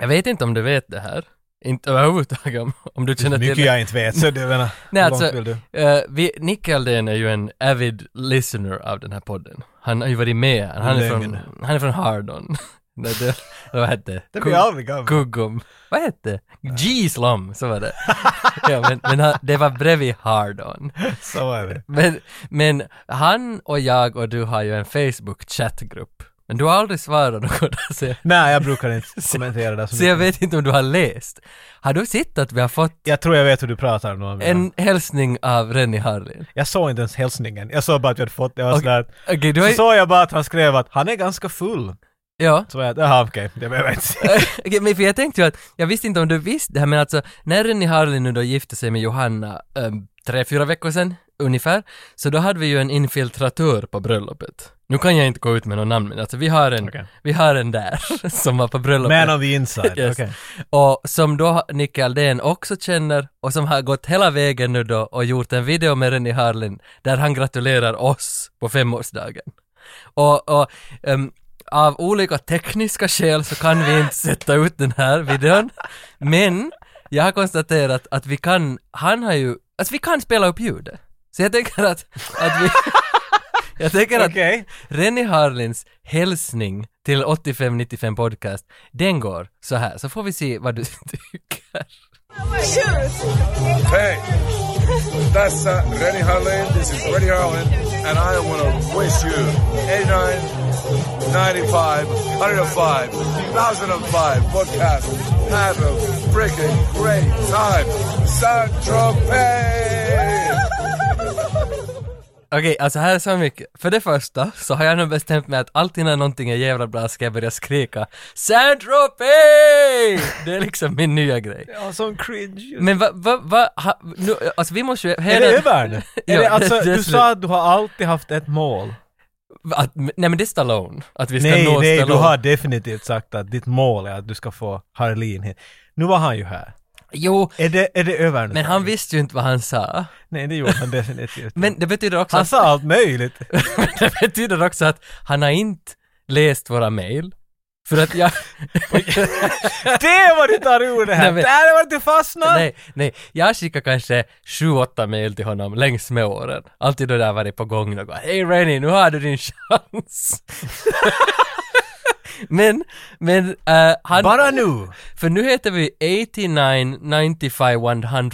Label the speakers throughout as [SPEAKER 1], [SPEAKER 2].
[SPEAKER 1] Jag vet inte om du vet det här. Inte överhuvudtaget om, om du känner till
[SPEAKER 2] Mycket
[SPEAKER 1] det.
[SPEAKER 2] jag inte vet, så du menar,
[SPEAKER 1] Nej,
[SPEAKER 2] hur långt
[SPEAKER 1] alltså-
[SPEAKER 2] vill du?
[SPEAKER 1] Eh, vi, Nick Aldén är ju en avid listener av den här podden. Han har ju varit med. Han är från,
[SPEAKER 2] Länge.
[SPEAKER 1] han är från Hardon. Nej, det, vad hette
[SPEAKER 2] Det blir
[SPEAKER 1] Kung-
[SPEAKER 2] jag aldrig gammal.
[SPEAKER 1] Kuggum. Vad hette G-slum, så var det. ja, men, men han, det var bredvid Hardon.
[SPEAKER 2] Så är det.
[SPEAKER 1] Men, men han och jag och du har ju en Facebook-chattgrupp. Men du har aldrig svarat något där, så jag,
[SPEAKER 2] Nej, jag brukar inte kommentera det så
[SPEAKER 1] så jag
[SPEAKER 2] mycket.
[SPEAKER 1] vet inte om du har läst. Har du sett att vi har fått
[SPEAKER 2] Jag tror jag vet hur du pratar nu. Amina.
[SPEAKER 1] en hälsning av Rennie Harlin?
[SPEAKER 2] Jag såg inte ens hälsningen. Jag såg bara att vi hade fått det. Jag var
[SPEAKER 1] Okej.
[SPEAKER 2] sådär,
[SPEAKER 1] Okej, du har
[SPEAKER 2] så
[SPEAKER 1] ju...
[SPEAKER 2] såg jag bara att han skrev att han är ganska full.
[SPEAKER 1] Ja.
[SPEAKER 2] Så var jag, jaha okej, det behöver jag inte säga.
[SPEAKER 1] Okej, men för jag tänkte ju att, jag visste inte om du visste det här men alltså, när Rennie Harlin nu då gifte sig med Johanna um, tre, fyra veckor sedan ungefär, så då hade vi ju en infiltratör på bröllopet. Nu kan jag inte gå ut med någon namn men alltså vi har en,
[SPEAKER 2] Okej.
[SPEAKER 1] vi har en där som var på bröllopet.
[SPEAKER 2] Man on the inside.
[SPEAKER 1] Yes.
[SPEAKER 2] Okej.
[SPEAKER 1] Och som då Nicke Aldén också känner och som har gått hela vägen nu då och gjort en video med Rennie Harlin där han gratulerar oss på femårsdagen. Och, och ehm, av olika tekniska skäl så kan vi inte sätta ut den här videon. Men jag har konstaterat att vi kan, han har ju, alltså vi kan spela upp ljudet. Så jag tänker att, att vi, jag tänker att
[SPEAKER 2] Okej.
[SPEAKER 1] Rennie Harlins hälsning till 8595 podcast, den går så här, så får vi se vad du tycker.
[SPEAKER 3] Hey, that's uh, Rennie Harlan. This is Rennie Harlan, and I want to wish you 89, 95, 105, 1005 podcast. Have a freaking great time. San Tropez!
[SPEAKER 1] Okej, alltså här är så mycket. För det första så har jag nu bestämt mig att alltid när någonting är jävla bra ska jag börja skrika Sandropey! Det är liksom min nya grej.
[SPEAKER 2] Ja, sån cringe.
[SPEAKER 1] Men vad, vad, vad, ha- nu, alltså vi måste ju...
[SPEAKER 2] Är det över nu?
[SPEAKER 1] Ja,
[SPEAKER 2] Är det, alltså,
[SPEAKER 1] det- det är
[SPEAKER 2] du
[SPEAKER 1] slut.
[SPEAKER 2] sa att du har alltid haft ett mål.
[SPEAKER 1] Att, nej men det är Stallone. Att vi ska
[SPEAKER 2] Nej,
[SPEAKER 1] nå
[SPEAKER 2] nej, du
[SPEAKER 1] Stallone.
[SPEAKER 2] har definitivt sagt att ditt mål är att du ska få Harlin hit. Nu var han ju här.
[SPEAKER 1] Jo,
[SPEAKER 2] Är det, är det över nu?
[SPEAKER 1] men han visste ju inte vad han sa.
[SPEAKER 2] Nej, det gjorde han definitivt
[SPEAKER 1] Men det betyder också
[SPEAKER 2] Han
[SPEAKER 1] att-
[SPEAKER 2] sa allt möjligt.
[SPEAKER 1] Men det betyder också att han har inte läst våra mejl. För att jag...
[SPEAKER 2] Det var ditt ord det
[SPEAKER 1] Nej,
[SPEAKER 2] här!
[SPEAKER 1] men-
[SPEAKER 2] Där var du fastnat!
[SPEAKER 1] nej, nej. Jag skickar kanske sju, åtta mejl till honom längs med åren. Alltid då det har varit på gång något. Hej Rennie, nu har du din chans. men, men eh, han...
[SPEAKER 2] Bara nu!
[SPEAKER 1] För nu heter vi 89, 95,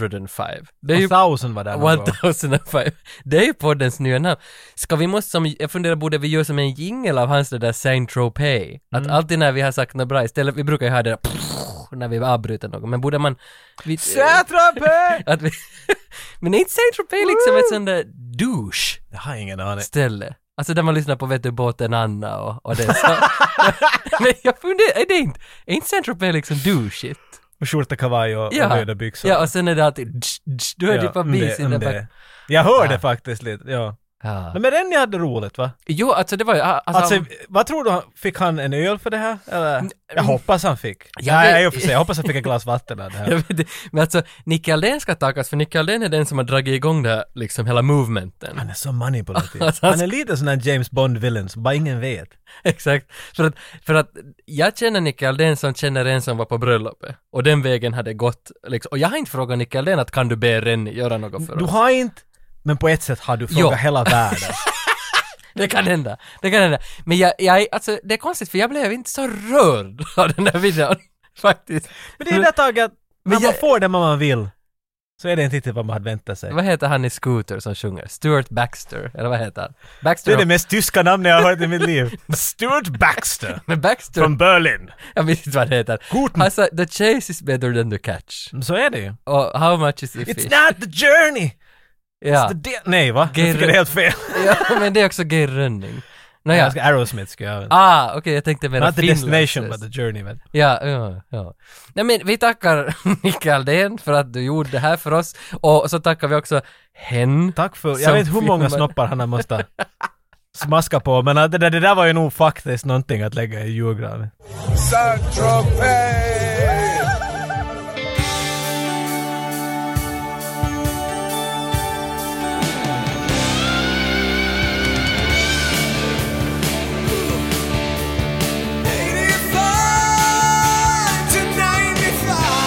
[SPEAKER 1] 105. Det är ju...
[SPEAKER 2] Thousand var där någon gång.
[SPEAKER 1] 1005. Det är ju poddens nya namn. Ska vi måste som, jag funderar, borde vi göra som en jingle av hans det där Saint Tropez? Att
[SPEAKER 2] Mm.
[SPEAKER 1] alltid när vi har sagt något bra, istället, vi brukar ju ha det där när vi avbryter något, men borde man... Vi,
[SPEAKER 2] Satrape!
[SPEAKER 1] att vi, men är inte Saint Tropez liksom ett sånt där douche-ställe?
[SPEAKER 2] Jag har ingen aning.
[SPEAKER 1] Alltså där man lyssnar på vet du, båten Anna och, och det så. men jag funderar, är det inte, är inte Saint Tropez liksom douche-igt?
[SPEAKER 2] Och skjorta, kavaj och, och röda byxor.
[SPEAKER 1] ja, och sen är det alltid du hörde ju på
[SPEAKER 2] mm,
[SPEAKER 1] bis
[SPEAKER 2] det-
[SPEAKER 1] i
[SPEAKER 2] mm,
[SPEAKER 1] den
[SPEAKER 2] det. Jag hörde
[SPEAKER 1] Ah.
[SPEAKER 2] faktiskt lite, ja.
[SPEAKER 1] Ja.
[SPEAKER 2] Men den jag hade roligt va?
[SPEAKER 1] Jo, alltså det var ju... Alltså,
[SPEAKER 2] Alltså, vad tror du, han- fick han en öl för det här? Eller? Jag hoppas han fick.
[SPEAKER 1] Jag
[SPEAKER 2] Nej,
[SPEAKER 1] vet-
[SPEAKER 2] jag, jag, jag hoppas han fick ett glas vatten av det
[SPEAKER 1] Jag
[SPEAKER 2] här.
[SPEAKER 1] vet inte, Men alltså, Nicke Aldén ska tackas, för Nicke Aldén är den som har dragit igång det här, liksom hela movementen.
[SPEAKER 2] Han är så manipulativ.
[SPEAKER 1] Alltså, han-
[SPEAKER 2] Han är lite sån här James Bond-villain som bara ingen vet.
[SPEAKER 1] Exakt. För att, för att jag känner Nicke Aldén som känner en som var på bröllopet. Och den vägen hade gått, liksom. Och jag har inte frågat Nicke Aldén att kan du be Rennie göra något för
[SPEAKER 2] Du
[SPEAKER 1] oss?
[SPEAKER 2] har inte, men på ett sätt har du frågat hela världen.
[SPEAKER 1] Det kan hända. Det kan hända. Men jag, jag, är- alltså det är konstigt för jag blev inte så rörd av den där videon. Faktiskt.
[SPEAKER 2] Men det är det där taget att
[SPEAKER 1] Men
[SPEAKER 2] när man
[SPEAKER 1] jag-
[SPEAKER 2] får det man vill, så är det inte riktigt vad man hade väntat sig.
[SPEAKER 1] Vad heter han i Scooter som sjunger? Stuart Baxter, eller vad heter han?
[SPEAKER 2] Det
[SPEAKER 1] Baxter
[SPEAKER 2] är det mest tyska namnet jag har hört i mitt liv. Stuart Baxter.
[SPEAKER 1] Men Baxter,
[SPEAKER 2] Från Mm. Berlin.
[SPEAKER 1] jag vet inte vad det heter.
[SPEAKER 2] Guten. Mm,
[SPEAKER 1] Alltså, the chase is better than the catch.
[SPEAKER 2] Så är det ju.
[SPEAKER 1] Och Oh, how much is the
[SPEAKER 2] It's
[SPEAKER 1] fish?
[SPEAKER 2] not the journey! It's
[SPEAKER 1] ja.
[SPEAKER 2] the de- Nej va?
[SPEAKER 1] Gay
[SPEAKER 2] Jag tycker det är helt fel.
[SPEAKER 1] ja, men det är också gay rönning. Nåja.
[SPEAKER 2] Jag ska Aerosmith ska jag använda.
[SPEAKER 1] Ah, okej, jag tänkte mera
[SPEAKER 2] Not the destination but
[SPEAKER 1] finlandslöst.
[SPEAKER 2] the journey men.
[SPEAKER 1] Ja, ja, ja. Nej men vi tackar Mikael Aldén för att du gjorde det här för oss. Och så tackar vi också hen.
[SPEAKER 2] Tack för, jag
[SPEAKER 1] Som
[SPEAKER 2] vet hur många
[SPEAKER 1] filmen.
[SPEAKER 2] snoppar han har måste smaska på men att det där, det där var ju nog faktiskt någonting att lägga i julgranen.
[SPEAKER 3] San Tropez! Eighty-five tonight.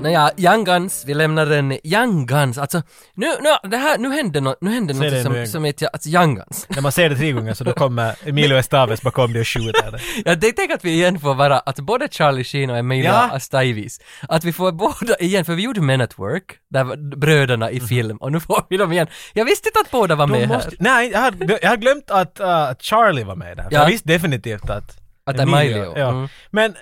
[SPEAKER 1] Nåja, Young Guns, vi lämnar den i- Young Guns, alltså nu, nu, det här, nu hände något, nu hände
[SPEAKER 2] Säg det
[SPEAKER 1] något
[SPEAKER 2] nu en
[SPEAKER 1] som,
[SPEAKER 2] gång.
[SPEAKER 1] som heter, alltså Young Guns.
[SPEAKER 2] När man ser det tre gånger så då kommer Emilio Estaves bakom dig och skjuter dig.
[SPEAKER 1] Jag tänkte att vi igen får vara, att både Charlie Sheen och Emilia
[SPEAKER 2] Ja.
[SPEAKER 1] Astaivis, att vi får båda igen, för vi gjorde Men at Work, där var bröderna i film, och nu får vi dem igen. Jag visste inte att båda var
[SPEAKER 2] Mhm. De
[SPEAKER 1] med
[SPEAKER 2] måste,
[SPEAKER 1] här.
[SPEAKER 2] nej, jag hade, jag hade glömt att uh, Charlie var med där.
[SPEAKER 1] Ja.
[SPEAKER 2] Jag visste definitivt att...
[SPEAKER 1] Att Emilio,
[SPEAKER 2] ja.
[SPEAKER 1] mm.
[SPEAKER 2] Men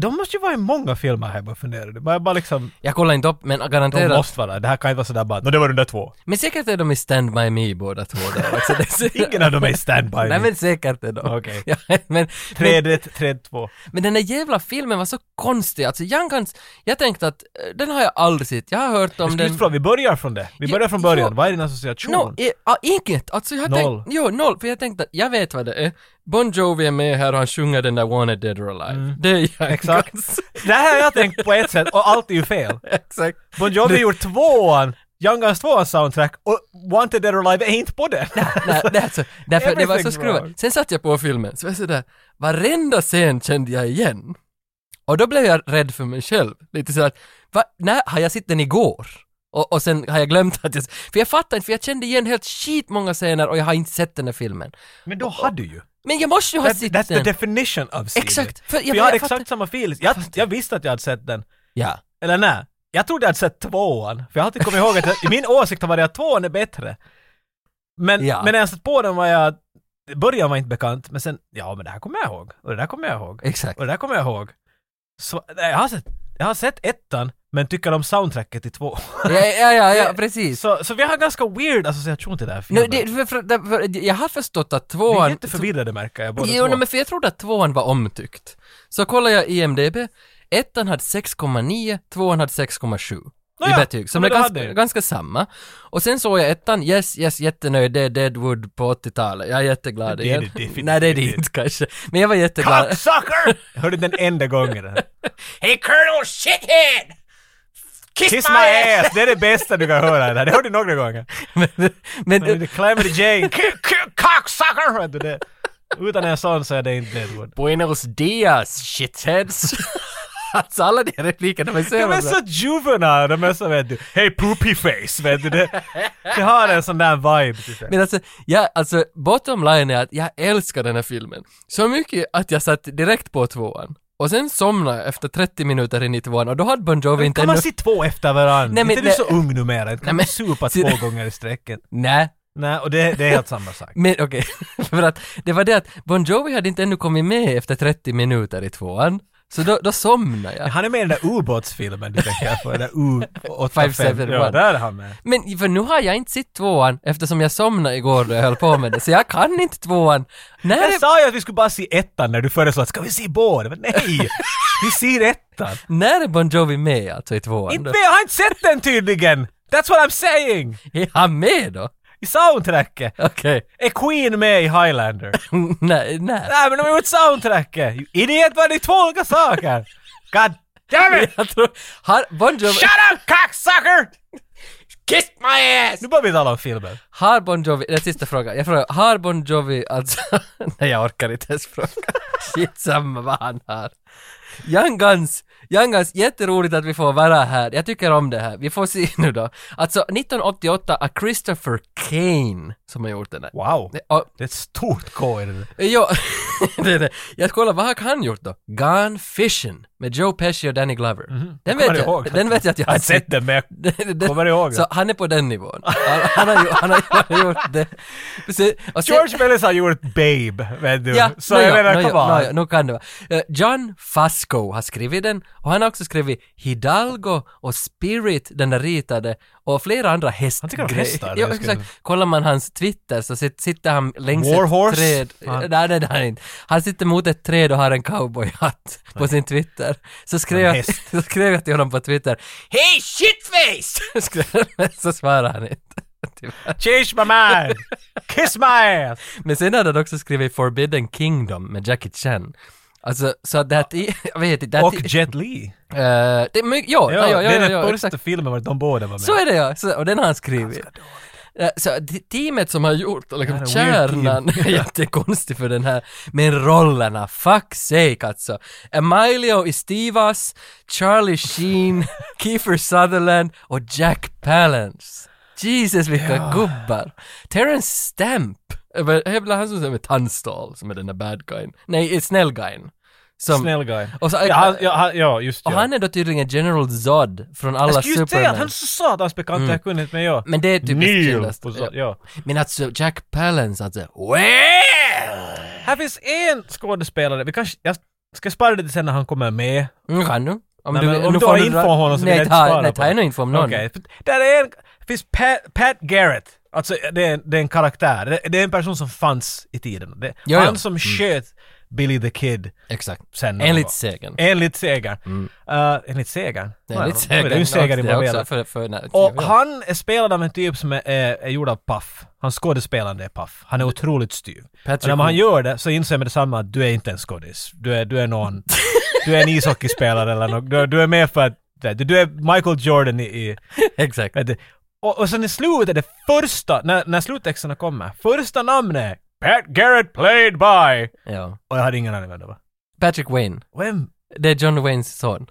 [SPEAKER 2] de måste ju vara i många filmer här, jag bara funderade. Bara, bara liksom,
[SPEAKER 1] Jag kollar inte upp, men
[SPEAKER 2] de
[SPEAKER 1] garanterat.
[SPEAKER 2] måste vara Det här kan inte vara sådär bara, "Nå, det var de där två.
[SPEAKER 1] Men säkert är de i Stand By Me båda två där också. Det är-
[SPEAKER 2] Ingen av dem är i standby.
[SPEAKER 1] Nej men säkert är de.
[SPEAKER 2] Okej.
[SPEAKER 1] Ja, men, men,
[SPEAKER 2] Trädet, träd två.
[SPEAKER 1] men den där jävla filmen var så konstig, alltså Young Guns, jag tänkte att eh, den har jag aldrig sett, jag har hört om
[SPEAKER 2] Jag skulle
[SPEAKER 1] den.
[SPEAKER 2] just fråga, vi börjar från det. Vi
[SPEAKER 1] Ja,
[SPEAKER 2] börjar från början.
[SPEAKER 1] ja.
[SPEAKER 2] Vad är din association?
[SPEAKER 1] No, i, ah, inget! Alltså jag
[SPEAKER 2] Noll.
[SPEAKER 1] tänkte, jo noll, för jag tänkte att jag vet vad det är. Bon Jovi är med här och han sjunger den där Wanted Dead or Alive. Det är Young
[SPEAKER 2] Mm. Exakt.
[SPEAKER 1] Guns.
[SPEAKER 2] Det här har jag tänkt på ett sätt och allt är ju fel.
[SPEAKER 1] Exakt.
[SPEAKER 2] Bon Jovi har gjort tvåan, Young Guns tvåans soundtrack och Wanted Dead or Alive är inte på det.
[SPEAKER 1] Nej, det är alltså, därför det var så
[SPEAKER 2] Everything's
[SPEAKER 1] skruvat.
[SPEAKER 2] wrong.
[SPEAKER 1] Sen satt jag på filmen, så var jag sådär, varenda scen kände jag igen. Och då blev jag rädd för mig själv. Lite sådär, va, när har jag sett den igår? Och, och sen har jag glömt att jag... För jag fattar inte, för jag kände igen helt skitmånga scener och jag har inte sett den här filmen.
[SPEAKER 2] Men då hade du ju.
[SPEAKER 1] Men jag måste ju ha
[SPEAKER 2] That,
[SPEAKER 1] sett
[SPEAKER 2] that's the
[SPEAKER 1] den!
[SPEAKER 2] definition of CD.
[SPEAKER 1] Exakt! För
[SPEAKER 2] För jag hade exakt samma feeling. Jag, jag visste att jag hade sett den.
[SPEAKER 1] Ja.
[SPEAKER 2] Eller nej, jag trodde jag hade sett tvåan. För jag har alltid kommit ihåg att jag, min åsikt har varit att tvåan är bättre. Men,
[SPEAKER 1] Ja.
[SPEAKER 2] men när jag satt på den var jag... Början var inte bekant, men sen... Ja, men det här kommer jag ihåg. Och det där kommer jag ihåg.
[SPEAKER 1] Exakt.
[SPEAKER 2] Och det där kommer jag ihåg. Så, nej, jag, har sett, jag har sett ettan, men tycker om soundtracket i två.
[SPEAKER 1] Ja, ja, ja, ja precis.
[SPEAKER 2] så, så vi har en ganska weird association till den här
[SPEAKER 1] Nu,
[SPEAKER 2] filmen.
[SPEAKER 1] det, för, för, för, jag har förstått att
[SPEAKER 2] vi är
[SPEAKER 1] tvåan...
[SPEAKER 2] jätteförvirrade märker jag, båda
[SPEAKER 1] Jo,
[SPEAKER 2] två.
[SPEAKER 1] nej, men för jag trodde att tvåan var omtyckt. Så kollar jag IMDB, ettan hade 6,9, tvåan hade 6,7.
[SPEAKER 2] Nåja,
[SPEAKER 1] I betyg, som
[SPEAKER 2] men
[SPEAKER 1] är
[SPEAKER 2] då hade
[SPEAKER 1] ganska,
[SPEAKER 2] jag.
[SPEAKER 1] ganska samma. Och sen såg jag ettan, yes, yes, jättenöjd, det är Deadwood på 80-talet, jag är jätteglad
[SPEAKER 2] Det är
[SPEAKER 1] igen.
[SPEAKER 2] det definitivt
[SPEAKER 1] Nej, det är det inte kanske. Men jag var jätteglad.
[SPEAKER 2] Cocksucker! Jag hörde den enda gången. den här.
[SPEAKER 1] Hey Colonel Shithead! Kiss,
[SPEAKER 2] Kiss my ass! Det är det bästa du kan höra. Det här. Det hörde du några gånger.
[SPEAKER 1] men,
[SPEAKER 2] Men
[SPEAKER 1] men,
[SPEAKER 2] det Calamity Jane, "K- k- cocksucker! Hörde du det? Utan en sån så är det inte Deadwood.
[SPEAKER 1] Buenos dias, shitheads! alltså alla de här replikerna var så
[SPEAKER 2] De
[SPEAKER 1] jävla
[SPEAKER 2] är
[SPEAKER 1] bra.
[SPEAKER 2] så juvenile, de är så vet du, hey poopy face, vet du det? Det har en sån där vibe typ. till sig.
[SPEAKER 1] Men alltså, jag, alltså, bottom line är att jag älskar den här filmen. Så mycket att jag satt direkt på tvåan. Och sen somnade jag efter 30 minuter in i tvåan och då hade Bon Jovi inte
[SPEAKER 2] Kan man se två efter varandra?
[SPEAKER 1] Nej, men
[SPEAKER 2] inte du är
[SPEAKER 1] det-
[SPEAKER 2] så ung numera, inte
[SPEAKER 1] Nej,
[SPEAKER 2] kan
[SPEAKER 1] men-
[SPEAKER 2] man supa
[SPEAKER 1] Se-
[SPEAKER 2] två gånger i sträcket.
[SPEAKER 1] Nej,
[SPEAKER 2] Nej, och det, det är helt samma sak.
[SPEAKER 1] men okej. För att det var det att Bon Jovi hade inte ännu kommit med efter 30 minuter i tvåan. Så då, då somnade jag.
[SPEAKER 2] Han är med i den där ubåtsfilmen du tänker på, den där
[SPEAKER 1] Five Seven
[SPEAKER 2] U85. Ja,
[SPEAKER 1] One.
[SPEAKER 2] där är han med.
[SPEAKER 1] Men för nu har jag inte sett tvåan eftersom jag somnade igår då jag höll på med det. Så jag kan inte tvåan. När
[SPEAKER 2] Jag sa ju att vi skulle bara se ettan när du föreslog att ska vi se båda? Men nej! Vi ser ettan!
[SPEAKER 1] när är Bon Jovi med alltså i tvåan?
[SPEAKER 2] Inte
[SPEAKER 1] Då?
[SPEAKER 2] med, jag har inte sett den tydligen! That's what I'm saying!
[SPEAKER 1] Är han med då?
[SPEAKER 2] I soundtracket!
[SPEAKER 1] Okej.
[SPEAKER 2] Är Queen med i Highlander?
[SPEAKER 1] nej, nej.
[SPEAKER 2] Nej men de har gjort soundtracket! You idiot, vad är det två olika saker? God damn it!
[SPEAKER 1] Jag tror... Har Bon Jovi...
[SPEAKER 2] Shut up cocksucker!
[SPEAKER 1] Kiss my ass!
[SPEAKER 2] Nu börjar vi tala om filmen.
[SPEAKER 1] Har Bon Jovi, den sista frågan, jag frågar, har Bon Jovi alltså... Nej jag orkar inte ens fråga. Skitsamma vad han har. Young Guns, Young Guns, jätteroligt att vi får vara här. Jag tycker om det här. Vi får se nu då. Alltså 1988 av Christopher Kane som har gjort den här.
[SPEAKER 2] Wow.
[SPEAKER 1] Och,
[SPEAKER 2] Det är ett stort K i det där.
[SPEAKER 1] jo, Eh, det är det. Jag kollar, vad har han gjort då? Gone Fishing med Joe Pesci och Danny Glover. Den,
[SPEAKER 2] Mhm. kommer
[SPEAKER 1] vet
[SPEAKER 2] ihåg.
[SPEAKER 1] jag, den vet jag att jag
[SPEAKER 2] Jag
[SPEAKER 1] har
[SPEAKER 2] har sett den men jag
[SPEAKER 1] Det- det-
[SPEAKER 2] Kommer du ihåg det?
[SPEAKER 1] Så han är på den nivån. Han, han, har, ju- han, har, han har gjort det. Se- och se-
[SPEAKER 2] George Mellis har gjort Babe, vet du.
[SPEAKER 1] Ja,
[SPEAKER 2] så
[SPEAKER 1] nåja,
[SPEAKER 2] jag menar,
[SPEAKER 1] nåja,
[SPEAKER 2] kom on.
[SPEAKER 1] nåja, nu kan det vara. Eh, John Fasco har skrivit den och han har också skrivit Hidalgo och Spirit, den där ritade, och flera andra hästgrejer.
[SPEAKER 2] tycker om hästar, det
[SPEAKER 1] Ja,
[SPEAKER 2] jag skulle-
[SPEAKER 1] exakt. Kollar man hans Twitter så sit, sitter han längs
[SPEAKER 2] Warhorse?
[SPEAKER 1] ett träd.
[SPEAKER 2] Han-
[SPEAKER 1] Nej, nej, nej, inte. Han sitter mot ett träd och har en cowboyhatt på sin Twitter. Så skrev,
[SPEAKER 2] En
[SPEAKER 1] jag,
[SPEAKER 2] häst.
[SPEAKER 1] så skrev jag till honom på Twitter Hej shitface! Skrev- Men så svarade han inte. Typ. Tyvärr.
[SPEAKER 2] Change my mind! Kiss my ass!
[SPEAKER 1] Men sen hade han också skrivit Forbidden Kingdom med Jackie Chan. Alltså, så att det här... ti- Jag vet inte. det här
[SPEAKER 2] Och
[SPEAKER 1] ti-
[SPEAKER 2] Jet Li.
[SPEAKER 1] Eh, det är mycket, ja, ja, ja, ja,
[SPEAKER 2] det är
[SPEAKER 1] ja,
[SPEAKER 2] den
[SPEAKER 1] ja,
[SPEAKER 2] första
[SPEAKER 1] exakt.
[SPEAKER 2] filmen var de båda var med.
[SPEAKER 1] Så är det ja, så, och den har han skrivit. Eh, Så t- teamet som har gjort liksom,
[SPEAKER 2] Det här är weird
[SPEAKER 1] kärnan är jättekonstig för den här. Men rollerna, fuck sake alltså. Emilio Estevas, Charlie Sheen, Kiefer Sutherland och Jack Palance. Jesus vilka gubbar. Terrence Stamp. Eh, vad- Jag vill ha han som är Tunstall, som är den där bad guyen. Nej, eh, snäll guyen. Som-
[SPEAKER 2] Snäll guy.
[SPEAKER 1] Och så-
[SPEAKER 2] ja, han, ja, han, ja, just
[SPEAKER 1] Och
[SPEAKER 2] ja.
[SPEAKER 1] han är då tydligen General Zod från alla
[SPEAKER 2] jag skulle just säga att
[SPEAKER 1] Superman.
[SPEAKER 2] han är så satans bekant, jag kunde inte, men ja.
[SPEAKER 1] Men det är typiskt
[SPEAKER 2] Neil!
[SPEAKER 1] Killers.
[SPEAKER 2] på så- ja.
[SPEAKER 1] Men alltså Jack Palance alltså, well!
[SPEAKER 2] Här finns en skådespelare, vi kanske, jag ska spara det till sen när han kommer med.
[SPEAKER 1] Mm, kan du? Om
[SPEAKER 2] Nej, men om
[SPEAKER 1] nu
[SPEAKER 2] du
[SPEAKER 1] får
[SPEAKER 2] har info
[SPEAKER 1] dra-
[SPEAKER 2] om honom så vill
[SPEAKER 1] nej,
[SPEAKER 2] jag inte
[SPEAKER 1] ta-
[SPEAKER 2] svara
[SPEAKER 1] Nej,
[SPEAKER 2] på
[SPEAKER 1] ta
[SPEAKER 2] det.
[SPEAKER 1] ännu info om någon.
[SPEAKER 2] Okej, där är en, det finns Pat, Pat Garrett. Alltså det är, en, det är en karaktär, det, det är en person som fanns i tiden. Det,
[SPEAKER 1] Ja, Mm.
[SPEAKER 2] han
[SPEAKER 1] ja.
[SPEAKER 2] som sköt Billy the Kid
[SPEAKER 1] Exakt.
[SPEAKER 2] sen. någon
[SPEAKER 1] Enligt
[SPEAKER 2] gång.
[SPEAKER 1] sägern.
[SPEAKER 2] Enligt sägern. Eh, enligt sägern?
[SPEAKER 1] Mm. Enligt
[SPEAKER 2] Ja,
[SPEAKER 1] sägern.
[SPEAKER 2] Det är ju sägern
[SPEAKER 1] också, det är också
[SPEAKER 2] involverad.
[SPEAKER 1] för, för, nej,
[SPEAKER 2] Och
[SPEAKER 1] ja.
[SPEAKER 2] han är spelad av en typ som är, är, är gjord av Puff. Hans skådespelande är Puff. Han är otroligt styv.
[SPEAKER 1] Patrick
[SPEAKER 2] och när man gör det så inser man med detsamma att du är inte en skådis. Du är, du är någon... du är en ishockeyspelare eller något. Du, är- du är med för att... Du du är Michael Jordan i... i
[SPEAKER 1] Exakt.
[SPEAKER 2] vet du. och, och sen i slutet, det första... När, när sluttexterna kommer. Första namnet är Pat Garrett played by...
[SPEAKER 1] Ja.
[SPEAKER 2] Och jag hade ingen aning vem det var.
[SPEAKER 1] Patrick Wayne.
[SPEAKER 2] Vem?
[SPEAKER 1] Det är John Waynes son.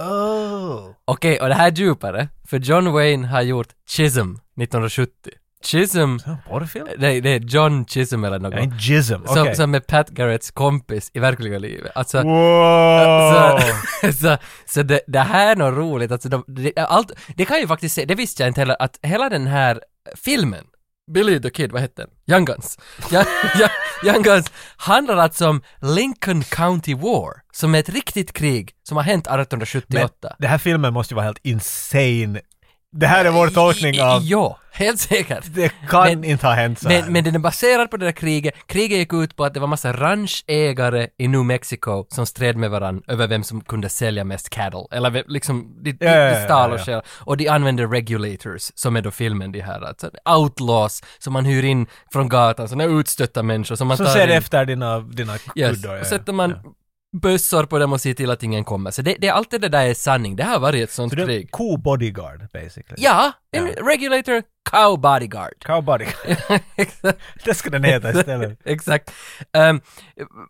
[SPEAKER 2] Oh.
[SPEAKER 1] Okej, och det här är djupare. För John Wayne har gjort Chisholm 1970. Chisholm,
[SPEAKER 2] Så, Porrfilm?
[SPEAKER 1] nej det är John Chisholm eller något.
[SPEAKER 2] Ja, en jism. Okej.
[SPEAKER 1] som, som är Pat Garretts kompis i verkliga livet. Alltså,
[SPEAKER 2] Wow!
[SPEAKER 1] Så, så, så det, det här är nog roligt, alltså de, det, allt, det kan ju faktiskt se, det visste jag inte heller, att hela den här filmen, Billy the Kid, vad hette den? Young Guns. Young, Young, Young Guns handlar alltså om Lincoln County War, som är ett riktigt krig som har hänt 1878.
[SPEAKER 2] Men den här filmen måste ju vara helt insane. Det här är vår tolkning av...
[SPEAKER 1] Ja, helt säkert.
[SPEAKER 2] Det kan
[SPEAKER 1] Men-
[SPEAKER 2] inte ha hänt så här.
[SPEAKER 1] Men, men den är baserad på det där kriget. Kriget gick ut på att det var massa ranchägare i New Mexico som stred med varandra över vem som kunde sälja mest cattle. Eller vem- liksom, de, de,
[SPEAKER 2] Ja, ja,
[SPEAKER 1] de
[SPEAKER 2] ja,
[SPEAKER 1] stal
[SPEAKER 2] ja,
[SPEAKER 1] och
[SPEAKER 2] ja.
[SPEAKER 1] stjäl. Och de använde regulators, som är då filmen de här, alltså outlaws som man hyr in från gatan, sådana utstötta människor som man
[SPEAKER 2] Som
[SPEAKER 1] tar
[SPEAKER 2] ser
[SPEAKER 1] in.
[SPEAKER 2] efter dina, dina
[SPEAKER 1] Yes.
[SPEAKER 2] kuddar.
[SPEAKER 1] Och sätter man bössor på dem och ser till att ingen kommer. Så det, det, allt det där är sanning. Det här har varit ett sånt
[SPEAKER 2] Så du är en
[SPEAKER 1] krig.
[SPEAKER 2] cool bodyguard basically.
[SPEAKER 1] Ja, en regulator, cow bodyguard.
[SPEAKER 2] Cow bodyguard. det ska den heta istället.
[SPEAKER 1] Exakt. Ehm,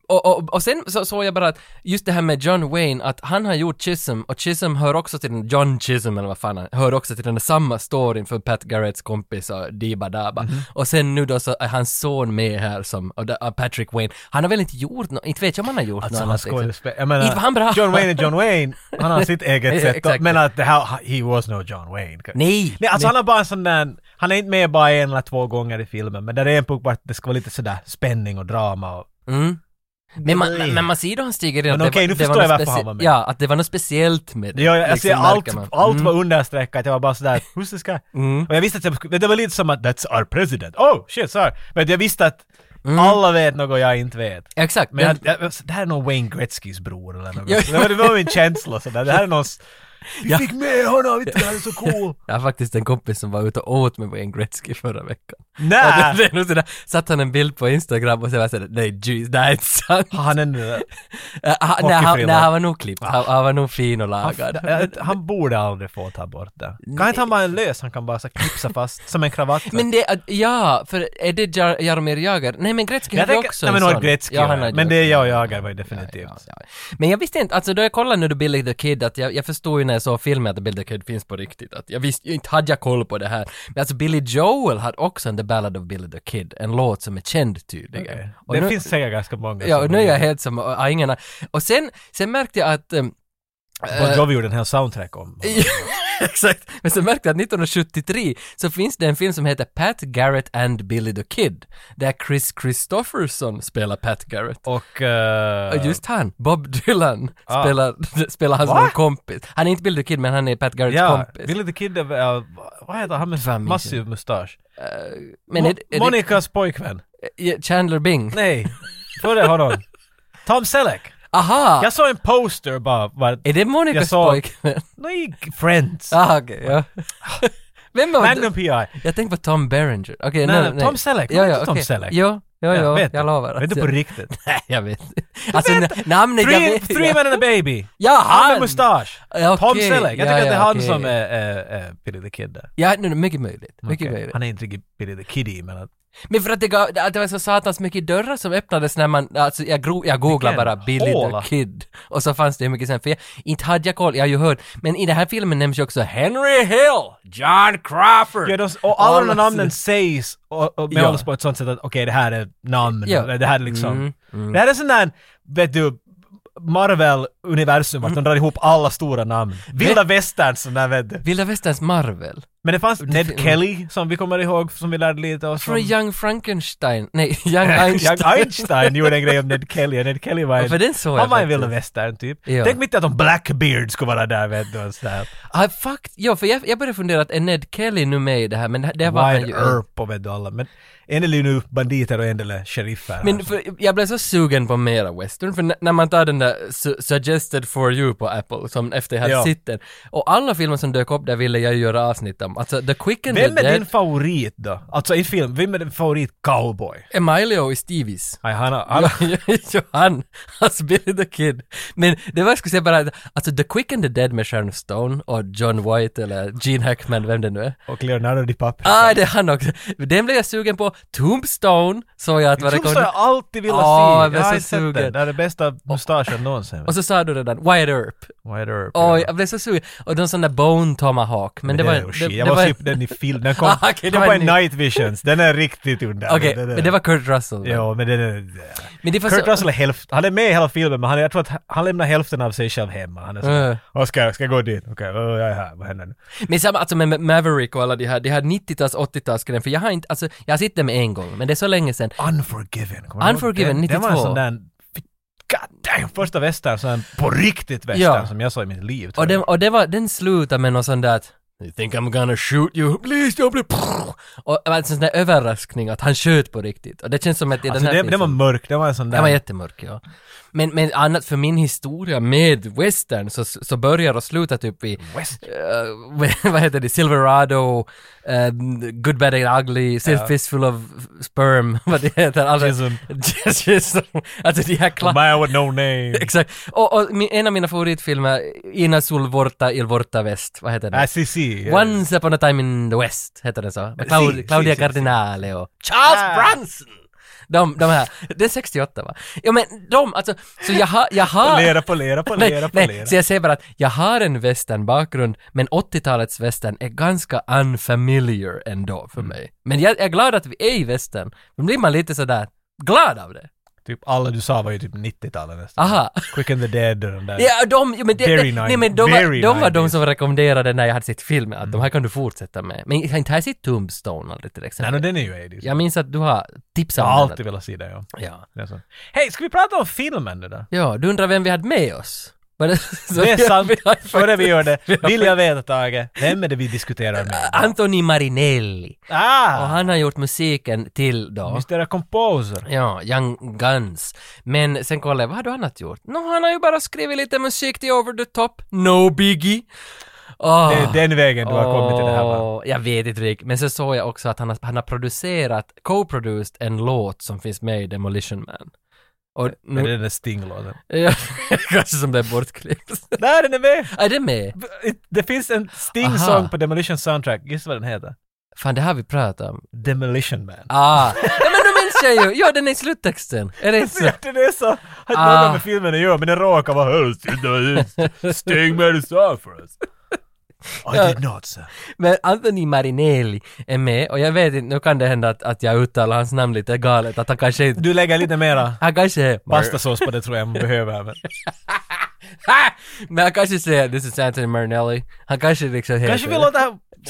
[SPEAKER 1] och, och, och sen så såg jag bara att just det här med John Wayne, att han har gjort Chisholm och Chisholm hör också till den, John Chisholm eller vad fan han hör också till den där samma storyn för Pat Garretts kompis och Diba Daba.
[SPEAKER 2] Mhm.
[SPEAKER 1] Och sen nu då så är hans son med här som, och där- och Patrick Wayne, han har väl inte gjort något, inte vet jag om han har gjort
[SPEAKER 2] Alltså
[SPEAKER 1] något
[SPEAKER 2] han
[SPEAKER 1] annat. liksom.
[SPEAKER 2] skådespelare. Jag
[SPEAKER 1] Inte var han bra.
[SPEAKER 2] menar, John Wayne är John Wayne. Han har sitt eget sätt.
[SPEAKER 1] Exakt.
[SPEAKER 2] att- Men att det här, he was no John Wayne.
[SPEAKER 1] Nej!
[SPEAKER 2] Nej, alltså han har bara en sån där, han är inte med bara en eller två gånger i filmen, men där är en punkt bara att det ska vara lite sådär spänning och drama och...
[SPEAKER 1] Mm. Men,
[SPEAKER 2] Nej.
[SPEAKER 1] man, men man ser då han stiger in att
[SPEAKER 2] Men okej,
[SPEAKER 1] var-
[SPEAKER 2] nu
[SPEAKER 1] var
[SPEAKER 2] förstår jag
[SPEAKER 1] något
[SPEAKER 2] varför han
[SPEAKER 1] speci-
[SPEAKER 2] var med.
[SPEAKER 1] Ja, att det var något speciellt med det.
[SPEAKER 2] Ja, jag, jag
[SPEAKER 1] liksom,
[SPEAKER 2] ser
[SPEAKER 1] märker
[SPEAKER 2] allt,
[SPEAKER 1] man.
[SPEAKER 2] allt
[SPEAKER 1] Mm.
[SPEAKER 2] var understreckat, jag var bara sådär, who's this guy?
[SPEAKER 1] Mm.
[SPEAKER 2] Och jag visste att jag skulle, det var lite som att that's our president, oh shit, sorry. Men jag visste att alla vet något jag inte vet.
[SPEAKER 1] Mm. Exakt.
[SPEAKER 2] Men
[SPEAKER 1] den-
[SPEAKER 2] jag, jag, det här är någon Wayne Gretzkys bror eller något.
[SPEAKER 1] Ja.
[SPEAKER 2] Det, var, det var min känsla sådär, det här är någons... Vi
[SPEAKER 1] Ja.
[SPEAKER 2] fick med honom, vet du, han är så cool!
[SPEAKER 1] Jag har faktiskt en kompis som var ute och åt med Wayne Gretzky förra veckan.
[SPEAKER 2] Nej!
[SPEAKER 1] Och det är nog sådär, satt han en bild på Instagram och så var jag sådär, nej jeez, det här är inte sant.
[SPEAKER 2] Har Han är nu...
[SPEAKER 1] Äh, han- nej, han,
[SPEAKER 2] Hockeyfrilla.
[SPEAKER 1] nej, han var nog klippt, han, han var nog fin och lagad.
[SPEAKER 2] Han, han borde aldrig få ta bort det. Kan inte han bara en lös, han kan bara så knipsa fast som en kravatt.
[SPEAKER 1] Men det, är- ja, för är det Jar- Jaromir Jagr? Nej men Gretzky
[SPEAKER 2] jag
[SPEAKER 1] hade
[SPEAKER 2] tänker,
[SPEAKER 1] också
[SPEAKER 2] nej
[SPEAKER 1] en
[SPEAKER 2] men
[SPEAKER 1] sån.
[SPEAKER 2] har Gretzky
[SPEAKER 1] Ja, han
[SPEAKER 2] ja,
[SPEAKER 1] hade
[SPEAKER 2] Men
[SPEAKER 1] också
[SPEAKER 2] det är
[SPEAKER 1] en.
[SPEAKER 2] jag och Jagar var ju definitivt.
[SPEAKER 1] Ja, alltså, ja. Men jag visste inte, alltså då jag kollade nu då Billy the Kid att jag, jag förstod ju när jag såg filmen att Billy the Kid finns på riktigt. Att jag visste, inte hade jag koll på det här. Men alltså Billy Joel hade också en The Ballad of Billy the Kid, en låt som är känd tydligen. Och
[SPEAKER 2] Det
[SPEAKER 1] nu-
[SPEAKER 2] finns säkert ganska många
[SPEAKER 1] Ja,
[SPEAKER 2] som-
[SPEAKER 1] och nu är jag helt som, ja, ingen har- Och sen, sen märkte jag att... ehm,
[SPEAKER 2] Bon Jovi gjorde en hel soundtrack om.
[SPEAKER 1] Eh, exakt, men sen märkte jag att 1973 så finns det en film som heter Pat Garrett and Billy the Kid, där Chris Christopherson spelar Pat Garrett.
[SPEAKER 2] Och...
[SPEAKER 1] Och
[SPEAKER 2] eh,
[SPEAKER 1] just han, Bob Dylan,
[SPEAKER 2] Ah.
[SPEAKER 1] spelar, spelar hans
[SPEAKER 2] Va?
[SPEAKER 1] någon kompis. Han är inte Billy the Kid, men han är Pat Garretts
[SPEAKER 2] Ja,
[SPEAKER 1] kompis.
[SPEAKER 2] Billy the Kid, är väl, eh, vad heter han med
[SPEAKER 1] Fan,
[SPEAKER 2] massiv mustasch?
[SPEAKER 1] men
[SPEAKER 2] Mo-
[SPEAKER 1] är, det- är det-
[SPEAKER 2] Monikas pojkvän.
[SPEAKER 1] ja, Chandler Bing?
[SPEAKER 2] Nej, före honom. Tom Selleck.
[SPEAKER 1] Aha!
[SPEAKER 2] Jag såg en poster bara. bara
[SPEAKER 1] är det Monicas
[SPEAKER 2] Jag såg-
[SPEAKER 1] pojkvän?
[SPEAKER 2] Nej, Friends.
[SPEAKER 1] Ah, okej, ja. Vem var
[SPEAKER 2] Magnum P.I.
[SPEAKER 1] Jag tänkte på Tom Berenger. Okej,
[SPEAKER 2] Nej,
[SPEAKER 1] nej,
[SPEAKER 2] nej, Tom Selleck. Var inte Tom
[SPEAKER 1] okej.
[SPEAKER 2] Selleck?
[SPEAKER 1] Jo, Jo, jo,
[SPEAKER 2] vet
[SPEAKER 1] jag
[SPEAKER 2] du.
[SPEAKER 1] lovar.
[SPEAKER 2] Vet du på riktigt?
[SPEAKER 1] Nej, jag vet inte. Alltså, namnet, jag
[SPEAKER 2] Three,
[SPEAKER 1] vet
[SPEAKER 2] three
[SPEAKER 1] ja.
[SPEAKER 2] men and a baby!
[SPEAKER 1] Ja,
[SPEAKER 2] Han med
[SPEAKER 1] han!
[SPEAKER 2] mustasch!
[SPEAKER 1] Ja,
[SPEAKER 2] Tom
[SPEAKER 1] okej.
[SPEAKER 2] Selleck! Jag
[SPEAKER 1] Ja,
[SPEAKER 2] tycker att det är
[SPEAKER 1] ja,
[SPEAKER 2] han
[SPEAKER 1] okej.
[SPEAKER 2] som är, är, är Billy the Kid där.
[SPEAKER 1] Ja, nu, mycket möjligt. Mycket
[SPEAKER 2] Okej.
[SPEAKER 1] möjligt.
[SPEAKER 2] Han är inte riktigt Billy the Kid i, men att...
[SPEAKER 1] Men för att det, gav, att det var så satans mycket dörrar som öppnades när man, alltså jag, gro, jag googlade
[SPEAKER 2] Vilken
[SPEAKER 1] bara Billy
[SPEAKER 2] håla."
[SPEAKER 1] the Kid och så fanns det hur mycket sen, för jag, inte hade jag koll, jag har ju hört, men i den här filmen nämns ju också Henry Hill, John Crawford.
[SPEAKER 2] Ja, de, och alla de där
[SPEAKER 1] Alla
[SPEAKER 2] namnen
[SPEAKER 1] sidor.
[SPEAKER 2] sägs och, och med
[SPEAKER 1] Ja.
[SPEAKER 2] oss på ett sånt sätt att okej, det här är namn.
[SPEAKER 1] Ja.
[SPEAKER 2] eller Det här är liksom...
[SPEAKER 1] Mm, mm.
[SPEAKER 2] Det här är sån där, vet du, Marvel-universum, vart
[SPEAKER 1] Mm.
[SPEAKER 2] de drar ihop alla stora namn. Vilda västern, sån där vet du.
[SPEAKER 1] Vilda västerns Marvel.
[SPEAKER 2] Men det fanns Ned
[SPEAKER 1] fin-
[SPEAKER 2] Kelly, som vi kommer ihåg, som vi lärde lite oss
[SPEAKER 1] Från Young Frankenstein, nej, Young Einstein.
[SPEAKER 2] Young Einstein gjorde en grej om Ned Kelly, och Ned Kelly var
[SPEAKER 1] Ja, för
[SPEAKER 2] en,
[SPEAKER 1] den såg jag
[SPEAKER 2] han var en
[SPEAKER 1] faktiskt.
[SPEAKER 2] vilda västern typ.
[SPEAKER 1] Ja.
[SPEAKER 2] Tänk mitt i att om Blackbeard skulle vara där vet du. och sådär.
[SPEAKER 1] Ah, fuck, ja, för jag, jag började fundera att är Ned Kelly nu med i det här, men det var han
[SPEAKER 2] Wide
[SPEAKER 1] ju
[SPEAKER 2] Earp och vet du alla. Men en del är ju nu banditer och en del är sheriffer.
[SPEAKER 1] Men för, jag blev så sugen på mera western, för n- när man tar den där su- suggested for you på Apple, som efter här
[SPEAKER 2] Ja.
[SPEAKER 1] sitter, och alla filmer som dök upp där ville jag ju göra avsnitt om. Alltså The Quick and
[SPEAKER 2] Vem
[SPEAKER 1] the
[SPEAKER 2] är
[SPEAKER 1] Dead,
[SPEAKER 2] din favorit då? Alltså i film, vem är din favorit cowboy?
[SPEAKER 1] Emilio i Stevies.
[SPEAKER 2] Aj, han, har- han, har-
[SPEAKER 1] Jo, han, alltså Billy the Kid. Men det var, jag skulle säga bara, att- alltså The Quick and the Dead med Sharon Stone och John White eller Gene Hackman, vem det nu är.
[SPEAKER 2] och Leonardo DiCaprio.
[SPEAKER 1] Ah, det är han också. Den blev jag sugen på. Tombstone såg jag att var
[SPEAKER 2] Som jag
[SPEAKER 1] rekommend-
[SPEAKER 2] alltid ville
[SPEAKER 1] Åh, jag
[SPEAKER 2] se.
[SPEAKER 1] blev
[SPEAKER 2] Jag har
[SPEAKER 1] så
[SPEAKER 2] inte sett
[SPEAKER 1] sugen.
[SPEAKER 2] den. Det är den bästa mustaschen någonsin.
[SPEAKER 1] Och så sa du redan, Wide Earp.
[SPEAKER 2] Wide Earp.
[SPEAKER 1] Oj,
[SPEAKER 2] ja.
[SPEAKER 1] jag blev så sugen. Och de sån där Bone Tomahawk. Men,
[SPEAKER 2] Men
[SPEAKER 1] det,
[SPEAKER 2] är
[SPEAKER 1] var...
[SPEAKER 2] ju
[SPEAKER 1] Det,
[SPEAKER 2] shit.
[SPEAKER 1] det
[SPEAKER 2] Jag måste
[SPEAKER 1] var
[SPEAKER 2] ju den i film. Den kom,
[SPEAKER 1] Ah, okej, det
[SPEAKER 2] kom
[SPEAKER 1] var
[SPEAKER 2] på
[SPEAKER 1] en
[SPEAKER 2] en
[SPEAKER 1] ny.
[SPEAKER 2] Night Visions. Den är riktigt under.
[SPEAKER 1] Okej,
[SPEAKER 2] Den är-
[SPEAKER 1] men det var Kurt Russell.
[SPEAKER 2] Ja, men den är...
[SPEAKER 1] Men det var
[SPEAKER 2] Kurt
[SPEAKER 1] så...
[SPEAKER 2] Russell är hälft, Han är med i hela filmen, men han, jag tror att han lämnar hälften av sig själv hemma. Han är så
[SPEAKER 1] Mm.
[SPEAKER 2] "Åh, ska, ska jag gå dit? Okej, åh, jag är här. Vad händer nu?
[SPEAKER 1] Men samma, alltså med Maverick och alla de här, de här 90-tals, 80-talsgrejen, för jag har inte, alltså, jag har sett dem en gång, men det är så länge sedan.
[SPEAKER 2] Unforgiven. Kommer du ihåg
[SPEAKER 1] Unforgiven,
[SPEAKER 2] den? Den var en
[SPEAKER 1] 92.
[SPEAKER 2] sån där... God damn, första västern, sån här på riktigt västern
[SPEAKER 1] Ja.
[SPEAKER 2] som jag såg i mitt liv. tror
[SPEAKER 1] Och den,
[SPEAKER 2] jag.
[SPEAKER 1] och det var, den slutade med någon sån där att You think I'm gonna shoot you, please don't bli... Och det var en sån där överraskning att han sköt på riktigt. Och det känns som att i
[SPEAKER 2] Alltså
[SPEAKER 1] den här
[SPEAKER 2] den, den var mörk, den var en sån där...
[SPEAKER 1] Den var jättemörk, ja. Men, men annat för min historia med western så, så börjar och slutar typ i
[SPEAKER 2] West.
[SPEAKER 1] eh, vad heter det, Silverado, eh, Good Bad and Ugly, Still
[SPEAKER 2] Ja.
[SPEAKER 1] Fistful of Sperm, vad det heter. Alltså,
[SPEAKER 2] Jism.
[SPEAKER 1] Jism. alltså de här
[SPEAKER 2] A
[SPEAKER 1] kla-
[SPEAKER 2] man with no name.
[SPEAKER 1] Exakt. Och, och min, en av mina favoritfilmer, Ina Sul Vorta Il Vorta West, vad heter den?
[SPEAKER 2] Ah, si, si.
[SPEAKER 1] Once upon a time in the West, heter den så? Med
[SPEAKER 2] Si,
[SPEAKER 1] Claud-
[SPEAKER 2] si,
[SPEAKER 1] Claudia
[SPEAKER 2] si, si.
[SPEAKER 1] Cardinale och Charles
[SPEAKER 2] Ah.
[SPEAKER 1] Branson! De, de här, det är 68 va? Ja men de, alltså, så jag har, jag har...
[SPEAKER 2] Polera, polera, polera,
[SPEAKER 1] Nej, nej,
[SPEAKER 2] polera.
[SPEAKER 1] så jag säger bara att jag har en västern-bakgrund, men 80-talets västern är ganska unfamiliar ändå
[SPEAKER 2] Mm.
[SPEAKER 1] för mig. Men jag är glad att vi är i västern. Då blir man lite sådär glad av det.
[SPEAKER 2] Typ alla du sa var ju typ 90-talet nästan.
[SPEAKER 1] Aha.
[SPEAKER 2] Quick and the Dead och den där.
[SPEAKER 1] Ja, de, ja, men det,
[SPEAKER 2] Very
[SPEAKER 1] det,
[SPEAKER 2] nice.
[SPEAKER 1] nej, men de,
[SPEAKER 2] Very
[SPEAKER 1] var, de var de
[SPEAKER 2] nice. Mm.
[SPEAKER 1] som rekommenderade när jag hade sett filmen att de här kan du fortsätta med. Men jag har inte här sett Tombstone aldrig till
[SPEAKER 2] Nej,
[SPEAKER 1] exempel.
[SPEAKER 2] no, den är ju 80s.
[SPEAKER 1] Jag minns att du har tipsat
[SPEAKER 2] Jag
[SPEAKER 1] om
[SPEAKER 2] har
[SPEAKER 1] den.
[SPEAKER 2] alltid velat se det, ja.
[SPEAKER 1] Ja.
[SPEAKER 2] Det är så. Hej, ska vi prata om filmen nu då?
[SPEAKER 1] ja, du undrar vem vi hade med oss? Var det, så
[SPEAKER 2] Det är
[SPEAKER 1] vi-
[SPEAKER 2] sant.
[SPEAKER 1] vi har
[SPEAKER 2] Före vi
[SPEAKER 1] faktiskt-
[SPEAKER 2] gör det
[SPEAKER 1] vi har
[SPEAKER 2] vill jag veta, Tage, vem är det vi diskuterar med?
[SPEAKER 1] Anthony Marinelli. Och
[SPEAKER 2] Ah!
[SPEAKER 1] han har gjort musiken till då.
[SPEAKER 2] Mr. Composer.
[SPEAKER 1] Ja, Young Guns. Men sen kollade jag, vad har du annat gjort? Nå, han har ju bara skrivit lite musik till Over the Top, No Biggie. Åh.
[SPEAKER 2] Det är den vägen du har kommit till det här va?
[SPEAKER 1] Åh, Jag vet inte riktigt, men så såg jag också att han har, han har producerat, co-produced en låt som finns med i Demolition Man. Och
[SPEAKER 2] Är det
[SPEAKER 1] nu...
[SPEAKER 2] den där Sting-låten?
[SPEAKER 1] Ja, kanske som blev bortklippt.
[SPEAKER 2] Där den är med!
[SPEAKER 1] Är det med?
[SPEAKER 2] Det finns en Sting-sång
[SPEAKER 1] Aha.
[SPEAKER 2] på Demolition Soundtrack, gissa vad den heter?
[SPEAKER 1] Fan, det här vi pratat om.
[SPEAKER 2] Demolition Man.
[SPEAKER 1] Ah! ja, men då minns jag ju! Ja, den är i sluttexten. Är det inte så?
[SPEAKER 2] Det är så, har inte
[SPEAKER 1] alltså. Ah.
[SPEAKER 2] något med filmen att göra, men den råkar vara höst. Sting made a song for us. I did not sir.
[SPEAKER 1] Men Anthony Marinelli oh, är med och jag vet inte, nu kan det hända att, att jag uttalar hans namn lite galet, att han kanske inte...
[SPEAKER 2] Du lägger lite mera
[SPEAKER 1] Han kanske är...
[SPEAKER 2] pastasås på det tror jag man behöver. Men.
[SPEAKER 1] Ha! Men han kanske säger “This is Anthony Marinelli”. Han kanske liksom heter...
[SPEAKER 2] Kanske vi låter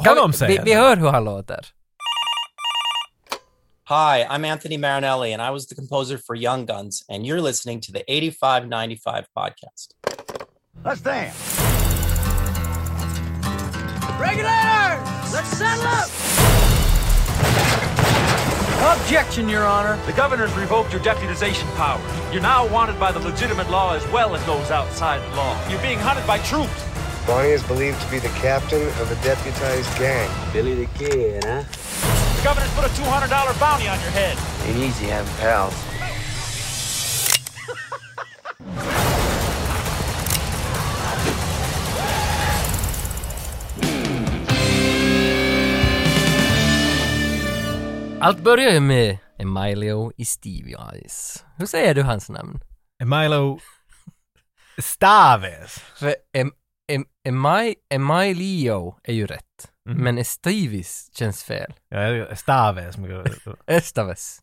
[SPEAKER 1] Ska vi-
[SPEAKER 2] honom säga
[SPEAKER 1] vi, vi
[SPEAKER 2] det.
[SPEAKER 1] hör hur han låter.
[SPEAKER 4] Hi, I'm Anthony Marinelli, and I was the composer for Young Guns, and you're listening to the 8595 podcast.
[SPEAKER 5] Let's dance. Regulators! Let's settle up!
[SPEAKER 6] Objection, Your Honor. The governor's revoked your deputization powers. You're now wanted by the legitimate law as well as those outside the law. You're being hunted by troops.
[SPEAKER 7] Bonnie is believed to be the captain of a deputized gang.
[SPEAKER 8] Billy the Kid, huh?
[SPEAKER 6] governor's put a $200 bounty on your head.
[SPEAKER 7] Ain't easy having pals.
[SPEAKER 1] Allt börjar ju med Emilio i Stevie Eyes. Hur säger du hans namn?
[SPEAKER 2] Milo Staves.
[SPEAKER 1] För em, em, Emi- Emilio är ju rätt. Men Estivis känns fel.
[SPEAKER 2] Ja, Staves.
[SPEAKER 1] Estaves.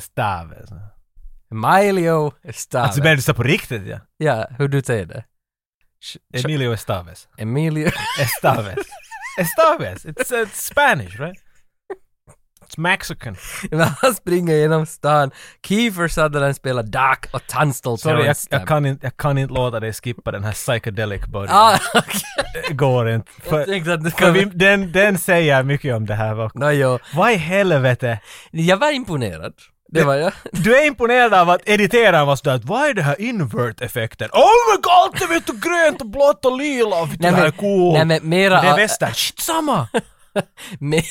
[SPEAKER 2] Staves.
[SPEAKER 1] Emilio Estaves.
[SPEAKER 2] Alltså, men du sa på riktigt ja.
[SPEAKER 1] Ja, hur du säger det? Sh- sh-
[SPEAKER 2] Emilio Estaves.
[SPEAKER 1] Emilio.
[SPEAKER 2] Estaves. Estaves. It's, uh, it's Spanish, right? It's Mexican.
[SPEAKER 1] Men han springer genom stan. Kiefer Sutherland spelar Doc och Tunstall
[SPEAKER 2] Sorry, jag,
[SPEAKER 1] Terrence
[SPEAKER 2] jag,
[SPEAKER 1] Stamp.
[SPEAKER 2] kan inte, jag kan inte låta dig skippa den här psychedelic början.
[SPEAKER 1] Ah, okej.
[SPEAKER 2] Det går inte.
[SPEAKER 1] Jag
[SPEAKER 2] För,
[SPEAKER 1] tänkte att du
[SPEAKER 2] för vi,
[SPEAKER 1] skulle...
[SPEAKER 2] den, den säger mycket om det här också.
[SPEAKER 1] Nå, jo.
[SPEAKER 2] Vad i helvete?
[SPEAKER 1] Jag var imponerad. Det var jag.
[SPEAKER 2] Du är imponerad av att editeraren var sådär att vad är det här invert-effekten? Oh my god, det vet du grönt och blått och lila och vet du,
[SPEAKER 1] Nej,
[SPEAKER 2] det här är
[SPEAKER 1] men-
[SPEAKER 2] cool.
[SPEAKER 1] nej, men mera-
[SPEAKER 2] Det är västern, shit samma!
[SPEAKER 1] Men,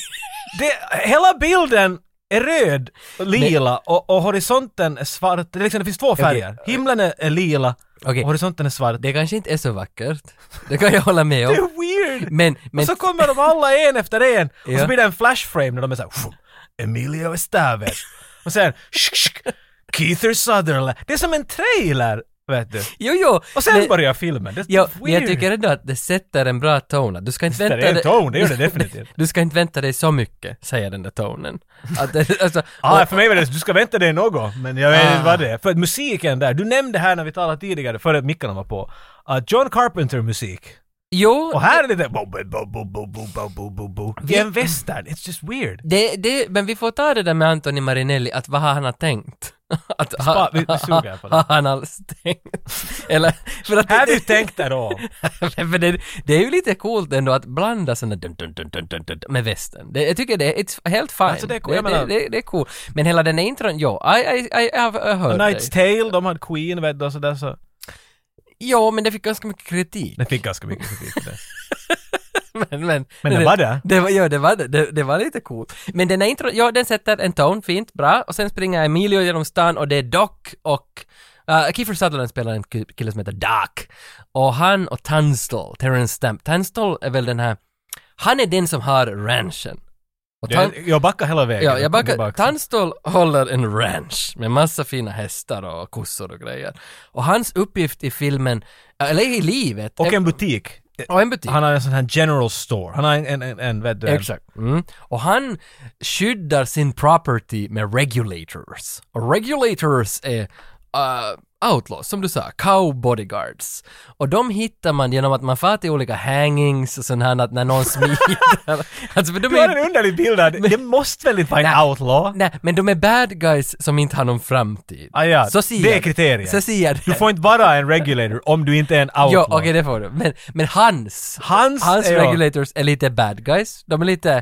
[SPEAKER 2] Det, hela bilden är röd, och lila och, och horisonten är svart. Det, är liksom, det finns två färger. Himlen är, är lila
[SPEAKER 1] Okej.
[SPEAKER 2] och horisonten är svart. Det,
[SPEAKER 1] det kanske inte är så vackert. Det kan jag hålla med
[SPEAKER 2] är
[SPEAKER 1] om.
[SPEAKER 2] weird!
[SPEAKER 1] Men, men
[SPEAKER 2] och så kommer de alla en efter en och
[SPEAKER 1] Ja.
[SPEAKER 2] så blir det en flashframe när de är såhär "Pff, Emilio Estevez och sen "Shk, shk, Keither Sutherland. Det är som en trailer, vet du.
[SPEAKER 1] Jo, jo.
[SPEAKER 2] Och sen
[SPEAKER 1] men,
[SPEAKER 2] börjar filmen. Det är
[SPEAKER 1] jo, men
[SPEAKER 2] weird.
[SPEAKER 1] jag tycker ändå att det sätter en bra ton. att Du ska inte
[SPEAKER 2] Visst är
[SPEAKER 1] vänta
[SPEAKER 2] det en ton, det gör det definitivt.
[SPEAKER 1] Du ska inte vänta dig så mycket, säger den där tonen. Att, det- alltså,
[SPEAKER 2] Ah,
[SPEAKER 1] och-
[SPEAKER 2] för mig var det du ska vänta dig något, men jag vet
[SPEAKER 1] Ah.
[SPEAKER 2] inte vad det är. För att musiken där, du nämnde här när vi talade tidigare, före mickarna var på, att John Carpenter-musik.
[SPEAKER 1] jo,
[SPEAKER 2] Och här är det där... bo- bo- bo- bo- bo- bo- bo- bo- bo- bo. Det är en västern, it's just weird.
[SPEAKER 1] det, det, men vi får ta det där med Anthony Marinelli, att vad har han har tänkt? Att, ha,
[SPEAKER 2] vi- vi suger på det.
[SPEAKER 1] Har han alls tänkt? Eller, för att...
[SPEAKER 2] Have you tänkt at all?
[SPEAKER 1] för det, det är ju lite coolt ändå att blanda såna dun, dun, dun, dun, dun, dun, med västern. Det, jag tycker det är it's helt fine.
[SPEAKER 2] Alltså, det är cool,
[SPEAKER 1] det,
[SPEAKER 2] jag menar-
[SPEAKER 1] det, det, det är cool. Men hela den här intron, jo, I, I, I, jag har jag har hört
[SPEAKER 2] A Night's
[SPEAKER 1] dig.
[SPEAKER 2] Tale, de hade Queen, vet du, och sådär så.
[SPEAKER 1] Jo, men det fick ganska mycket kritik.
[SPEAKER 2] Den fick ganska mycket kritik för det.
[SPEAKER 1] men, men,
[SPEAKER 2] Men det var det.
[SPEAKER 1] det var, ja, det var det. det. Det var lite coolt. Men den här intro, ja, den sätter en ton, fint, bra. Och sen springer Emilio genom stan och det är Doc och uh, Kiefer Sutherland spelar en ki- kille som heter Doc. Och han och Tunstall, Terrence Stamp. Tunstall är väl den här, han är den som har ranchen. Och Tun-
[SPEAKER 2] Jag- Jag backar hela vägen.
[SPEAKER 1] Ja, jag backar.
[SPEAKER 2] Tillbaks.
[SPEAKER 1] Tunstall håller en ranch med massa fina hästar och kossor och grejer. Och hans uppgift i filmen, eller i livet,
[SPEAKER 2] Och
[SPEAKER 1] är-
[SPEAKER 2] en butik.
[SPEAKER 1] och en butik.
[SPEAKER 2] Han har en sån här general store. Han har en, en, en, en vet du, en-
[SPEAKER 1] Exakt. Mm. Och han skyddar sin property med regulators. Och regulators är uh, outlaws, som du sa, cow bodyguards. Och de hittar man genom att man far till olika hangings och sånt här att när någon smiter. alltså, för de
[SPEAKER 2] Du har en
[SPEAKER 1] är,
[SPEAKER 2] underlig bild där. Det måste väl inte vara en outlaw?
[SPEAKER 1] nej, men de är bad guys som inte har någon framtid.
[SPEAKER 2] Ah, ja.
[SPEAKER 1] Så ser
[SPEAKER 2] Det är
[SPEAKER 1] jag
[SPEAKER 2] kriterier.
[SPEAKER 1] Så ser jag
[SPEAKER 2] Du
[SPEAKER 1] det.
[SPEAKER 2] får inte vara en regulator om du inte är en outlaw.
[SPEAKER 1] Jo, okej det får du. Men, men hans,
[SPEAKER 2] Hans är jag.
[SPEAKER 1] regulators är lite bad guys. De är lite,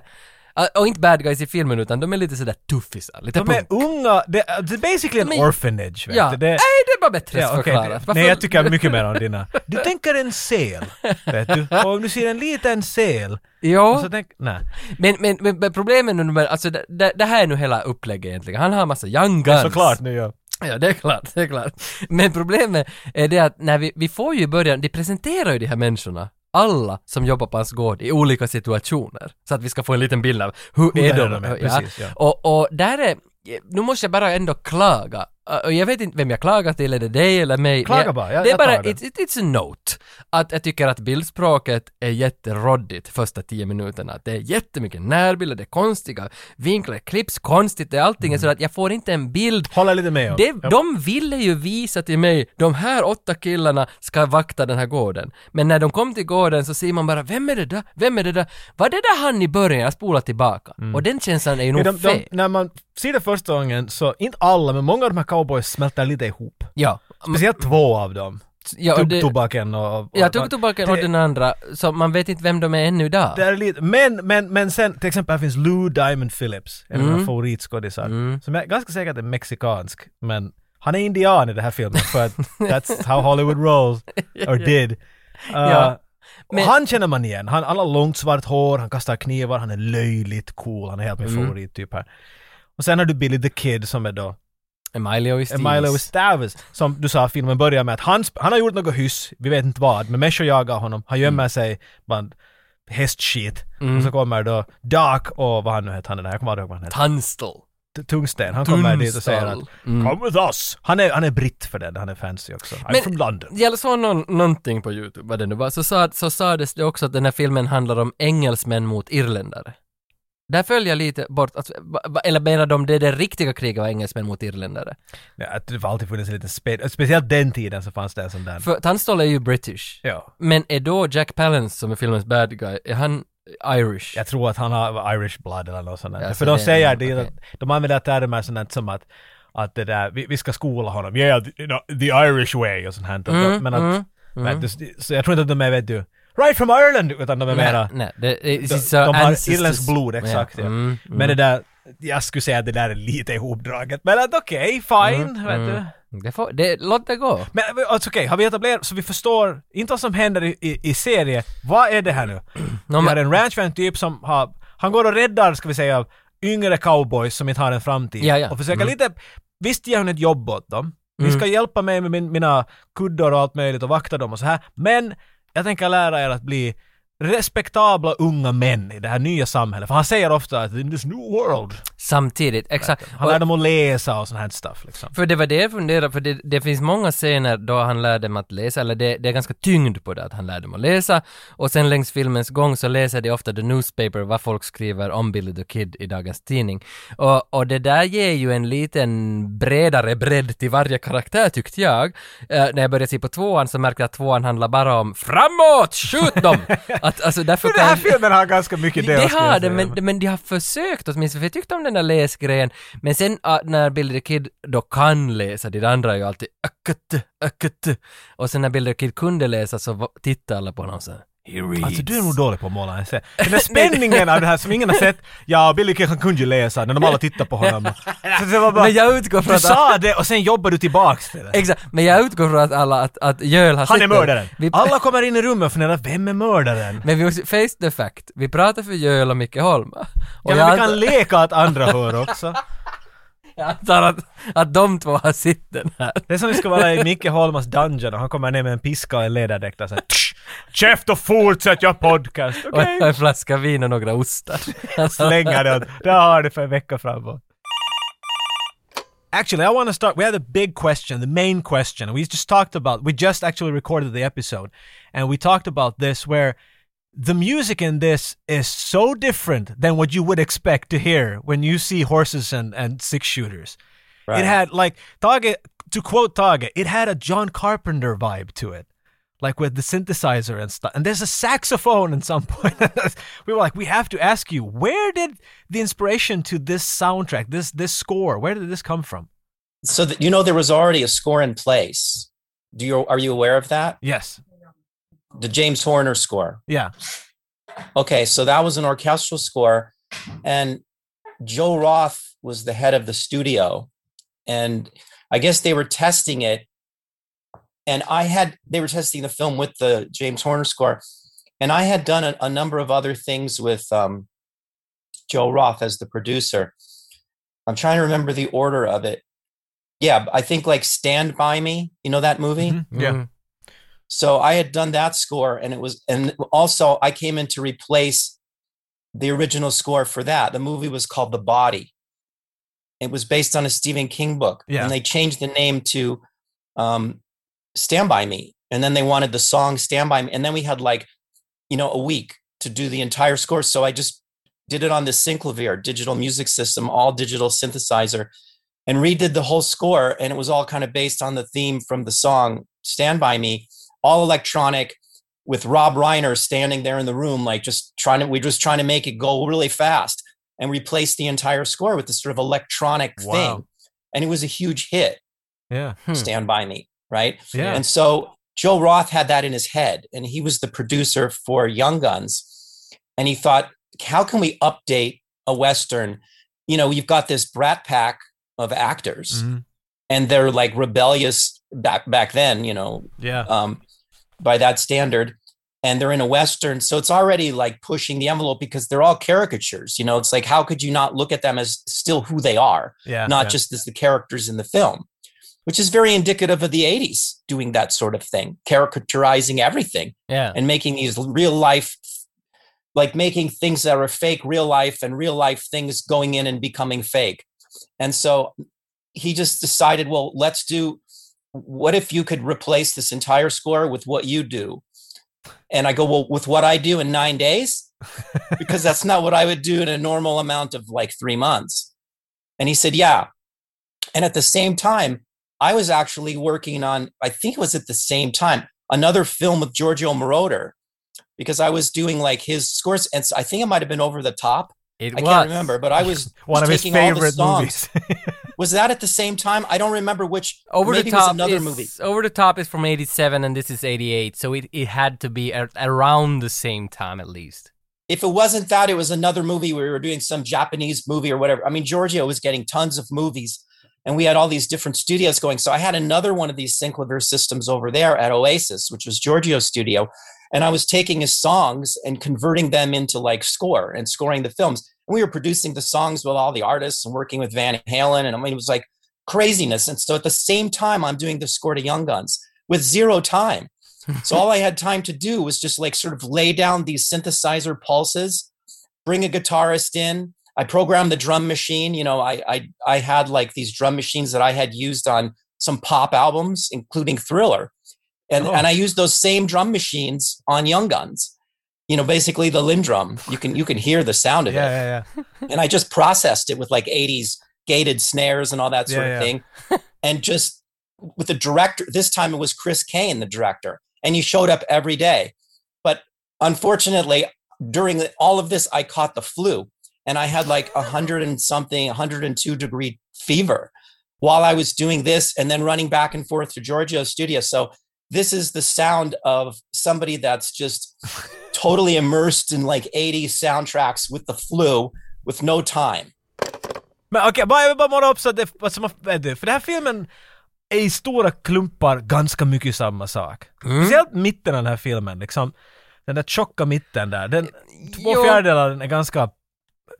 [SPEAKER 1] äh, och inte bad guys i filmen utan de är lite sådär tuffisar, lite
[SPEAKER 2] De är
[SPEAKER 1] punk.
[SPEAKER 2] unga. Det, det är basically
[SPEAKER 1] Men-
[SPEAKER 2] an orphanage. Vet
[SPEAKER 1] Ja,
[SPEAKER 2] du.
[SPEAKER 1] det... nej
[SPEAKER 2] typ.
[SPEAKER 1] det
[SPEAKER 2] Det,
[SPEAKER 1] var bättre
[SPEAKER 2] Ja, okej.
[SPEAKER 1] förklarat.
[SPEAKER 2] Nej, jag tycker mycket mer om dina. Du tänker en sel, vet du. Och om du ser en liten sel, och
[SPEAKER 1] Jo,
[SPEAKER 2] så tänk... Nej.
[SPEAKER 1] men, men, men, men problemet nu med, alltså det, det, det här är nu hela upplägget egentligen. Han har massa young guns.
[SPEAKER 2] Såklart nu ja.
[SPEAKER 1] Ja, det är klart, det är klart. Men problemet är det att när vi, vi får ju i början, de presenterar ju de här människorna, alla som jobbar på hans gård i olika situationer. Så att vi ska få en liten bild av hur,
[SPEAKER 2] Hur
[SPEAKER 1] är
[SPEAKER 2] är
[SPEAKER 1] de?
[SPEAKER 2] de? Precis, ja.
[SPEAKER 1] Och, och där är, nu måste jag bara ändå klaga. Uh, Och jag vet inte vem jag klagar till, är det dig eller mig?
[SPEAKER 2] Klaga
[SPEAKER 1] Men jag,
[SPEAKER 2] bara, jag-
[SPEAKER 1] det är
[SPEAKER 2] jag tar
[SPEAKER 1] bara,
[SPEAKER 2] det.
[SPEAKER 1] It's, it- it's a note. Att jag tycker att bildspråket är jätteroddigt första tio minuterna. Att det är jättemycket närbilder, det är konstiga vinklar, klipps konstigt, det är
[SPEAKER 2] Mm.
[SPEAKER 1] allting är så att jag får inte en bild
[SPEAKER 2] Håller lite med om.
[SPEAKER 1] det, De ville ju visa till mig, de här åtta killarna ska vakta den här gården. Men när de kom till gården så ser man bara, vem är det där? Vem är det där? Var det där han i början? Jag spolar tillbaka. Och den känslan är ju nog
[SPEAKER 2] Mm. de, de,
[SPEAKER 1] fel.
[SPEAKER 2] när man ser det första gången så, inte alla, men många av de här cowboys smälter lite ihop.
[SPEAKER 1] Ja.
[SPEAKER 2] Speciellt två av dem.
[SPEAKER 1] Mm. ja och
[SPEAKER 2] Tub-
[SPEAKER 1] det,
[SPEAKER 2] Tobaken och... och
[SPEAKER 1] jag tog tobaken och den andra, så man vet inte vem de är ännu där.
[SPEAKER 2] Det är lite, men, men, men sen till exempel här finns Lou Diamond Phillips, en
[SPEAKER 1] Mm.
[SPEAKER 2] av mina favoritskådisar. Som jag är ganska säkert är mexikansk, men han är indian i den här filmen för att that's how Hollywood rolls, or did. Uh,
[SPEAKER 1] Ja. Men-
[SPEAKER 2] han känner man igen. Han alla långt svart hår, han kastar knivar, han är löjligt cool. Han är helt min
[SPEAKER 1] Mm.
[SPEAKER 2] favorittyp här. Och sen har du Billy the Kid som är då
[SPEAKER 1] Emilio Estevez.
[SPEAKER 2] Milo Stavers. Som du sa, filmen börjar med att han, sp- han har gjort något hyss, vi vet inte vad, men människor jagar honom. Han
[SPEAKER 1] Mm.
[SPEAKER 2] gömmer sig bland hästskit. Och så kommer då Doc och vad han nu heter, han den här, jag kommer aldrig ihåg vad han heter.
[SPEAKER 1] Tunstall.
[SPEAKER 2] T- Tungsten. Han kommer dit och säger att
[SPEAKER 1] Tunstall.
[SPEAKER 2] Come with us! Han är, han är britt för den, han är fancy också. I'm
[SPEAKER 1] Mm. Men-
[SPEAKER 2] from London.
[SPEAKER 1] Jag såg någon, någonting på YouTube, vad det nu var, så, sa, så sades det också att den här filmen handlar om engelsmän mot irländare. Där följer jag lite bort, alltså, va- va- eller menar de det, det riktiga kriget var engelsmän mot irländare?
[SPEAKER 2] Ja, att det har alltid funnits en liten spe- Speciellt den tiden så fanns det en sån där.
[SPEAKER 1] För Tunstall är ju British.
[SPEAKER 2] Ja.
[SPEAKER 1] Men är då Jack Palance, som är filmens bad guy, är han Irish?
[SPEAKER 2] Jag tror att han har Irish blood eller något sånt där.
[SPEAKER 1] Ja, så
[SPEAKER 2] För de
[SPEAKER 1] det är-
[SPEAKER 2] säger det,
[SPEAKER 1] okej.
[SPEAKER 2] de använder termer sånt där som att att det där, vi, vi ska skola honom, yeah, the, you know, the Irish way och
[SPEAKER 1] Mm,
[SPEAKER 2] sånt här. men att, vet du, så jag tror inte att de är, vet du, right from Ireland, utan de är mera,
[SPEAKER 1] nej, nej, det är,
[SPEAKER 2] de,
[SPEAKER 1] så
[SPEAKER 2] de har
[SPEAKER 1] ancestors-
[SPEAKER 2] irländskt blod, exakt.
[SPEAKER 1] Ja.
[SPEAKER 2] Ja.
[SPEAKER 1] Mm,
[SPEAKER 2] Men det där, jag skulle säga att det där är lite ihopdraget, men att okej, fine,
[SPEAKER 1] Mm,
[SPEAKER 2] vet du.
[SPEAKER 1] det, får, det, låt det gå.
[SPEAKER 2] Men alltså, okej, har vi etablerat så vi förstår inte vad som händer i, i, i serien. Vad är det här nu?
[SPEAKER 1] Nå,
[SPEAKER 2] vi har
[SPEAKER 1] men,
[SPEAKER 2] en ranchman-typ som har... Han går och räddar, ska vi säga, yngre cowboys som inte har en framtid.
[SPEAKER 1] Ja, ja.
[SPEAKER 2] Och försöker
[SPEAKER 1] Mm.
[SPEAKER 2] lite... Visst ger hon ett jobb åt dem. Ni ska hjälpa mig med min, mina kuddar och allt möjligt och vakta dem och så här. Men jag tänker lära er att bli respektabla unga män i det här nya samhället. För han säger ofta att in this new world.
[SPEAKER 1] samtidigt, exakt.
[SPEAKER 2] Han
[SPEAKER 1] Och-
[SPEAKER 2] lär dem att läsa och sånt här stuff liksom.
[SPEAKER 1] För det var det jag funderade, för det, det finns många scener då han lär dem att läsa, eller det, det är ganska tyngd på det att han lär dem att läsa, och sen längs filmens gång så läser de ofta the newspaper, vad folk skriver om Billy the Kid i dagens tidning. Och, och det där ger ju en liten bredare bredd till varje karaktär tyckte jag. Eh, när jag började se på tvåan så märkte jag att tvåan handlar bara om framåt, skjut dem! att, alltså, därför
[SPEAKER 2] Den här
[SPEAKER 1] kan-
[SPEAKER 2] filmen har ganska mycket det.
[SPEAKER 1] det
[SPEAKER 2] skulle jag
[SPEAKER 1] har det,
[SPEAKER 2] säga.
[SPEAKER 1] men, men de har försökt åtminstone, för jag tyckte om den där läsgrejen. Men sen ah, när Billy the Kid då kan läsa, det andra är ju alltid ökut, ökut. Och sen när Billy the Kid kunde läsa så va- tittade alla på honom så här, He reads.
[SPEAKER 2] Alltså du är nog dålig på att måla en scen. Den där spänningen av det här som ingen har sett. Ja, och Billy kanske kunde ju läsa när de alla tittar på honom. Så det var bara,
[SPEAKER 1] Men jag utgår från
[SPEAKER 2] du
[SPEAKER 1] att...
[SPEAKER 2] sa det och sen jobbar du tillbaks till det.
[SPEAKER 1] Exakt, men jag utgår från att alla, att, att Jöl har
[SPEAKER 2] Han
[SPEAKER 1] sett
[SPEAKER 2] är
[SPEAKER 1] den.
[SPEAKER 2] mördaren.
[SPEAKER 1] Vi,
[SPEAKER 2] Alla kommer in i rummet och funderar, vem är mördaren?
[SPEAKER 1] men vi måste, face the fact, vi pratar för Jöl och Micke Holm. Och
[SPEAKER 2] Ja, men
[SPEAKER 1] jag,
[SPEAKER 2] vi kan
[SPEAKER 1] antar,
[SPEAKER 2] leka att andra hör också.
[SPEAKER 1] jag antar att, att de två har sett den här.
[SPEAKER 2] Det är som vi ska vara i Micke Holmas dungeon och han kommer ner med en piska och en läderdräkt och såhär Käft och fortsätt jag podcast!
[SPEAKER 1] Och
[SPEAKER 2] Okej!
[SPEAKER 1] en flaska vin och några ostar.
[SPEAKER 2] Slänga det åt, där har du för en vecka framåt. Actually, I want to start. We had a big question, the main question. We just talked about, we just actually recorded the episode, and we talked about this where the music in this is so different than what you would expect to hear when you see horses and, and six shooters. It had, like, Tage, to quote Tage, it had a John Carpenter vibe to it, like with the synthesizer and stuff. And there's a saxophone at some point. we were like, we have to ask you, where did the inspiration to this soundtrack, this this score, where did this come from?
[SPEAKER 4] So that you know there was already a score in place. Do you are you aware of that?
[SPEAKER 2] Yes.
[SPEAKER 4] The James Horner score.
[SPEAKER 2] Yeah.
[SPEAKER 4] Okay, so that was an orchestral score, and Joe Roth was the head of the studio, and I guess they were testing it. And I had they were testing the film with the James Horner score, and I had done a, a number of other things with um, Joe Roth as the producer. I'm trying to remember the order of it. Yeah, I think like Stand by Me. You know that movie.
[SPEAKER 2] Mm-hmm.
[SPEAKER 1] Mm.
[SPEAKER 4] So I had done that score, and it was, and also I came in to replace the original score for that. The movie was called The Body. It was based on a Stephen King book,
[SPEAKER 2] Yeah.
[SPEAKER 4] and they changed the name to um, Stand by Me, and then they wanted the song Stand by Me, and then we had like, you know, a week to do the entire score. So I just did it on the Synclavier digital music system, all digital synthesizer, and redid the whole score, and it was all kind of based on the theme from the song Stand by Me all electronic with Rob Reiner standing there in the room, like just trying to, we're just trying to make it go really fast and replace the entire score with this sort of electronic
[SPEAKER 2] Wow.
[SPEAKER 4] thing. And it was a huge hit,
[SPEAKER 2] Yeah.
[SPEAKER 1] Hmm.
[SPEAKER 4] Stand By Me, right?
[SPEAKER 2] Yeah.
[SPEAKER 4] And so Joe Roth had that in his head, and he was the producer for Young Guns. And he thought, how can we update a Western? You know, you've got this brat pack of actors,
[SPEAKER 2] Mhm.
[SPEAKER 4] and they're like rebellious back back then, you know,
[SPEAKER 2] Yeah.
[SPEAKER 4] um, by that standard. and they're in a western so it's already like pushing the envelope because they're all caricatures you know it's like how could you not look at them as still who they are
[SPEAKER 2] Yeah.
[SPEAKER 4] not
[SPEAKER 2] yeah.
[SPEAKER 4] just as the characters in the film which is very indicative of the 80s doing that sort of thing caricaturizing everything
[SPEAKER 1] Yeah.
[SPEAKER 4] and making these real life like making things that are fake real life and real life things going in and becoming fake and so he just decided well let's do what if you could replace this entire score with what you do and i go well with what i do in nine days because that's not what i would do in a normal amount of like three months and he said yeah and at the same time i was actually working on i think it was at the same time another film with Giorgio Moroder because I was doing like his scores, and so I think it might have been over the top.
[SPEAKER 1] It
[SPEAKER 4] I
[SPEAKER 1] was.
[SPEAKER 4] can't remember, but I was
[SPEAKER 2] One of his
[SPEAKER 4] taking all the
[SPEAKER 2] favorite
[SPEAKER 4] songs.
[SPEAKER 2] movies.
[SPEAKER 4] was that at the same time? I don't remember which.
[SPEAKER 1] Over
[SPEAKER 4] maybe
[SPEAKER 1] the top
[SPEAKER 4] it was another
[SPEAKER 1] is,
[SPEAKER 4] movie.
[SPEAKER 1] Over the top is from 87 and this is 88, so it, it had to be a- around the same time at least.
[SPEAKER 4] If it wasn't that, it was another movie where we were doing some Japanese movie or whatever. I mean, Giorgio was getting tons of movies, and we had all these different studios going. So I had another one of these Synclavier systems over there at Oasis, which was Giorgio's studio, and I was taking his songs and converting them into like score and scoring the films. And we were producing the songs with all the artists and working with Van Halen. And I mean, it was like craziness. And so at the same time, I'm doing the score to Young Guns with zero time. so all I had time to do was just like sort of lay down these synthesizer pulses, bring a guitarist in. I programmed the drum machine. You know, I I I had like these drum machines that I had used on some pop albums, including Thriller. And
[SPEAKER 2] Oh.
[SPEAKER 4] and I used those same drum machines on Young Guns. You know, basically the Lindrum. You can you can hear the sound
[SPEAKER 2] yeah,
[SPEAKER 4] of it
[SPEAKER 2] yeah,
[SPEAKER 4] and I just processed it with like 80s gated snares and all that sort
[SPEAKER 2] Yeah,
[SPEAKER 4] of thing. and just with the director, this time it was Chris Kane, the director, and he showed up every day. But unfortunately, during the- all of this, I caught the flu and I had like a hundred and something, 102 degree fever while I was doing this and then running back and forth to Giorgio's studio. So this is the sound of somebody that's just totally immersed in like 80 soundtracks with the flu with no time.
[SPEAKER 2] Men okej, bara, jag vill bara måla upp så att det, vad som har- det- för den här filmen är i stora klumpar ganska mycket samma sak.
[SPEAKER 1] Mm.
[SPEAKER 2] Speciellt mitten av den här filmen, liksom. Den där tjocka mitten där. Den, två
[SPEAKER 1] Jo.
[SPEAKER 2] fjärdedelar den är ganska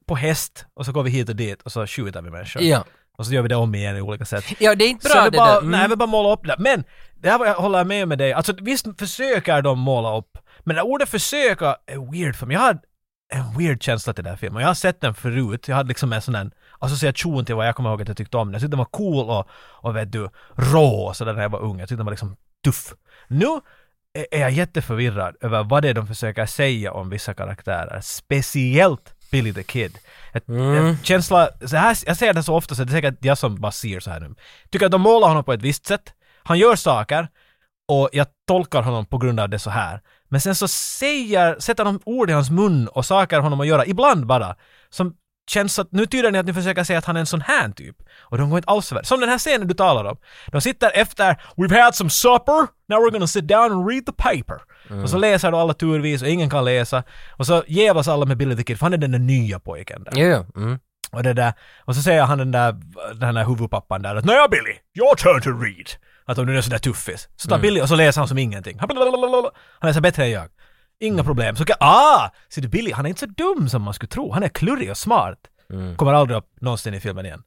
[SPEAKER 2] på häst och så går vi hit och dit och så skjuter vi människor.
[SPEAKER 1] Ja.
[SPEAKER 2] Och så gör vi det om igen i olika sätt.
[SPEAKER 1] Ja, det är inte
[SPEAKER 2] Så
[SPEAKER 1] bra
[SPEAKER 2] det
[SPEAKER 1] det,
[SPEAKER 2] är bara,
[SPEAKER 1] där. Mm.
[SPEAKER 2] Nej, jag vill bara måla upp det. Men, det här var- jag håller jag med med dig. Alltså visst försöker de måla upp. Men det ordet försöka är weird för mig. Jag har en weird känsla till den här filmen. Jag har sett den förut. Jag hade liksom en sån där association till vad jag kommer ihåg att jag tyckte om den. Jag tyckte den var cool och, och vet du, rå och sådär när jag var ung. Jag tyckte den var liksom tuff. Nu är- är jag jätteförvirrad över vad det är de försöker säga om vissa karaktärer. Speciellt Billy the Kid. Ett, en känsla, så här, jag ser det så ofta så det är säkert jag som bara ser så här nu. Tycker att de målar honom på ett visst sätt. Han gör saker och jag tolkar honom på grund av det så här. Men sen så säger, sätter de ord i hans mun och saker honom att göra, ibland bara, som känns att nu tyder ni att ni försöker säga att han är en sån här typ. Och de går inte alls över. Som den här scenen du talar om. De sitter efter “We've had some supper, now we're gonna sit down and read the paper”. Och så läser du alla turvis och ingen kan läsa. Och så jävlas alla med Billy the Kid, för han är den där nya pojken där.
[SPEAKER 1] Ja, ja. Mm.
[SPEAKER 2] Och det där, och så säger han den där, den där huvudpappan där att “Nåja Billy, your turn to read”. Att om du är sån där tuffis. Så
[SPEAKER 1] Mm.
[SPEAKER 2] tar Billy och så läser han som ingenting. Han läser bättre än jag. Inga
[SPEAKER 1] Mm.
[SPEAKER 2] problem. Så kan, ah! Ser du Billy, han är inte så dum som man skulle tro. Han är klurig och smart.
[SPEAKER 1] Mm.
[SPEAKER 2] Kommer aldrig upp någonsin i filmen igen.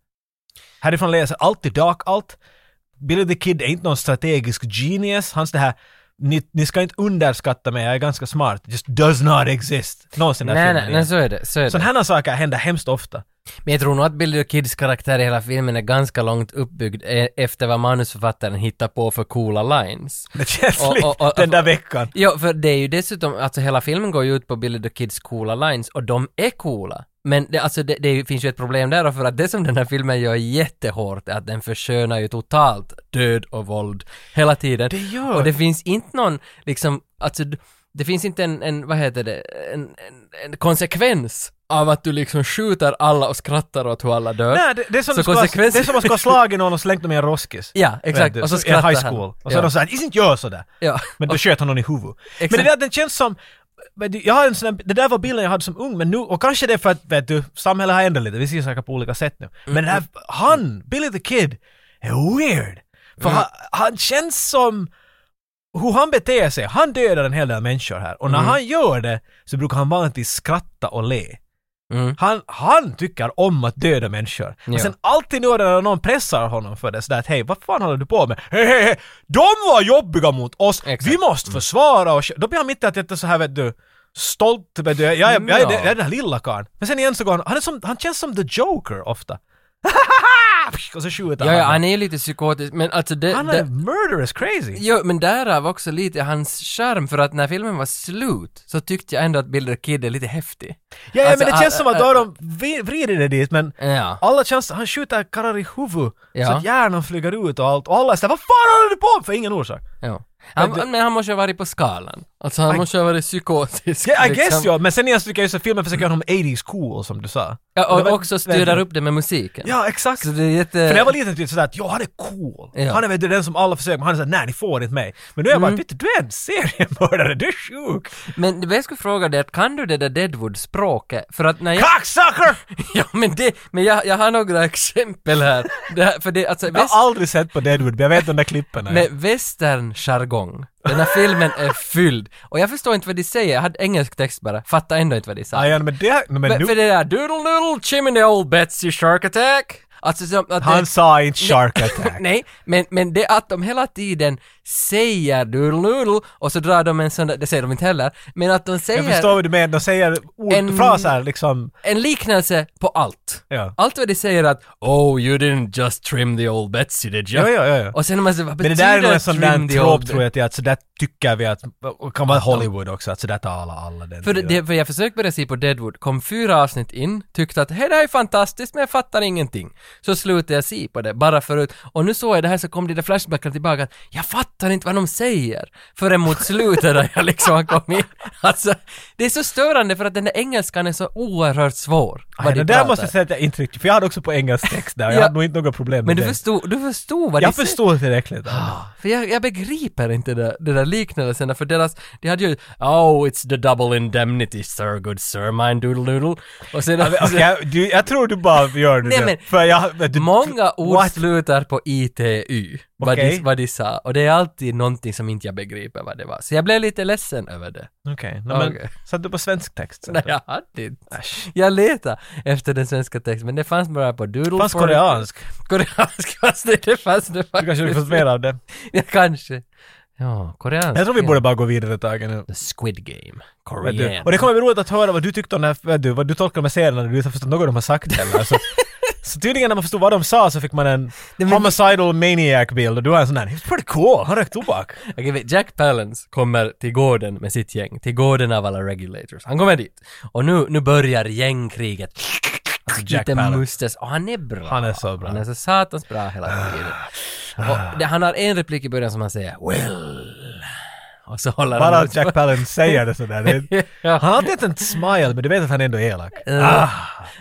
[SPEAKER 2] Härifrån läser alltid Dark allt. Billy the Kid är inte någon strategisk genius. Hans det här ni, ni ska inte underskatta mig, jag är ganska smart. Just does not exist. Någonsin i den här
[SPEAKER 1] Nej,
[SPEAKER 2] filmen
[SPEAKER 1] nej, nej,
[SPEAKER 2] igen.
[SPEAKER 1] så är det. Så är det.
[SPEAKER 2] Sådana här saker händer hemskt ofta.
[SPEAKER 1] Men jag tror nog att Billy the Kids karaktär i hela filmen är ganska långt uppbyggd eh, efter vad manusförfattaren hittar på för coola lines.
[SPEAKER 2] Det känns
[SPEAKER 1] Och-
[SPEAKER 2] lite
[SPEAKER 1] och- och-
[SPEAKER 2] den där veckan.
[SPEAKER 1] Ja, för det är ju dessutom, alltså hela filmen går ju ut på Billy the Kids coola lines och de är coola. Men det, alltså det, det finns ju ett problem där för att det som den här filmen gör jättehårt är att den förskönar ju totalt död och våld hela tiden.
[SPEAKER 2] Det gör
[SPEAKER 1] Och det
[SPEAKER 2] den.
[SPEAKER 1] finns inte någon, liksom, alltså d- det finns inte en, en vad heter det, en, en, en konsekvens av att du liksom skjuter alla och skrattar åt hur alla dör.
[SPEAKER 2] Nej, det, det, är som
[SPEAKER 1] Så
[SPEAKER 2] ska,
[SPEAKER 1] konsekvens-
[SPEAKER 2] det är som att ska ha slagit någon och slängt dem i en roskis.
[SPEAKER 1] Ja, exakt.
[SPEAKER 2] Vet du,
[SPEAKER 1] Och så
[SPEAKER 2] I en
[SPEAKER 1] skrattar
[SPEAKER 2] high
[SPEAKER 1] han.
[SPEAKER 2] school. Och så
[SPEAKER 1] Ja.
[SPEAKER 2] är de såhär, inte gör sådär.
[SPEAKER 1] Ja.
[SPEAKER 2] Men då sköt han någon i huvudet. Men
[SPEAKER 1] Exakt.
[SPEAKER 2] det där, den känns som... vet du, Jag har en sån där, det där var bilden jag hade som ung, men nu, och kanske det är för att vet du, samhället har ändrat lite, vi ser saker på olika sätt nu. Men den
[SPEAKER 1] Mm.
[SPEAKER 2] här,
[SPEAKER 1] Mm.
[SPEAKER 2] han, Billy the Kid, är weird. För han, han känns som... hur han beter sig, han dödar en hel del människor här. Och när han gör det så brukar han vanligtvis skratta och le.
[SPEAKER 1] Mm.
[SPEAKER 2] Han, han tycker om att döda människor.
[SPEAKER 1] Ja.
[SPEAKER 2] Och sen alltid nu när någon pressar honom för det sådär att hej, vad fan håller du på med? Hej, hej, hej! De var jobbiga mot oss!
[SPEAKER 1] Exakt. Mm.
[SPEAKER 2] Vi måste försvara oss! Då blir han mitt i att jätte så här vet du, stolt, vet du, jag, jag, jag, är
[SPEAKER 1] Ja.
[SPEAKER 2] den- jag är den här lilla karln. Men sen igen så går han, han, är som, han känns som the Joker ofta. och så skjuter
[SPEAKER 1] Ja, ja,
[SPEAKER 2] han.
[SPEAKER 1] han är ju lite psykotisk, men alltså det...
[SPEAKER 2] Han
[SPEAKER 1] det-
[SPEAKER 2] är murderous crazy!
[SPEAKER 1] Jo, men därav också lite hans charm, för att när filmen var slut så tyckte jag ändå att Bilder Kid är lite häftig.
[SPEAKER 2] Ja, ja
[SPEAKER 1] Alltså,
[SPEAKER 2] men det känns
[SPEAKER 1] ah,
[SPEAKER 2] som att
[SPEAKER 1] ah,
[SPEAKER 2] då har
[SPEAKER 1] ah,
[SPEAKER 2] de vi- vrider det dit men
[SPEAKER 1] Ja.
[SPEAKER 2] alla chanser, han skjuter karrar i huvudet så
[SPEAKER 1] Ja.
[SPEAKER 2] att hjärnan flyger ut och allt och alla är sådär ”Vad fan håller du på med?” för ingen orsak.
[SPEAKER 1] ja. Han,
[SPEAKER 2] Men det-
[SPEAKER 1] men han måste ju ha varit på skalan. Alltså han
[SPEAKER 2] I-
[SPEAKER 1] måste ju ha varit psykotisk.
[SPEAKER 2] Ja, I
[SPEAKER 1] liksom.
[SPEAKER 2] guess ja, men sen igen så tycker jag just att filmen försöker göra honom 80s cool som du sa.
[SPEAKER 1] Ja,
[SPEAKER 2] Det
[SPEAKER 1] och
[SPEAKER 2] var-
[SPEAKER 1] också styrar upp det med musiken.
[SPEAKER 2] Ja, exakt.
[SPEAKER 1] Så det är jätte...
[SPEAKER 2] För när jag var liten tyckte jag sådär att ”Ja, han är cool”.
[SPEAKER 1] Ja. Mm.
[SPEAKER 2] Han är vet du, den som alla försöker men han är såhär ”Nej, ni får inte mig”. Men nu är jag bara ”Vet du, du är en seriemördare, du är sjuk!”
[SPEAKER 1] Men det jag skulle fråga dig att kan du det där Deadwood-språket? För att när jag...
[SPEAKER 2] Cocksucker!
[SPEAKER 1] Ja, men det... Men jag, jag har några exempel här. Det här för det, alltså,
[SPEAKER 2] Jag
[SPEAKER 1] väst,
[SPEAKER 2] har aldrig sett på Deadwood, men jag vet de där klippen.
[SPEAKER 1] med western-jargong. Den här filmen är fylld. Och jag förstår inte vad de säger. Jag hade engelsk text bara. Fattar ändå inte vad de sa.
[SPEAKER 2] Ja, ja, men det... Men
[SPEAKER 1] Men för
[SPEAKER 2] nu,
[SPEAKER 1] det där doodle doodle chimney old Betsy shark attack. Alltså som att
[SPEAKER 2] han
[SPEAKER 1] det,
[SPEAKER 2] sa inte shark attack.
[SPEAKER 1] Nej, men, men det att de hela tiden säger doodle doodle och så drar de en sån där, det säger de inte heller, men att de
[SPEAKER 2] Jag förstår
[SPEAKER 1] säger
[SPEAKER 2] vad du menar, de säger ord,
[SPEAKER 1] En-
[SPEAKER 2] fraser liksom.
[SPEAKER 1] en liknelse på allt.
[SPEAKER 2] Ja.
[SPEAKER 1] Allt vad de säger att Oh you didn't just trim the old Betsy did you?
[SPEAKER 2] Ja, ja, ja, ja.
[SPEAKER 1] Och sen man säger vad
[SPEAKER 2] Men det
[SPEAKER 1] betyder
[SPEAKER 2] där är nog en sån
[SPEAKER 1] trim
[SPEAKER 2] där
[SPEAKER 1] the
[SPEAKER 2] trop
[SPEAKER 1] old
[SPEAKER 2] tror
[SPEAKER 1] Betsy?
[SPEAKER 2] jag till att så där tycker vi att, och kan vara Hollywood också, att så där talar alla den
[SPEAKER 1] För,
[SPEAKER 2] tiden.
[SPEAKER 1] det, för jag försökte börja se på Deadwood, kom fyra avsnitt in, tyckte att hej det här är fantastiskt men jag fattar ingenting. Så slutade jag se på det, bara förut. Och nu såg jag det här så kom de där flashbackarna tillbaka att jag fattar inte vad de säger. Förrän mot slutet där jag liksom har kommit in. Alltså, det är så störande för att den där engelskan är så oerhört svår.
[SPEAKER 2] Aj,
[SPEAKER 1] vad
[SPEAKER 2] det
[SPEAKER 1] de
[SPEAKER 2] där
[SPEAKER 1] pratar.
[SPEAKER 2] måste jag säga att jag inte riktigt, för jag hade också på engelsk text där, jag
[SPEAKER 1] Ja.
[SPEAKER 2] hade nog inte några problem
[SPEAKER 1] Men
[SPEAKER 2] med
[SPEAKER 1] du
[SPEAKER 2] det.
[SPEAKER 1] förstod, du Ah. förstod vad
[SPEAKER 2] jag
[SPEAKER 1] de säger.
[SPEAKER 2] förstår tillräckligt.
[SPEAKER 1] För jag, jag begriper inte det, det där liknelsen, för deras, de hade ju Oh, it's the double indemnity sir, good sir, mine doodle doodle. Och sen,
[SPEAKER 2] Okej, jag- du, jag tror du bara gör det.
[SPEAKER 1] Nej,
[SPEAKER 2] där.
[SPEAKER 1] men-
[SPEAKER 2] för jag, du,
[SPEAKER 1] Många ord
[SPEAKER 2] What?
[SPEAKER 1] slutar på ITY, vad,
[SPEAKER 2] Okej.
[SPEAKER 1] de, vad de sa. Och det är alltid någonting som inte jag begriper vad det var. Så jag blev lite ledsen över det.
[SPEAKER 2] Okej, no, men
[SPEAKER 1] Okej.
[SPEAKER 2] satt du på svensk text?
[SPEAKER 1] Nej, jag hade inte. Jag letade efter den svenska texten, men det fanns bara på Doodle.
[SPEAKER 2] Fanns
[SPEAKER 1] for-
[SPEAKER 2] koreansk?
[SPEAKER 1] Koreansk fanns det, det fanns det
[SPEAKER 2] Du kanske
[SPEAKER 1] faktiskt.
[SPEAKER 2] fått mer av det?
[SPEAKER 1] Ja, kanske. Ja, koreansk.
[SPEAKER 2] Jag tror vi borde bara gå vidare ett tag nu.
[SPEAKER 1] The Squid Game.
[SPEAKER 2] Vet du?
[SPEAKER 1] Korean.
[SPEAKER 2] Och det kommer bli roligt att höra vad du tyckte om den här, vet du, vad du tolkar de här scenerna när du inte har förstått något de har sagt heller. Så, så tydligen när man förstod vad de sa så fick man en
[SPEAKER 1] men-
[SPEAKER 2] homicidal maniac-bild och du har en sån där “It's pretty cool, han rökt tobak”.
[SPEAKER 1] Okej, vet, Jack Palance kommer till gården med sitt gäng, till gården av alla regulators. Han kommer dit. Och nu, nu börjar gängkriget. Alltså
[SPEAKER 2] Jack Palance.
[SPEAKER 1] mustes. Och han är bra.
[SPEAKER 2] Han är så bra. Ah.
[SPEAKER 1] Han är så satans bra hela tiden. Och det, han har en replik i början som han säger “Well”. Och så håller
[SPEAKER 2] Bara
[SPEAKER 1] han
[SPEAKER 2] att Jack Palance säger det sådär. Det,
[SPEAKER 1] Ja.
[SPEAKER 2] han har alltid en smile men du vet att han ändå är elak.
[SPEAKER 1] Ah.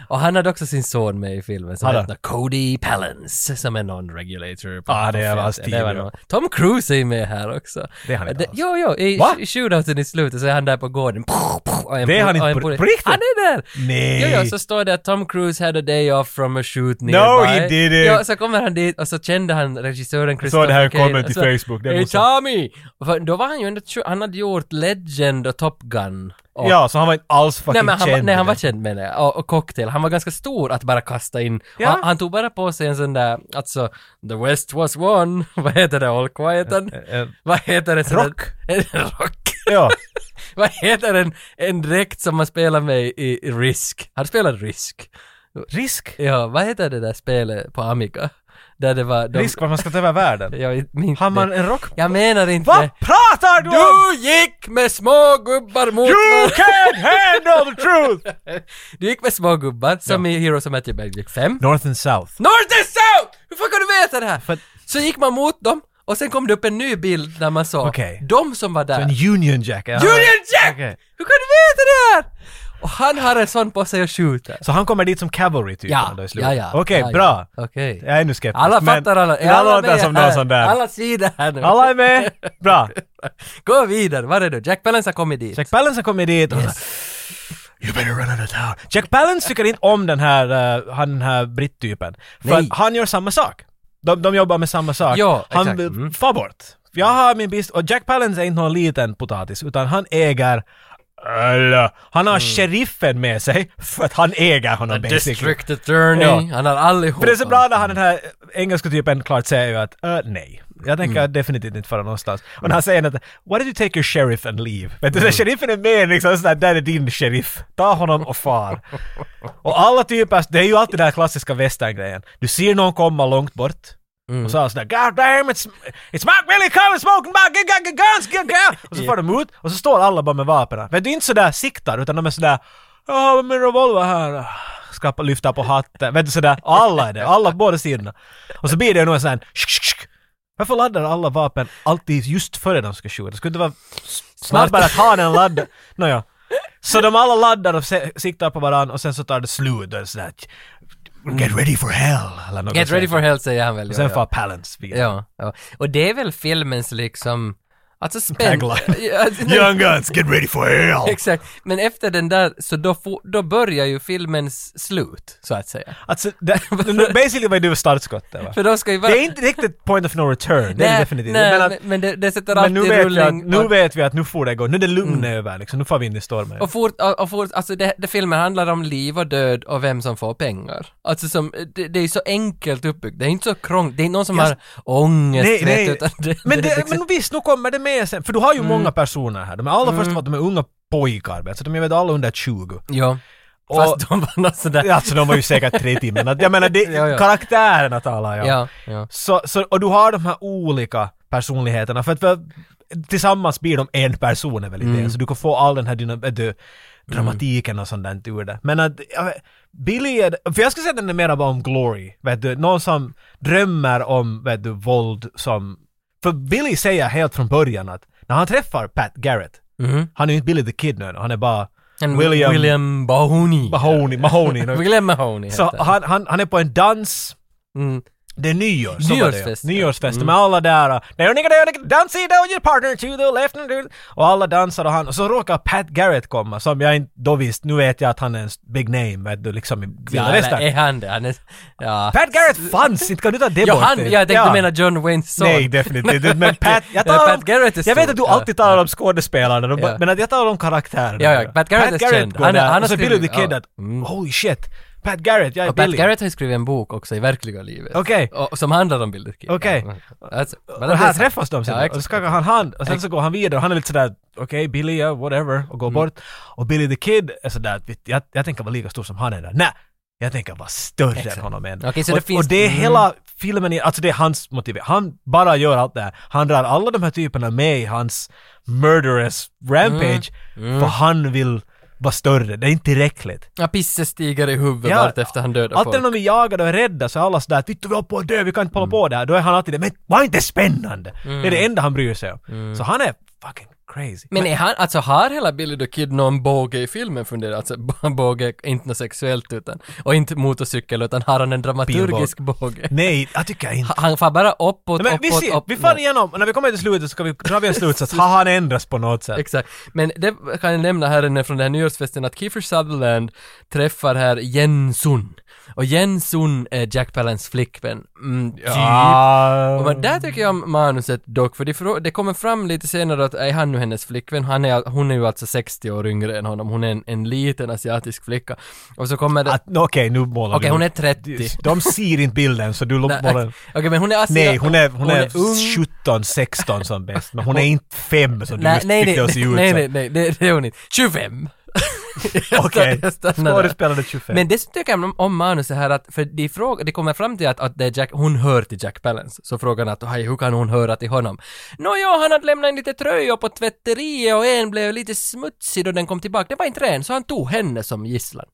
[SPEAKER 1] Och han hade också sin son med i filmen som
[SPEAKER 2] Hade
[SPEAKER 1] heter Cody Palance som är någon regulator. på-
[SPEAKER 2] Ah, det
[SPEAKER 1] på
[SPEAKER 2] var
[SPEAKER 1] filmen.
[SPEAKER 2] Steve,
[SPEAKER 1] Det var
[SPEAKER 2] ja.
[SPEAKER 1] någon- Tom Cruise är ju med här också.
[SPEAKER 2] Det är han inte alls.
[SPEAKER 1] Jo, jo, i,
[SPEAKER 2] Va?
[SPEAKER 1] i shootouten i slutet så är han där på gården. Och en
[SPEAKER 2] Det är han
[SPEAKER 1] pol-
[SPEAKER 2] inte
[SPEAKER 1] och en
[SPEAKER 2] på-
[SPEAKER 1] poli-
[SPEAKER 2] på riktigt?
[SPEAKER 1] Han är där!
[SPEAKER 2] Nej.
[SPEAKER 1] Jo, jo, så står det att Tom Cruise had a day off from a shoot nearby.
[SPEAKER 2] he didn't.
[SPEAKER 1] Jo, så kommer han dit och så kände han regissören Christopher
[SPEAKER 2] det här
[SPEAKER 1] Kane
[SPEAKER 2] comment
[SPEAKER 1] och
[SPEAKER 2] i
[SPEAKER 1] så,
[SPEAKER 2] Facebook, det
[SPEAKER 1] Hey
[SPEAKER 2] måste-
[SPEAKER 1] Tommy! Och för- Då var han ju ändå, tjo- han hade gjort Legend och Top Gun. Och
[SPEAKER 2] Ja, så han var inte alls fucking
[SPEAKER 1] Nej, men han, var-
[SPEAKER 2] känd.
[SPEAKER 1] nej, han var känd med det. Och, och cocktail. Han var ganska stor att bara kasta in.
[SPEAKER 2] Ja.
[SPEAKER 1] Och Han, han tog bara på sig en sån där, alltså, the west was one. Vad heter det, all quieten?
[SPEAKER 2] Eh, eh,
[SPEAKER 1] Vad heter det?
[SPEAKER 2] Rock.
[SPEAKER 1] En rock.
[SPEAKER 2] Ja,
[SPEAKER 1] Vad heter en, en dräkt som man spelar med i, i Risk? Har du spelat Risk?
[SPEAKER 2] risk.
[SPEAKER 1] Ja, vad heter det där spelet på Amiga? Där det var... de-
[SPEAKER 2] Risk var man ska ta över världen.
[SPEAKER 1] Jag minns
[SPEAKER 2] Har man
[SPEAKER 1] det.
[SPEAKER 2] en rock...
[SPEAKER 1] Jag menar inte...
[SPEAKER 2] Vad pratar du om?
[SPEAKER 1] Du gick med små gubbar mot
[SPEAKER 2] You
[SPEAKER 1] varandra.
[SPEAKER 2] can't handle the truth!
[SPEAKER 1] Du gick med små gubbar, som i Heroes of Matthew Berg gick fem.
[SPEAKER 2] North and South.
[SPEAKER 1] North and South! Hur fan kan du veta det här?
[SPEAKER 2] För-
[SPEAKER 1] Så gick man mot dem och sen kom det upp en ny bild där man sa
[SPEAKER 2] Okej.
[SPEAKER 1] de som var där.
[SPEAKER 2] En Union Jack. ja.
[SPEAKER 1] Union Jack!
[SPEAKER 2] Okej.
[SPEAKER 1] Hur kan du veta det här? Och han har en sån på sig och skjuter.
[SPEAKER 2] Så han kommer dit som cavalry typ?
[SPEAKER 1] Ja,
[SPEAKER 2] då i slutet.
[SPEAKER 1] ja, ja.
[SPEAKER 2] Okej,
[SPEAKER 1] ja, ja.
[SPEAKER 2] bra.
[SPEAKER 1] Okej.
[SPEAKER 2] Jag är nu skeptisk.
[SPEAKER 1] Alla
[SPEAKER 2] men-
[SPEAKER 1] fattar alla.
[SPEAKER 2] men Alla låter
[SPEAKER 1] med
[SPEAKER 2] som
[SPEAKER 1] här.
[SPEAKER 2] någon sån där.
[SPEAKER 1] Alla sidor här nu.
[SPEAKER 2] Alla är med. Bra.
[SPEAKER 1] Gå vidare, var är du? Jack Palance har kommit dit.
[SPEAKER 2] Jack Palance har kommit dit och You better run out of town. Jack Palance tycker inte om den här, uh, han den här britt-typen. För
[SPEAKER 1] Nej.
[SPEAKER 2] att han gör samma sak. De, de jobbar med samma sak.
[SPEAKER 1] Ja,
[SPEAKER 2] han
[SPEAKER 1] exakt.
[SPEAKER 2] vill
[SPEAKER 1] Mm.
[SPEAKER 2] far bort. Jag har min bist... Och Jack Palance är inte någon liten potatis, utan han äger alla. Han
[SPEAKER 1] Mm.
[SPEAKER 2] har sheriffen med sig för att han äger honom basically.
[SPEAKER 1] District Attorney,
[SPEAKER 2] Ja.
[SPEAKER 1] han har allihopa.
[SPEAKER 2] För det är så bra när han den här engelska typen klart säger ju att "Äh, nej. Jag tänker definitivt inte fara någonstans. Och när han säger att “Why did you take your sheriff and leave?” Vet du, mm. sheriffen är med liksom sådär, där är din sheriff. Ta honom och far. och alla typer, alltså, det är ju alltid den här klassiska västerngrejen. Du ser någon komma långt bort. Och så är han sådär “God damn, it's, it's Mark Billy coming smoking back, get, get, get guns, get, get. Och så far de ut och så står alla bara med vapnen. Men du är inte sådär siktar utan de är sådär “Ja, men min revolver här” ska lyfta på hatten. Vet du sådär, alla är det, alla på båda sidorna. Och så blir det ju nog en sån här "Shk, shk, shk." varför laddar alla vapen alltid just före de ska skjuta? Skulle det inte vara s- snabbare att ha den laddad? Nåja. Så de alla laddar och se- siktar på varandra och sen så tar det slut och sådär “Get ready for hell” eller något
[SPEAKER 1] Mm. Get ready
[SPEAKER 2] sånt.
[SPEAKER 1] for hell säger han väl.
[SPEAKER 2] Och
[SPEAKER 1] ja,
[SPEAKER 2] sen
[SPEAKER 1] ja.
[SPEAKER 2] far Palance vidare.
[SPEAKER 1] Ja, ja. Och det är väl filmens liksom, alltså spänn...
[SPEAKER 2] Tagline.
[SPEAKER 1] Ja, alltså,
[SPEAKER 2] Young Guns, get ready for hell!
[SPEAKER 1] Exakt, men efter den där så då, får- då börjar ju filmens slut, så att säga.
[SPEAKER 2] Alltså, det, nu- basically var det startskottet va?
[SPEAKER 1] För då ska ju vara...
[SPEAKER 2] Det är inte riktigt point of no return, det är det definitivt.
[SPEAKER 1] Nej,
[SPEAKER 2] Jag menar-
[SPEAKER 1] men, men det, det sätter
[SPEAKER 2] men
[SPEAKER 1] alltid
[SPEAKER 2] nu, vet vi att,
[SPEAKER 1] rullning. Mm.
[SPEAKER 2] nu vet vi att nu får det gå, nu är det lugn över liksom, nu får vi in i stormen.
[SPEAKER 1] Och fort, och, och fort, alltså det, det filmen handlar om liv och död och vem som får pengar. Alltså som, det, det är så enkelt uppbyggt, det är inte så krångligt, det är inte någon som har ångest
[SPEAKER 2] Nej,
[SPEAKER 1] vet
[SPEAKER 2] nej.
[SPEAKER 1] du, utan det,
[SPEAKER 2] men,
[SPEAKER 1] det är
[SPEAKER 2] det,
[SPEAKER 1] liksom- Mm.
[SPEAKER 2] men visst, nu kommer det med sen. För du har ju många personer här. De är alla först var att de är unga pojkar, vet, så de är väl alla under 20.
[SPEAKER 1] Ja. Fast de var något sådär...
[SPEAKER 2] Alltså de var ju säkert tre timmar. Att- Jag menar, det,
[SPEAKER 1] Ja, ja.
[SPEAKER 2] karaktärerna talar jag om.
[SPEAKER 1] ja, ja.
[SPEAKER 2] Så, så, och du har de här olika personligheterna för att för, tillsammans blir de en person är väl
[SPEAKER 1] Mm.
[SPEAKER 2] idén. Så du kan få all den här dynam- äh, du, dramatiken och sånt där ur det. Men att ja, Billy är, för jag skulle säga att den är mer bara om glory, vet du, någon som drömmer om, vet du, våld som, för Billy säger helt från början att när han träffar Pat Garrett,
[SPEAKER 1] Mhm.
[SPEAKER 2] han är ju inte Billy the Kid nu, han är bara
[SPEAKER 1] En
[SPEAKER 2] William-
[SPEAKER 1] William, William Mahoney.
[SPEAKER 2] Mahoney, Mahoney. nu.
[SPEAKER 1] William Mahoney
[SPEAKER 2] så
[SPEAKER 1] heter han.
[SPEAKER 2] han, han, han är på en dans,
[SPEAKER 1] Mm.
[SPEAKER 2] Det är nyår. så var det ju.
[SPEAKER 1] Nyårsfest, ja. Mm.
[SPEAKER 2] Nyårsfest. Med alla där. Dansa och your partner to the left and to... Och alla dansar och han... Och så råkar Pat Garrett komma som jag inte då visste. Nu vet jag att han är en big name vet du, liksom i vilda
[SPEAKER 1] Ja, eller
[SPEAKER 2] västern.
[SPEAKER 1] är han det? Han är... Ja.
[SPEAKER 2] Pat Garrett fanns inte. Kan du ta det
[SPEAKER 1] Ja,
[SPEAKER 2] bort?
[SPEAKER 1] han, jag tänkte mena John Waynes son.
[SPEAKER 2] Nej, definitivt inte. Men Pat...
[SPEAKER 1] Ja,
[SPEAKER 2] Jag, talar
[SPEAKER 1] Pat
[SPEAKER 2] om,
[SPEAKER 1] Garrett är
[SPEAKER 2] jag vet
[SPEAKER 1] stor.
[SPEAKER 2] att du
[SPEAKER 1] Ja,
[SPEAKER 2] alltid talar om skådespelarna, de bara-
[SPEAKER 1] Ja.
[SPEAKER 2] men att jag talar om karaktärerna.
[SPEAKER 1] Ja, ja, Pat Garrett är känd.
[SPEAKER 2] går
[SPEAKER 1] Han är-
[SPEAKER 2] där.
[SPEAKER 1] han har
[SPEAKER 2] och så Billy the
[SPEAKER 1] skrivit-
[SPEAKER 2] Kid
[SPEAKER 1] ja.
[SPEAKER 2] att, holy shit, Pat Garrett, jag är
[SPEAKER 1] Och Pat
[SPEAKER 2] Billy.
[SPEAKER 1] Garrett har ju skrivit en bok också i verkliga livet.
[SPEAKER 2] Okej.
[SPEAKER 1] Och, som handlar om Billy the Kid.
[SPEAKER 2] Okej.
[SPEAKER 1] Ja. Alltså, men
[SPEAKER 2] Och
[SPEAKER 1] det är
[SPEAKER 2] här
[SPEAKER 1] så-
[SPEAKER 2] träffas de sen
[SPEAKER 1] Ja,
[SPEAKER 2] och så
[SPEAKER 1] exakt.
[SPEAKER 2] skakar han hand och sen så går han vidare och han är lite sådär okej Billy, ja whatever och går
[SPEAKER 1] Mm.
[SPEAKER 2] bort. Och Billy the Kid är sådär att vet- jag, jag tänker vara lika stor som han är där. Nej! Jag tänker vara större än honom än.
[SPEAKER 1] Okej, så
[SPEAKER 2] och,
[SPEAKER 1] det finns-
[SPEAKER 2] och det är
[SPEAKER 1] mm.
[SPEAKER 2] hela filmen, i- alltså det är hans motiv. Han bara gör allt det här. Han drar alla de här typerna med i hans murderous rampage
[SPEAKER 1] Mm.
[SPEAKER 2] för han vill vara större. Det är inte tillräckligt.
[SPEAKER 1] Ja, pisset stiger i huvudet
[SPEAKER 2] Ja,
[SPEAKER 1] allt efter han dödar
[SPEAKER 2] Alltid när
[SPEAKER 1] folk.
[SPEAKER 2] de är jagade och är rädda så är alla sådär “Titta vi håller på att dö, vi kan inte hålla på där”. Då är han alltid det “Men var inte spännande!” Det är
[SPEAKER 1] Mm.
[SPEAKER 2] det enda han bryr sig om. Så han är fucking crazy.
[SPEAKER 1] Men är han, alltså har hela Billy the Kid någon båge i filmen funderat? Alltså b- båge, inte något sexuellt utan, och inte motorcykel utan har han en dramaturgisk båge?
[SPEAKER 2] Nej, jag tycker inte.
[SPEAKER 1] Ha- Han far bara uppåt,
[SPEAKER 2] Nej, men vi
[SPEAKER 1] uppåt,
[SPEAKER 2] ser,
[SPEAKER 1] uppåt.
[SPEAKER 2] vi far igenom, och när vi kommer till slutet så ska vi dra vi en slutsats. Har han ändrats på något sätt?
[SPEAKER 1] Exakt. Men det kan jag nämna här inne från den här nyårsfesten att Kiefer Sutherland träffar här Jensun. Och Jensun är Jack Palance flickvän. Mm, typ. Och men där tycker jag om manuset dock, för det, frå- det kommer fram lite senare att är han nu hennes flickvän? Han är, hon är ju alltså 60 år yngre än honom, hon är en, en liten asiatisk flicka. Och så kommer det...
[SPEAKER 2] Att- Okej, nu målar
[SPEAKER 1] Okej,
[SPEAKER 2] du.
[SPEAKER 1] hon är 30.
[SPEAKER 2] De ser inte bilden så du
[SPEAKER 1] Nej,
[SPEAKER 2] målar...
[SPEAKER 1] Okej, men hon är asiat...
[SPEAKER 2] Nej, hon är, hon är,
[SPEAKER 1] ung.
[SPEAKER 2] 17, 16 som bäst. Men hon är inte fem som du
[SPEAKER 1] Nej,
[SPEAKER 2] just
[SPEAKER 1] nej,
[SPEAKER 2] fick det att se
[SPEAKER 1] nej,
[SPEAKER 2] ut som.
[SPEAKER 1] nej, nej, nej, det, det är hon inte. 25! Jag
[SPEAKER 2] Okej,
[SPEAKER 1] jag stannar där.
[SPEAKER 2] skådespelare 25.
[SPEAKER 1] Men det som tycker jag om, om manuset här att, för de, fråga, de kommer fram till att, att det är Jack, hon hör till Jack Palance. Så frågan är att hej, hur kan hon höra till honom? Nåja, han hade lämnat in lite tröjor på tvätteriet och en blev lite smutsig då den kom tillbaka. Det var inte ren, så han tog henne som gisslan.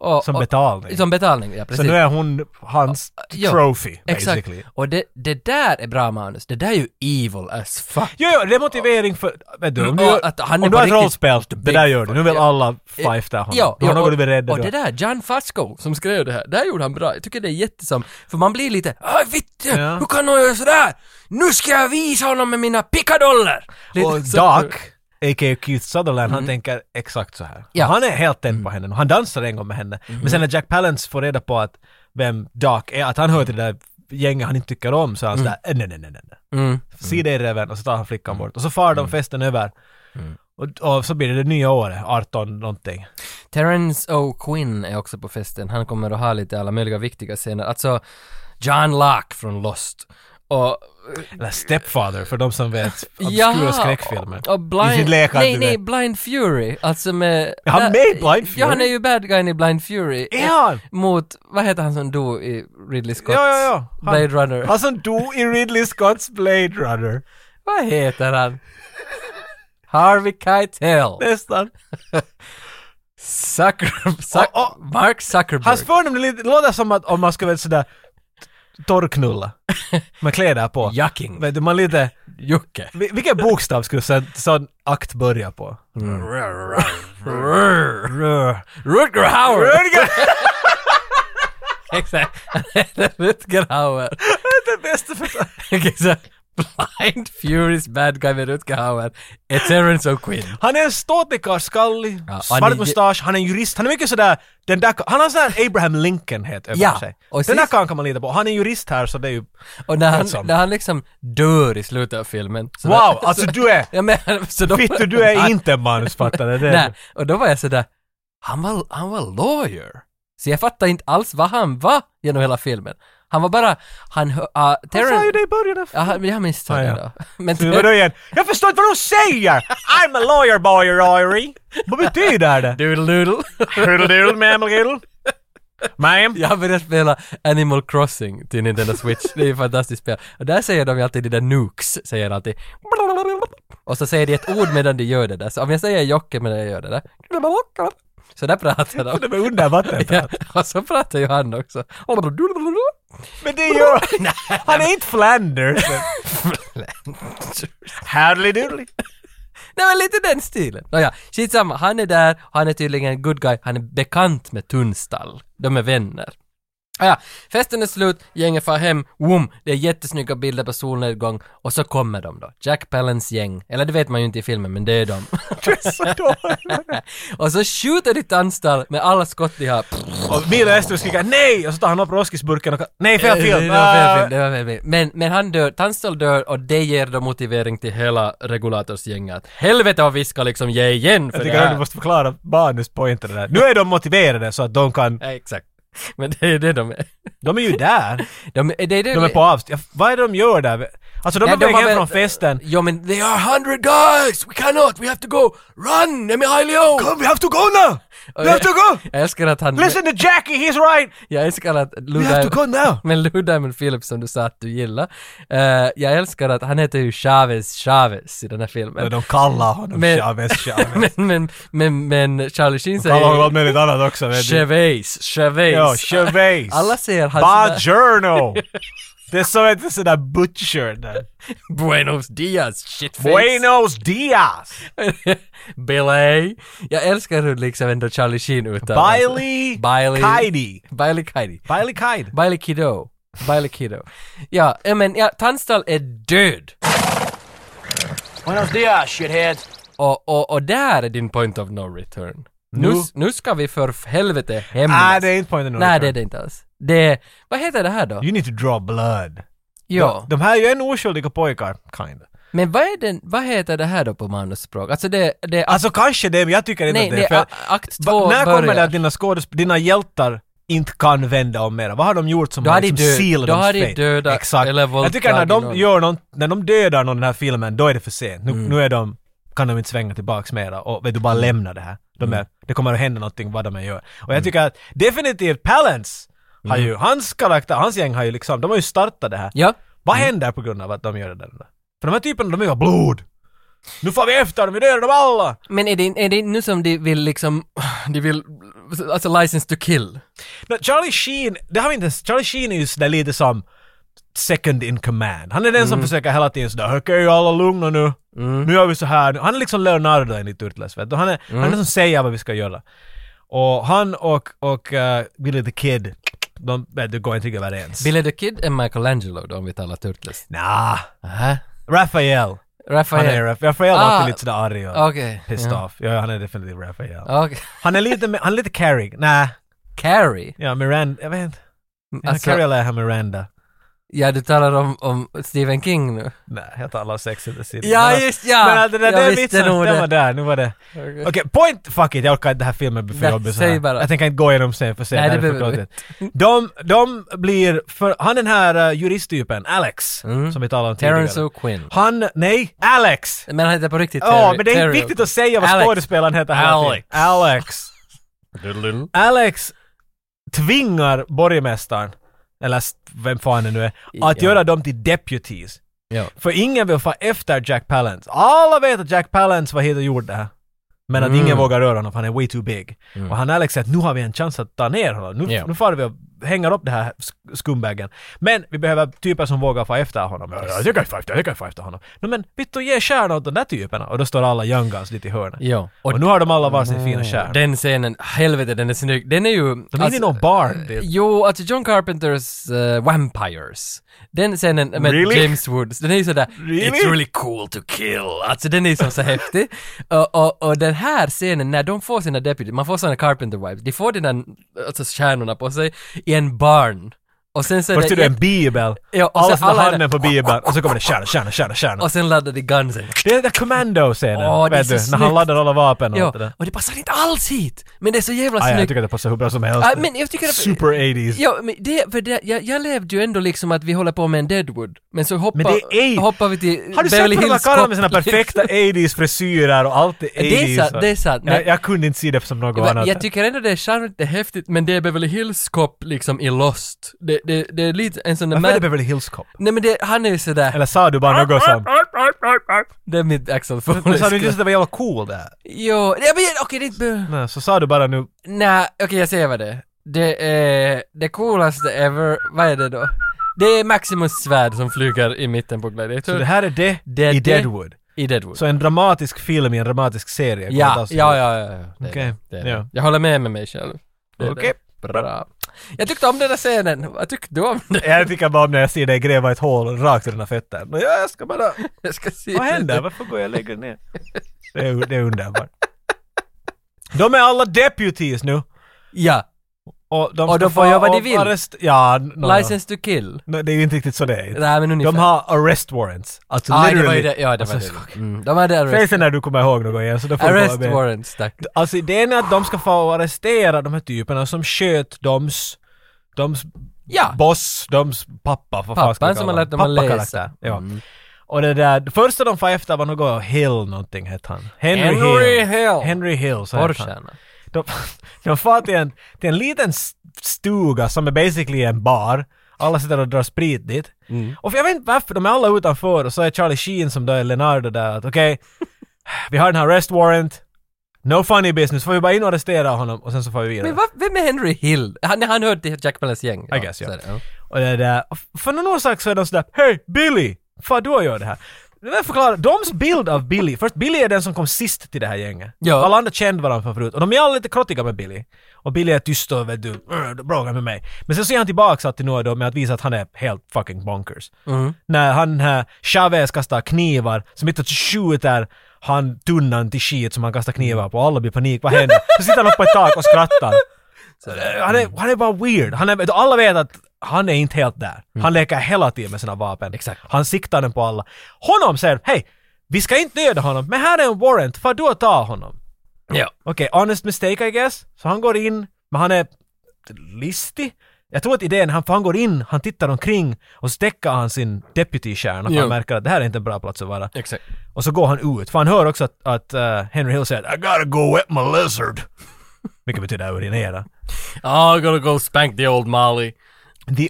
[SPEAKER 1] Och,
[SPEAKER 2] Som
[SPEAKER 1] och-
[SPEAKER 2] betalning.
[SPEAKER 1] Som betalning, ja
[SPEAKER 2] Så
[SPEAKER 1] precis.
[SPEAKER 2] nu är hon hans
[SPEAKER 1] Ja,
[SPEAKER 2] trophy,
[SPEAKER 1] Exakt.
[SPEAKER 2] basically.
[SPEAKER 1] Och det, det där är bra manus. Det där är ju evil as fuck.
[SPEAKER 2] Jo, jo, det är motivering för... Vet du, om du,
[SPEAKER 1] Ja,
[SPEAKER 2] gör,
[SPEAKER 1] Mm, att han är
[SPEAKER 2] om du
[SPEAKER 1] på
[SPEAKER 2] har ett
[SPEAKER 1] riktigt
[SPEAKER 2] rollspel, det
[SPEAKER 1] big
[SPEAKER 2] där gör du. Nu vill
[SPEAKER 1] fuck.
[SPEAKER 2] alla fifta honom.
[SPEAKER 1] Ja,
[SPEAKER 2] du har
[SPEAKER 1] ja,
[SPEAKER 2] något
[SPEAKER 1] och,
[SPEAKER 2] du är rädd
[SPEAKER 1] och
[SPEAKER 2] du
[SPEAKER 1] det
[SPEAKER 2] har-
[SPEAKER 1] där, John Fasco som skrev det här, det här gjorde han bra. Jag tycker det är jättesam. För man blir lite, "Aj, vittu,
[SPEAKER 2] Ja.
[SPEAKER 1] hur kan hon göra sådär? Nu ska jag visa honom med mina pickadoller! Lite
[SPEAKER 2] Och
[SPEAKER 1] så-
[SPEAKER 2] Doc, a.k.a. Keith Sutherland, han tänker exakt så här.
[SPEAKER 1] Mm. Ja. Mm.
[SPEAKER 2] Han är helt tänd på henne. Han dansar en gång med henne. Men sen när Jack Palance får reda på att vem Doc är, att han hör till det där gänget han inte tycker om, så är han sådär "Eh, nej, nej, nej, nej, nej.
[SPEAKER 1] Mm.
[SPEAKER 2] Se dig räven och så tar han flickan bort. Och så far de festen över.
[SPEAKER 1] Mm.
[SPEAKER 2] Och, och så blir det det nya året, 18 någonting.
[SPEAKER 1] Terence O'Quinn är också på festen. Han kommer att ha lite alla möjliga viktiga scener. Alltså, John Locke från Lost. Och...
[SPEAKER 2] Eller Stepfather, för de som vet obskura skräckfilmer.
[SPEAKER 1] Och blind,
[SPEAKER 2] I sin lekar,
[SPEAKER 1] nej,
[SPEAKER 2] du
[SPEAKER 1] nej,
[SPEAKER 2] vet.
[SPEAKER 1] Blind Fury. Alltså med...
[SPEAKER 2] Är han med i Blind
[SPEAKER 1] Ja, han är
[SPEAKER 2] Fury?
[SPEAKER 1] ju bad guyn i Blind Fury.
[SPEAKER 2] Är han?
[SPEAKER 1] Mot, vad heter han som dog i Ridley Scotts
[SPEAKER 2] Ja, ja, ja. Han-
[SPEAKER 1] Blade Runner?
[SPEAKER 2] Han som dog i Ridley Scotts Blade Runner.
[SPEAKER 1] Vad heter han? Harvey Keitel.
[SPEAKER 2] Nästan.
[SPEAKER 1] Zucker, Zuck,
[SPEAKER 2] Och-
[SPEAKER 1] Mark Zuckerberg.
[SPEAKER 2] Hans förnamn är lite- låter som att om man ska vara sådär t- torrknulla. Med kläder på.
[SPEAKER 1] Jacking.
[SPEAKER 2] Vet du, man lite...
[SPEAKER 1] Jocke.
[SPEAKER 2] vil- Vilken bokstav skulle sån, sån akt börja på?
[SPEAKER 1] Mm.
[SPEAKER 2] Rör.
[SPEAKER 1] Rutger Hauer!
[SPEAKER 2] Rödger!
[SPEAKER 1] Exakt. Han heter Rutger Hauer.
[SPEAKER 2] Det bästa för...
[SPEAKER 1] Exakt. Blind Furies bad guy med Rutger Hauer är Terence O'Quinn.
[SPEAKER 2] Han är en ståtlig karl, skallig,
[SPEAKER 1] Ja, han är
[SPEAKER 2] svart
[SPEAKER 1] ju-
[SPEAKER 2] mustasch, han är en jurist, han är mycket sådär, den där, han har sån här Abraham Lincoln-het över
[SPEAKER 1] Ja,
[SPEAKER 2] sig.
[SPEAKER 1] och
[SPEAKER 2] den där
[SPEAKER 1] sist-
[SPEAKER 2] karln kan man lita på, han är jurist här så det är ju...
[SPEAKER 1] Och när han,
[SPEAKER 2] Handsome.
[SPEAKER 1] när han liksom dör i slutet av filmen. så-
[SPEAKER 2] Wow, alltså du är...
[SPEAKER 1] Ja, men, så då,
[SPEAKER 2] Fittu, du är inte en manusfattare. Det
[SPEAKER 1] Nej,
[SPEAKER 2] är,
[SPEAKER 1] och då var jag sådär, han var, han var lawyer. Så jag fattade inte alls vad han var genom hela filmen. Han var bara, han... hö- ah,
[SPEAKER 2] han
[SPEAKER 1] Terrence-
[SPEAKER 2] sa ju det i början av...
[SPEAKER 1] Ja, han- jag misstog
[SPEAKER 2] Ah,
[SPEAKER 1] det
[SPEAKER 2] ja.
[SPEAKER 1] då. Men
[SPEAKER 2] Du, Vadå igen? Jag förstår inte vad de säger! I'm a lawyer boy, Rory. Vad betyder det?
[SPEAKER 1] Doodle-doodle.
[SPEAKER 2] Hurdeludel, ma'am, riddle. Ma'am?
[SPEAKER 1] Jag började spela Animal Crossing till Nintendo Switch. Det är ju ett fantastiskt spel. Och där säger de ju alltid de där nukes, säger de alltid. Och så säger de ett ord medan de gör det där. Så om jag säger Jocke medan jag gör det där. Så där pratar de.
[SPEAKER 2] Det var under vattnet.
[SPEAKER 1] Ja, och så pratar ju han också.
[SPEAKER 2] Men det gör... Han är inte Flanders. Hurdeludel.
[SPEAKER 1] Det var lite den stilen. Nåja, skitsamma. Han är där, han är tydligen en good guy, han är bekant med Tunstall. De är vänner. Ah, Ja, festen är slut, gänget far hem, woom, det är jättesnygga bilder på solnedgång och så kommer de då. Jack Palance gäng, eller det vet man ju inte i filmen men det är de.
[SPEAKER 2] Du är så dålig.
[SPEAKER 1] och så skjuter de Tunstall med alla skott de har.
[SPEAKER 2] Och Mila Estrus skriker nej! Och så tar han upp roskisburken och nej fel film!
[SPEAKER 1] Eh, Det var fel
[SPEAKER 2] Ah.
[SPEAKER 1] film, det var fel film. Men, men han dör, Tunstall dör och det ger då motivering till hela regulatorsgänget. Helvete vad vi ska liksom ge igen för
[SPEAKER 2] Jag
[SPEAKER 1] det
[SPEAKER 2] tycker att
[SPEAKER 1] här.
[SPEAKER 2] du måste förklara manuspointen där. Nu är de motiverade så att de kan...
[SPEAKER 1] Ja, exakt. Men det är det de är.
[SPEAKER 2] De är ju där!
[SPEAKER 1] De, det är det
[SPEAKER 2] De är på avstånd. Vad är det de gör där? Alltså de
[SPEAKER 1] Nej,
[SPEAKER 2] är på väg
[SPEAKER 1] har väl-
[SPEAKER 2] hem från festen.
[SPEAKER 1] Ja men they are hundred guys! We cannot! We have to go! Run! Emilio!
[SPEAKER 2] Come, we have to go now!
[SPEAKER 1] Oh,
[SPEAKER 2] We have to go!
[SPEAKER 1] Jag älskar att han...
[SPEAKER 2] Listen to Jackie, he's right!
[SPEAKER 1] Jag älskar att... Lou
[SPEAKER 2] We have
[SPEAKER 1] Diamond-
[SPEAKER 2] to go now!
[SPEAKER 1] Men Lou Diamond Phillips som du sa att du gillar. eh, jag älskar att han heter ju Chavez Chavez i den här filmen.
[SPEAKER 2] De kallar honom
[SPEAKER 1] Men-
[SPEAKER 2] Chavez, Chavez.
[SPEAKER 1] men, men, men, men Charlie Sheen
[SPEAKER 2] De kallar honom
[SPEAKER 1] säger
[SPEAKER 2] allt möjligt annat också. vet du.
[SPEAKER 1] Chavez, Chavez.
[SPEAKER 2] Ja, Chavez.
[SPEAKER 1] Alla säger hans
[SPEAKER 2] Bajerno! Det är som ett sånt där butcher där.
[SPEAKER 1] Buenos dias, shitface.
[SPEAKER 2] Buenos dias!
[SPEAKER 1] Oh, Billy. Jag älskar hur liksom ändå Charlie Sheen uttalar sig.
[SPEAKER 2] Bailey
[SPEAKER 1] Bailey.
[SPEAKER 2] Kaidi.
[SPEAKER 1] Bailey Kaidi.
[SPEAKER 2] Bailey Kaid.
[SPEAKER 1] Bailey Kiddo. Bailey Kiddo. Ja, eh, men ja, Tunstall är död.
[SPEAKER 5] Buenos dias, shitheads.
[SPEAKER 1] Och, och, och där är din point of no return. Nu,
[SPEAKER 2] Nu-
[SPEAKER 1] s- nu ska vi för f- helvete hämnas.
[SPEAKER 2] Nej, det är inte poängen.
[SPEAKER 1] Nej, det är det inte alls. Det är, vad heter det här då?
[SPEAKER 2] You need to draw blood.
[SPEAKER 1] ja,
[SPEAKER 2] De här är ju ännu oskyldiga pojkar, kind of.
[SPEAKER 1] men vad är den, vad heter det här då på manusspråk? Alltså det, det är,
[SPEAKER 2] Alltså kanske det, men jag tycker inte
[SPEAKER 1] nej,
[SPEAKER 2] att
[SPEAKER 1] det
[SPEAKER 2] det
[SPEAKER 1] är
[SPEAKER 2] är
[SPEAKER 1] a- akt
[SPEAKER 2] Va-
[SPEAKER 1] två
[SPEAKER 2] När kommer det
[SPEAKER 1] börjar.
[SPEAKER 2] att dina, skådesp- dina hjältar inte kan vända om mera? Vad har de gjort som
[SPEAKER 1] Då
[SPEAKER 2] har
[SPEAKER 1] har de
[SPEAKER 2] liksom
[SPEAKER 1] död-
[SPEAKER 2] sealat
[SPEAKER 1] då
[SPEAKER 2] dems
[SPEAKER 1] har de
[SPEAKER 2] fate?
[SPEAKER 1] dödat
[SPEAKER 2] Exakt.
[SPEAKER 1] eller
[SPEAKER 2] Jag tycker när
[SPEAKER 1] våldtagit någon. Mm.
[SPEAKER 2] de, gör någon, när de dödar någon i den här filmen, då är det för sent. Nu, nu är de, kan de inte svänga tillbaks mera och vet du, bara lämna det här. De är,
[SPEAKER 1] Mm.
[SPEAKER 2] Det kommer att hända någonting vad de än gör. Och jag tycker att definitivt Palance har ju, hans karaktär, hans gäng har ju liksom, de har ju startat det här.
[SPEAKER 1] Mm. Ja.
[SPEAKER 2] Vad händer på grund av att de gör det där? För de här typerna, de är ju av blod! Nu får vi efter dem, vi dödar dem alla!
[SPEAKER 1] Men är det, är det nu som de vill liksom, de vill, alltså license to kill?
[SPEAKER 2] No, Charlie Sheen, det har vi inte ens- Charlie Sheen är ju sådär lite som second in command. Han är den
[SPEAKER 1] Mm.
[SPEAKER 2] som försöker hela tiden sådär, okej alla lugna nu. Nu gör vi så här. Han är liksom Leonardo enligt Turtles, vet du. Han är, han
[SPEAKER 1] Mm.
[SPEAKER 2] är den som säger vad vi ska göra. Och han och, och uh, Billy the Kid, de vet du, går inte riktigt överens.
[SPEAKER 1] Billy the Kid är Michelangelo då om vi talar Turtles.
[SPEAKER 2] Nah.
[SPEAKER 1] Aha.
[SPEAKER 2] Raphael. Han är
[SPEAKER 1] Raphael.
[SPEAKER 2] Raphael. Raphael
[SPEAKER 1] Ah,
[SPEAKER 2] är alltid lite sådär arg och
[SPEAKER 1] Okej.
[SPEAKER 2] pissed
[SPEAKER 1] ja.
[SPEAKER 2] off. Ja, han är definitivt Raphael.
[SPEAKER 1] Okej.
[SPEAKER 2] Han är lite, han är lite Carrie. Nej,
[SPEAKER 1] Carrie.
[SPEAKER 2] ja Miranda, jag vet inte.
[SPEAKER 1] Alltså,
[SPEAKER 2] Carrie eller är han Miranda?
[SPEAKER 1] Ja, du talar om, om Stephen King nu.
[SPEAKER 2] Nej, jag talar om Sex and the City.
[SPEAKER 1] Ja,
[SPEAKER 2] Men-
[SPEAKER 1] just ja!
[SPEAKER 2] Men den där
[SPEAKER 1] jag
[SPEAKER 2] den
[SPEAKER 1] visste
[SPEAKER 2] vitsen,
[SPEAKER 1] nog
[SPEAKER 2] den var
[SPEAKER 1] det.
[SPEAKER 2] där, nu var det.
[SPEAKER 1] Okej.
[SPEAKER 2] Okej, point, fuck it, jag orkar inte den här filmen blir för
[SPEAKER 1] Nej,
[SPEAKER 2] jobbig så
[SPEAKER 1] säg
[SPEAKER 2] här.
[SPEAKER 1] bara.
[SPEAKER 2] Jag tänker inte gå igenom sen för sen
[SPEAKER 1] Nej, det
[SPEAKER 2] är för
[SPEAKER 1] behöver vi
[SPEAKER 2] klottigt. De, de blir, för, han den här eh, juristtypen, Alex, som vi talade om tidigare.
[SPEAKER 1] Mm. Terrence O'Quinn.
[SPEAKER 2] Han, nej, Alex!
[SPEAKER 1] Men han heter på riktigt
[SPEAKER 2] Ja,
[SPEAKER 1] Terry-
[SPEAKER 2] men det är
[SPEAKER 1] Terry
[SPEAKER 2] inte viktigt
[SPEAKER 1] O'Quinn.
[SPEAKER 2] att säga vad
[SPEAKER 1] Alex.
[SPEAKER 2] skådespelaren heter hela tiden.
[SPEAKER 1] Alex.
[SPEAKER 2] Alex. Alex tvingar borgmästaren, eller s- vem fan det nu är, att
[SPEAKER 1] Ja.
[SPEAKER 2] göra dem till deputies.
[SPEAKER 1] Ja.
[SPEAKER 2] För ingen vill få efter Jack Palance. Alla vet att Jack Palance var hit och gjorde det här. Men att
[SPEAKER 1] Mm.
[SPEAKER 2] ingen vågar röra honom för han är way too big.
[SPEAKER 1] Mm.
[SPEAKER 2] Och han Alex säger att nu har vi en chans att ta ner honom. Nu,
[SPEAKER 1] Ja.
[SPEAKER 2] nu får vi och hänger upp det här sk- scumbaggen. Men vi behöver typer som vågar få efter honom. Ja, Jag kan få efter, jag kan få efter honom. No, men vittu ge stjärna åt de där typerna. Och då står alla young guns lite i hörnet.
[SPEAKER 1] Ja.
[SPEAKER 2] Och, Mm. nu har de alla varsin fina stjärna.
[SPEAKER 1] Den scenen, helvete den är snygg. Den är ju...
[SPEAKER 2] De är inne i någon barn. Det-
[SPEAKER 1] Jo, alltså John Carpenters eh, Vampires. Den scenen med
[SPEAKER 2] Really?
[SPEAKER 1] James Woods, den är ju sådär
[SPEAKER 2] Really?
[SPEAKER 1] “It's really cool to kill”. Alltså den är ju som så häftig. Och, och, och den här scenen, när de får sina deputy, man får såna Carpenter vibes, de får de där alltså, stjärnorna på sig i en barn. Och sen så är
[SPEAKER 2] Först är
[SPEAKER 1] det...
[SPEAKER 2] det en bibel.
[SPEAKER 1] Ja, och
[SPEAKER 2] alla
[SPEAKER 1] sen
[SPEAKER 2] står
[SPEAKER 1] alla är
[SPEAKER 2] handen
[SPEAKER 1] där-
[SPEAKER 2] på bibeln och så kommer det stjärna, stjärna, stjärna, stjärna.
[SPEAKER 1] och sen laddar de gunsen.
[SPEAKER 2] Det är den där commando-scenen,
[SPEAKER 1] Åh, det är
[SPEAKER 2] vet
[SPEAKER 1] så
[SPEAKER 2] du, när han
[SPEAKER 1] snyggt.
[SPEAKER 2] laddar alla vapen och
[SPEAKER 1] Ja,
[SPEAKER 2] allt det där.
[SPEAKER 1] och det passar inte alls hit! Men det är så jävla
[SPEAKER 2] Aj, jag
[SPEAKER 1] snyggt.
[SPEAKER 2] tycker att det passar hur bra som helst.
[SPEAKER 1] Ja, men jag tycker att-
[SPEAKER 2] Super 80s.
[SPEAKER 1] Ja, men det, för det, jag, jag levde ju ändå liksom att vi håller på med en Deadwood. Men så hoppar,
[SPEAKER 2] Men det är-
[SPEAKER 1] hoppar vi till
[SPEAKER 2] Har du sett på
[SPEAKER 1] Beverly
[SPEAKER 2] de där
[SPEAKER 1] Hills
[SPEAKER 2] karlarna med sina
[SPEAKER 1] Cop,
[SPEAKER 2] perfekta 80s frisyrer och allt är 80s?
[SPEAKER 1] är sant, det är sant.
[SPEAKER 2] Jag,
[SPEAKER 1] Nej.
[SPEAKER 2] jag kunde inte se det som något
[SPEAKER 1] liksom.
[SPEAKER 2] annat.
[SPEAKER 1] Jag tycker ändå det är charmigt, det är häftigt, men det är Beverly Hills Cop liksom i Lost. Det, det, det är lite en sån där...
[SPEAKER 2] Varför är det
[SPEAKER 1] mad-
[SPEAKER 2] Beverly Hills Cop?
[SPEAKER 1] Nej men det, han är ju sådär...
[SPEAKER 2] Eller sa du bara något som...
[SPEAKER 1] Det är mitt Axel
[SPEAKER 2] Men
[SPEAKER 1] Foley.
[SPEAKER 2] Sa du inte att det var jävla cool det här?
[SPEAKER 1] Jo, nej men okej, det är inte...
[SPEAKER 2] Nej, så sa du bara nu...
[SPEAKER 1] Nej, okej jag säger vad det är. Det är det coolaste ever, vad är det då? Det är Maximus svärd som flyger i mitten på Gladiator.
[SPEAKER 2] Så det här är det,
[SPEAKER 1] Det är
[SPEAKER 2] i
[SPEAKER 1] det.
[SPEAKER 2] Deadwood.
[SPEAKER 1] I Deadwood.
[SPEAKER 2] Så en dramatisk film i en dramatisk serie. kommer att
[SPEAKER 1] Ja,
[SPEAKER 2] tas-
[SPEAKER 1] ja, ja, ja. ja. Det är
[SPEAKER 2] Okej,
[SPEAKER 1] det, det är det.
[SPEAKER 2] ja.
[SPEAKER 1] Jag håller med med mig själv. Det är
[SPEAKER 2] Okej.
[SPEAKER 1] det. Bra. Jag tyckte om den där scenen. Vad tyckte du om den?
[SPEAKER 2] Jag tycker bara om när jag ser dig gräva ett hål rakt i dina fötter. Nå, Ja, jag ska bara...
[SPEAKER 1] Jag ska se.
[SPEAKER 2] Vad händer? Varför går jag och lägger ner? Det är, det är underbart. De är alla deputies nu.
[SPEAKER 1] Ja.
[SPEAKER 2] Och de,
[SPEAKER 1] Och
[SPEAKER 2] ska
[SPEAKER 1] de får
[SPEAKER 2] få-
[SPEAKER 1] göra vad de
[SPEAKER 2] och
[SPEAKER 1] vill.
[SPEAKER 2] Arrest, ja, no, no.
[SPEAKER 1] License to kill.
[SPEAKER 2] No, det är ju inte riktigt så det är.
[SPEAKER 1] Nej, men ungefär.
[SPEAKER 2] De har arrest warrants. Alltså
[SPEAKER 1] ah, det var
[SPEAKER 2] literally.
[SPEAKER 1] ju det. Ja, det var
[SPEAKER 2] Alltså,
[SPEAKER 1] det. Mm. De hade arrest,
[SPEAKER 2] Säg sen när du kommer ihåg något igen så då får du
[SPEAKER 1] arrest
[SPEAKER 2] bara med.
[SPEAKER 1] warrants, tack.
[SPEAKER 2] Alltså idén är att de ska få arrestera de här typerna som sköt doms, doms
[SPEAKER 1] Ja.
[SPEAKER 2] boss, doms pappa. Vad fan ska
[SPEAKER 1] Pappan
[SPEAKER 2] vi
[SPEAKER 1] som
[SPEAKER 2] kalla
[SPEAKER 1] har lärt dem
[SPEAKER 2] honom?
[SPEAKER 1] att läsa. Mm.
[SPEAKER 2] Pappakaraktär, Ja. Och det där, det första de får efter var något Hill någonting hette han. Henry,
[SPEAKER 1] Henry Hill.
[SPEAKER 2] Henry Hill, så hette han.
[SPEAKER 1] Porscharna.
[SPEAKER 2] De, de far till en, till en liten s- stuga som är basically en bar. Alla sitter och drar sprit dit. Och jag vet inte varför, de är alla utanför och så är Charlie Sheen som då är Leonardo där att okej, vi har den här arrest warrant, no funny business, får vi bara in och arrestera honom och sen så får vi vidare.
[SPEAKER 1] Men vad, vem är Henry Hill? Han, han hörde till Jack Palance gäng.
[SPEAKER 2] I guess, ja.
[SPEAKER 1] så är det,
[SPEAKER 2] Och det där, och f- för någon orsak så är de sådär Hej Billy! Fan du har gjort det här. Det där förklarar, doms bild av Billy, först Billy är den som kom sist till det här gänget.
[SPEAKER 1] Ja.
[SPEAKER 2] Alla andra kände varandra från förut och de är alla lite krottiga med Billy. Och Billy är tyst och vet du, "Urr, du bråkar med mig. Men sen så är han tillbaka alltid nu då med att visa att han är helt fucking bonkers. När han här Chavez kastar knivar, som inte skjuter han tunnan till skit som han kastar knivar på, alla blir panik, vad händer? Så sitter han uppe på ett tak och skrattar. Eh, Han
[SPEAKER 1] Mm.
[SPEAKER 2] är, han är bara weird. Han är, alla vet att han är inte helt där. Han leker hela tiden med sina vapen.
[SPEAKER 1] Mm. Exakt.
[SPEAKER 2] Han siktar den på alla. Honom säger hej, vi ska inte döda honom, men här är en warrant, för du att ta honom.
[SPEAKER 1] Ja.
[SPEAKER 2] Okej, honest mistake I guess. Så han går in, men han är listig. Jag tror att idén, han, för han går in, han tittar omkring och så täcker han sin deputy-kärna för
[SPEAKER 1] Ja.
[SPEAKER 2] han märker att det här är inte en bra plats att vara.
[SPEAKER 1] Exakt.
[SPEAKER 2] Och så går han ut, för han hör också att, att eh, Henry Hill säger I gotta go wet my lizard. Vilket betyder urinera.
[SPEAKER 1] Oh, I gotta go spank the old Molly.
[SPEAKER 2] The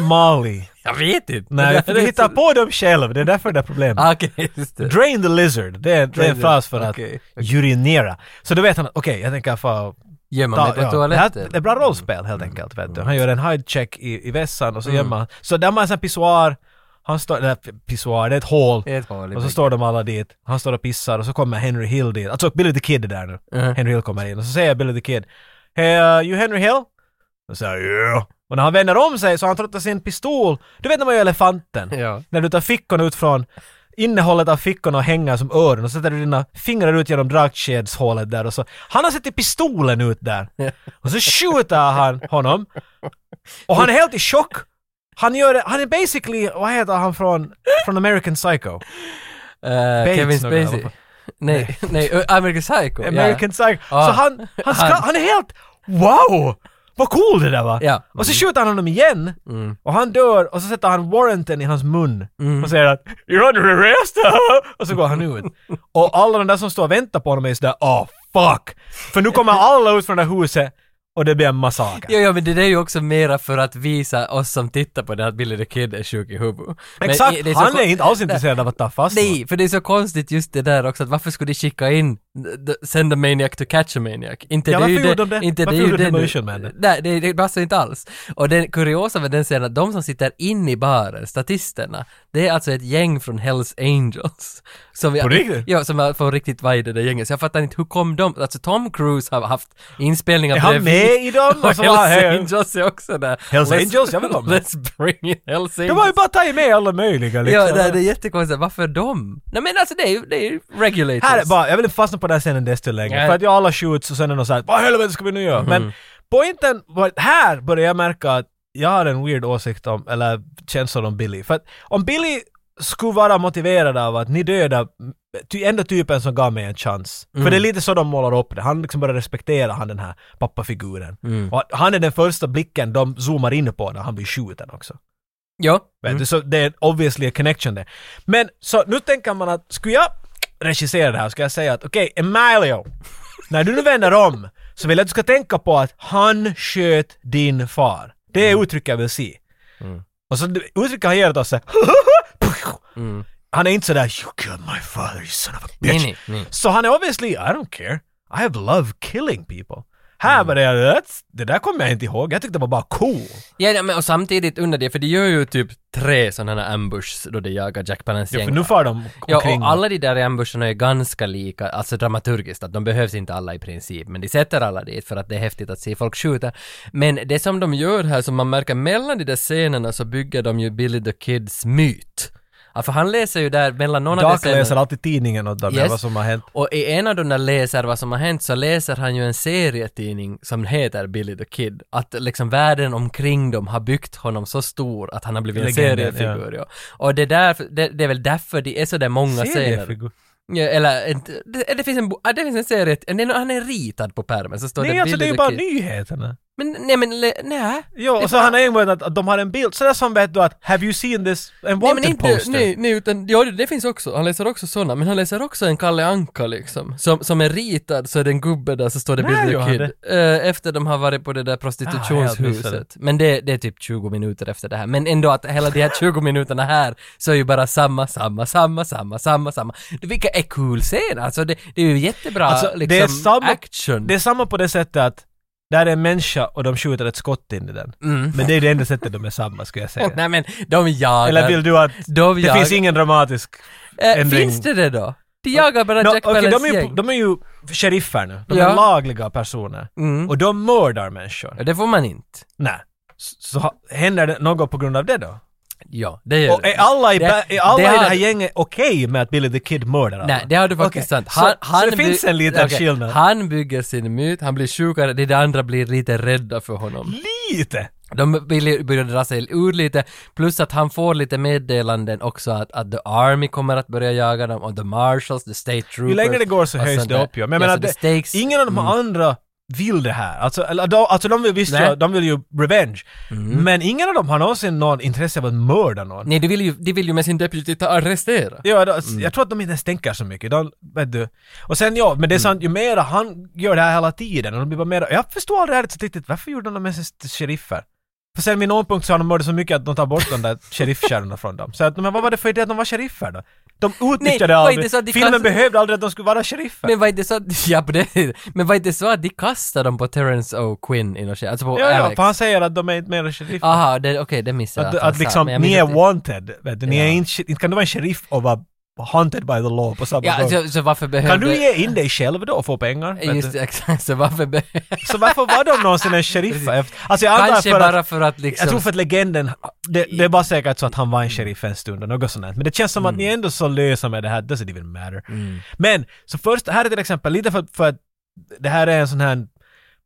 [SPEAKER 2] Molly.
[SPEAKER 1] Jag vet inte.
[SPEAKER 2] Nej,
[SPEAKER 1] Det
[SPEAKER 2] du
[SPEAKER 1] där är
[SPEAKER 2] hittar
[SPEAKER 1] så-
[SPEAKER 2] på dem själv. Det är därför det är problem.
[SPEAKER 1] Ah, Okej, just det.
[SPEAKER 2] Drain the lizard. Det är, det är en
[SPEAKER 1] the-
[SPEAKER 2] fras för att
[SPEAKER 1] okej,
[SPEAKER 2] urinera. Så då vet han att okej, jag tänker få...
[SPEAKER 1] Gömma
[SPEAKER 2] ta-
[SPEAKER 1] mig på
[SPEAKER 2] det här
[SPEAKER 1] toaletten. Mm.
[SPEAKER 2] det är bra rollspel helt enkelt. Vet du. Han gör en hide check i, i vässan och så gömmer han. Så där man en sån här pissoar. Han står... där pissoar, det är ett hål.
[SPEAKER 1] Det är ett hål i
[SPEAKER 2] Och så
[SPEAKER 1] väggen.
[SPEAKER 2] står de alla dit. Han står och pissar och så kommer Henry Hill dit. Alltså Billy the Kid är där nu.
[SPEAKER 1] Mhm.
[SPEAKER 2] Henry Hill kommer in och så säger Billy the Kid Hey, uh, you Henry Hill? Och så säger yeah. Och när han vänder om sig så har han trottat sin pistol. Du vet när man gör elefanten?
[SPEAKER 1] Ja.
[SPEAKER 2] När du tar fickorna ut från innehållet av fickorna hänger som öron och sätter du dina fingrar ut genom dragkedshålet där och så. Han har sett pistolen ut där. Och så skjuter han honom. Och han är helt i chock. Han gör det, han är basically, vad heter han från, från American Psycho?
[SPEAKER 1] Eh, Kevin
[SPEAKER 2] Bates några,
[SPEAKER 1] Spacey.
[SPEAKER 2] i alla fall.
[SPEAKER 1] Nej, nej, ö, American Psycho. ja.
[SPEAKER 2] American Psycho.
[SPEAKER 1] Ja.
[SPEAKER 2] Så han, han, ska,
[SPEAKER 1] Han-
[SPEAKER 2] han är helt, wow! Vad cool det där var!
[SPEAKER 1] Ja. Mm.
[SPEAKER 2] Och så skjuter han honom igen, och han dör, och så sätter han warranten i hans mun och säger att “You're under arrest!” och så går han ut. och alla de där som står och väntar på honom är sådär “Oh fuck!” För nu kommer alla ut från det där huset och det blir en massaker.
[SPEAKER 1] Ja, ja, men det där är ju också mera för att visa oss som tittar på det att Billy the Kid är sjuk i huvudet. Men
[SPEAKER 2] Exakt!
[SPEAKER 1] i- det så
[SPEAKER 2] han
[SPEAKER 1] ko-
[SPEAKER 2] är inte alls intresserad av att ta fast någon.
[SPEAKER 1] Nej, för det är så konstigt just det där också att varför skulle de skicka in the, send a maniac to catch a maniac? Inte
[SPEAKER 2] Ja,
[SPEAKER 1] det är
[SPEAKER 2] varför
[SPEAKER 1] ju
[SPEAKER 2] gjorde de det?
[SPEAKER 1] Inte
[SPEAKER 2] Varför
[SPEAKER 1] det är ju
[SPEAKER 2] gjorde de
[SPEAKER 1] det nu.
[SPEAKER 2] Demolition Man det?
[SPEAKER 1] Nej, det, det passar inte alls. Och den kuriosa med den scenen, att de som sitter inne i baren, statisterna, det är alltså ett gäng från Hells Angels. Som vi,
[SPEAKER 2] På riktigt?
[SPEAKER 1] Ja, som är från riktigt vad är det där gänget. Så jag fattar inte, hur kom de? Alltså Tom Cruise har haft inspelningar
[SPEAKER 2] Är han med i dem?
[SPEAKER 1] Och
[SPEAKER 2] Och så var han
[SPEAKER 1] Hells
[SPEAKER 2] här.
[SPEAKER 1] Angels är också där.
[SPEAKER 2] Hells Angels, jag vill vara med.
[SPEAKER 1] Let's bring in Hells Angels.
[SPEAKER 2] Det var ju bara att ta med alla möjliga liksom.
[SPEAKER 1] Ja, det, det är jättekonstigt. Varför de? Nej men alltså det är ju, det är ju regulators.
[SPEAKER 2] Här är bara, jag vill inte fastna på den här scenen desto längre.
[SPEAKER 1] Nej.
[SPEAKER 2] För att jag alla skjuts och sen är det något såhär, vad i helvete ska vi nu göra? Men pointen, var, här börjar jag märka att jag har en weird åsikt om, eller känslor om Billy. För att om Billy skulle vara motiverad av att ni dödar ty, enda typen som gav mig en chans. För det är lite så de målar upp det. Han liksom börjar respektera han den här pappafiguren. Och att han är den första blicken de zoomar in på när han blir skjuten också.
[SPEAKER 1] Ja.
[SPEAKER 2] Vet du, Så det är obviously a connection där. Men så nu tänker man att, skulle jag regissera det här, ska jag säga att okej, Emilio, när du nu vänder om så vill jag att du ska tänka på att han sköt din far. Det
[SPEAKER 1] Mm.
[SPEAKER 2] är uttrycket jag vill se. Och så det- uttrycket han ger åt oss är Han är inte sådär “You killed my father, you son of a bitch”.
[SPEAKER 1] Mm. Nej, nej, nej.
[SPEAKER 2] Så han är obviously, I don't care. I have love killing people.
[SPEAKER 1] Mm.
[SPEAKER 2] Här var det, "That's- det där kommer jag inte ihåg. Jag tyckte det var bara cool.
[SPEAKER 1] Ja, nej, men och samtidigt under det, för de gör ju typ tre sådana här ambushs då de jagar Jack Palance
[SPEAKER 2] Ja,
[SPEAKER 1] gäng.
[SPEAKER 2] för nu far de
[SPEAKER 1] Ja,
[SPEAKER 2] omkring.
[SPEAKER 1] och alla de där ambusherna är ganska lika, alltså dramaturgiskt, att de behövs inte alla i princip, men de sätter alla dit för att det är häftigt att se folk skjuta. Men det som de gör här, som man märker mellan de där scenerna, så bygger de ju Billy the Kids myt. Ja, för han läser ju där mellan någon av de
[SPEAKER 2] Dark
[SPEAKER 1] scenerna.
[SPEAKER 2] läser alltid tidningen åt dem,
[SPEAKER 1] Yes.
[SPEAKER 2] vad som har hänt.
[SPEAKER 1] Och i en av de där läser vad som har hänt så läser han ju en serietidning som heter Billy the Kid. Att liksom världen omkring dem har byggt honom så stor att han har blivit en
[SPEAKER 2] Legenden,
[SPEAKER 1] seriefigur. Ja. Och det, är därför, det, det är väl därför det är så där många scener.
[SPEAKER 2] Seriefigur.
[SPEAKER 1] Ja, eller, inte- det, det finns en, bo- ah, det finns en serie, det är, nå- han är ritad på pärmen så står
[SPEAKER 2] Nej,
[SPEAKER 1] det
[SPEAKER 2] alltså
[SPEAKER 1] Billy
[SPEAKER 2] det är ju
[SPEAKER 1] the
[SPEAKER 2] bara
[SPEAKER 1] Kid.
[SPEAKER 2] nyheterna.
[SPEAKER 1] Men nej men, le- nej.
[SPEAKER 2] Jo,
[SPEAKER 1] Det är
[SPEAKER 2] och så
[SPEAKER 1] bara-
[SPEAKER 2] han har ju att, att de har en bild, sådär som vet du att “Have you seen this?” En
[SPEAKER 1] Nej men
[SPEAKER 2] wanted
[SPEAKER 1] inte,
[SPEAKER 2] poster.
[SPEAKER 1] nej, nej utan, ja det, det finns också, han läser också sådana, men han läser också en Kalle Anka liksom, som, som är ritad så är det en gubbe där så står det
[SPEAKER 2] När
[SPEAKER 1] Billy
[SPEAKER 2] gör
[SPEAKER 1] the
[SPEAKER 2] han
[SPEAKER 1] Kid. Eh, efter de har varit på det där
[SPEAKER 2] Ah, jag missade.
[SPEAKER 1] prostitutionshuset. men det, det är typ 20 minuter efter det här, men ändå att hela de här 20 minuterna här så är ju bara samma, samma, samma, samma, samma, samma. Det- Vilka är cool scener, alltså det, det är ju jättebra
[SPEAKER 2] Alltså,
[SPEAKER 1] liksom,
[SPEAKER 2] det är samma-
[SPEAKER 1] action.
[SPEAKER 2] Det är samma på det sättet att där är en människa och de skjuter ett skott in i den.
[SPEAKER 1] Mm.
[SPEAKER 2] Men det är det enda sättet de är samma, skulle jag säga.
[SPEAKER 1] Nej men de jagar.
[SPEAKER 2] Eller vill du att
[SPEAKER 1] de
[SPEAKER 2] det
[SPEAKER 1] jagar.
[SPEAKER 2] finns ingen dramatisk...
[SPEAKER 1] eh,
[SPEAKER 2] ändring?
[SPEAKER 1] finns det det då? De jagar bara
[SPEAKER 2] No,
[SPEAKER 1] Jack
[SPEAKER 2] okej,
[SPEAKER 1] Palance
[SPEAKER 2] de, är ju,
[SPEAKER 1] gäng.
[SPEAKER 2] de är ju sheriffer nu. De
[SPEAKER 1] Ja.
[SPEAKER 2] är lagliga personer.
[SPEAKER 1] Mm.
[SPEAKER 2] Och de mördar människor.
[SPEAKER 1] Ja, det får man inte.
[SPEAKER 2] Nej. Så, så ha- händer det något på grund av det då?
[SPEAKER 1] Ja, det gör
[SPEAKER 2] Och är alla i,
[SPEAKER 1] Det-
[SPEAKER 2] ba- är alla
[SPEAKER 1] det
[SPEAKER 2] i det
[SPEAKER 1] har-
[SPEAKER 2] här gänget okej med att Billy the Kid mördar alla?
[SPEAKER 1] Nej, det har du faktiskt
[SPEAKER 2] Okej.
[SPEAKER 1] sant. Han,
[SPEAKER 2] så,
[SPEAKER 1] han
[SPEAKER 2] så det
[SPEAKER 1] by-
[SPEAKER 2] finns en liten
[SPEAKER 1] okej,
[SPEAKER 2] skillnad.
[SPEAKER 1] Han bygger sin myt, han blir sjukare, det de andra blir lite rädda för honom.
[SPEAKER 2] Lite!
[SPEAKER 1] De vill- börjar dra sig ur lite, plus att han får lite meddelanden också att, att the army kommer att börja jaga dem, och the marshals, the state troopers.
[SPEAKER 2] Ju längre det går så
[SPEAKER 1] och
[SPEAKER 2] höjs
[SPEAKER 1] sånt
[SPEAKER 2] det
[SPEAKER 1] där.
[SPEAKER 2] upp ju. Men jag
[SPEAKER 1] Ja,
[SPEAKER 2] menar,
[SPEAKER 1] så the
[SPEAKER 2] det,
[SPEAKER 1] alltså, stakes, Mm.
[SPEAKER 2] ingen av de andra vill det här. Alltså, eller, de, alltså de vill visst
[SPEAKER 1] Nej. Mm.
[SPEAKER 2] ju, de vill ju revenge. Men ingen av dem har någonsin någon intresse av att mörda någon.
[SPEAKER 1] Nej, de vill ju, de vill ju med sin deputy ta arrestera.
[SPEAKER 2] Ja, då,
[SPEAKER 1] Mm.
[SPEAKER 2] jag tror att de inte ens tänker så mycket. De, vet du. Och sen ja,
[SPEAKER 1] Mm.
[SPEAKER 2] men det är sant, ju mera han gör det här hela tiden och de blir bara mera, jag förstår aldrig ärligt så riktigt, varför gjorde de ens sheriffer? För sen vid någon punkt så har de mördat så mycket att de tar bort de där sheriffkärrorna från dem. Så att, men vad var det för idé att de var sheriffer då? De
[SPEAKER 1] Nej,
[SPEAKER 2] utnyttjade
[SPEAKER 1] var inte
[SPEAKER 2] aldrig,
[SPEAKER 1] så att de
[SPEAKER 2] filmen
[SPEAKER 1] kastade-
[SPEAKER 2] behövde aldrig att de skulle vara sheriffer.
[SPEAKER 1] Men var det så att, ja, på det, men var det så att de kastade dem på Terrence O'Quinn i något skede? Alltså på
[SPEAKER 2] ja, ja,
[SPEAKER 1] Alex?
[SPEAKER 2] för han säger att de är inte mera sheriffer.
[SPEAKER 1] Aha, det- okej, det missade jag
[SPEAKER 2] att, att,
[SPEAKER 1] han sa,
[SPEAKER 2] liksom,
[SPEAKER 1] men jag
[SPEAKER 2] ni
[SPEAKER 1] minns
[SPEAKER 2] är
[SPEAKER 1] inte-
[SPEAKER 2] wanted, vet du. Ni
[SPEAKER 1] Ja.
[SPEAKER 2] är inte, inte kan du vara en sheriff och vara hunted by the law på samma
[SPEAKER 1] Ja,
[SPEAKER 2] gång.
[SPEAKER 1] så, så varför behövde...
[SPEAKER 2] Kan du ge in dig själv då och få pengar? vet du?
[SPEAKER 1] Just det, exakt, så varför be...
[SPEAKER 2] Så varför var de någonsin en sheriff? Alltså jag antar
[SPEAKER 1] Kanske
[SPEAKER 2] för
[SPEAKER 1] bara
[SPEAKER 2] att,
[SPEAKER 1] för att liksom... Mm.
[SPEAKER 2] jag tror för att legenden, det, det är bara säkert så att han var en sheriff en stund och något sånt där. Men det känns som att ni är ändå så lösa med det här, doesn't even
[SPEAKER 1] Mm.
[SPEAKER 2] matter. Men, så först, här är till exempel, lite för, för att det här är en sån här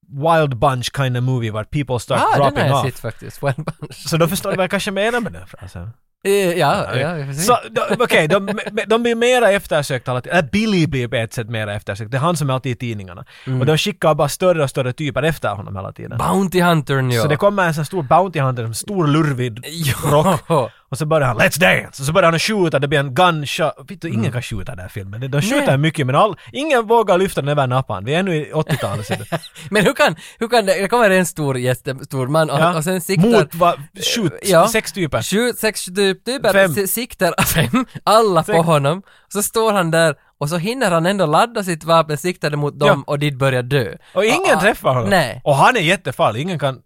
[SPEAKER 2] Wild Bunch kind of movie var people start
[SPEAKER 1] Ah, den har
[SPEAKER 2] dropping
[SPEAKER 1] jag
[SPEAKER 2] off.
[SPEAKER 1] sett faktiskt. One Bunch.
[SPEAKER 2] Så då förstår du vad jag kanske menar med den frasen.
[SPEAKER 1] Eh, Ja, ja, precis.
[SPEAKER 2] Så, de- Okej, de, me- de blir mera eftersökta. alla- Äh, Billy blir på ett sätt mera eftersökt. Det är han som är alltid i tidningarna.
[SPEAKER 1] Mm.
[SPEAKER 2] Och de skickar bara större och större typer efter honom hela tiden.
[SPEAKER 1] Bounty Huntern ja.
[SPEAKER 2] Så det kommer en sån stor Bounty Hunter, en stor lurvid rock.
[SPEAKER 1] Ja.
[SPEAKER 2] Och så börjar han ”Let's dance” och så börjar han att skjuta, det blir en gunshot. Vet du, ingen kan skjuta i den här filmen. De- De skjuter
[SPEAKER 1] Mm. Nej.
[SPEAKER 2] mycket men all, ingen vågar lyfta den över nappan. Vi är ännu i 80-talet. ser du.
[SPEAKER 1] Men hur kan, hur kan det, det kommer en stor jättestor man och,
[SPEAKER 2] Ja.
[SPEAKER 1] och sen siktar...
[SPEAKER 2] Mot va, skjut,
[SPEAKER 1] Ja.
[SPEAKER 2] sex typer.
[SPEAKER 1] Sju, sex typ, typer
[SPEAKER 2] Fem.
[SPEAKER 1] si- siktar fem, alla på
[SPEAKER 2] Sex.
[SPEAKER 1] honom. Så står han där och så hinner han ändå ladda sitt vapen, sikta det mot dem och dit börjar dö.
[SPEAKER 2] Och ingen
[SPEAKER 1] ah,
[SPEAKER 2] träffar honom.
[SPEAKER 1] nej.
[SPEAKER 2] Och han är jättefarlig, ingen kan...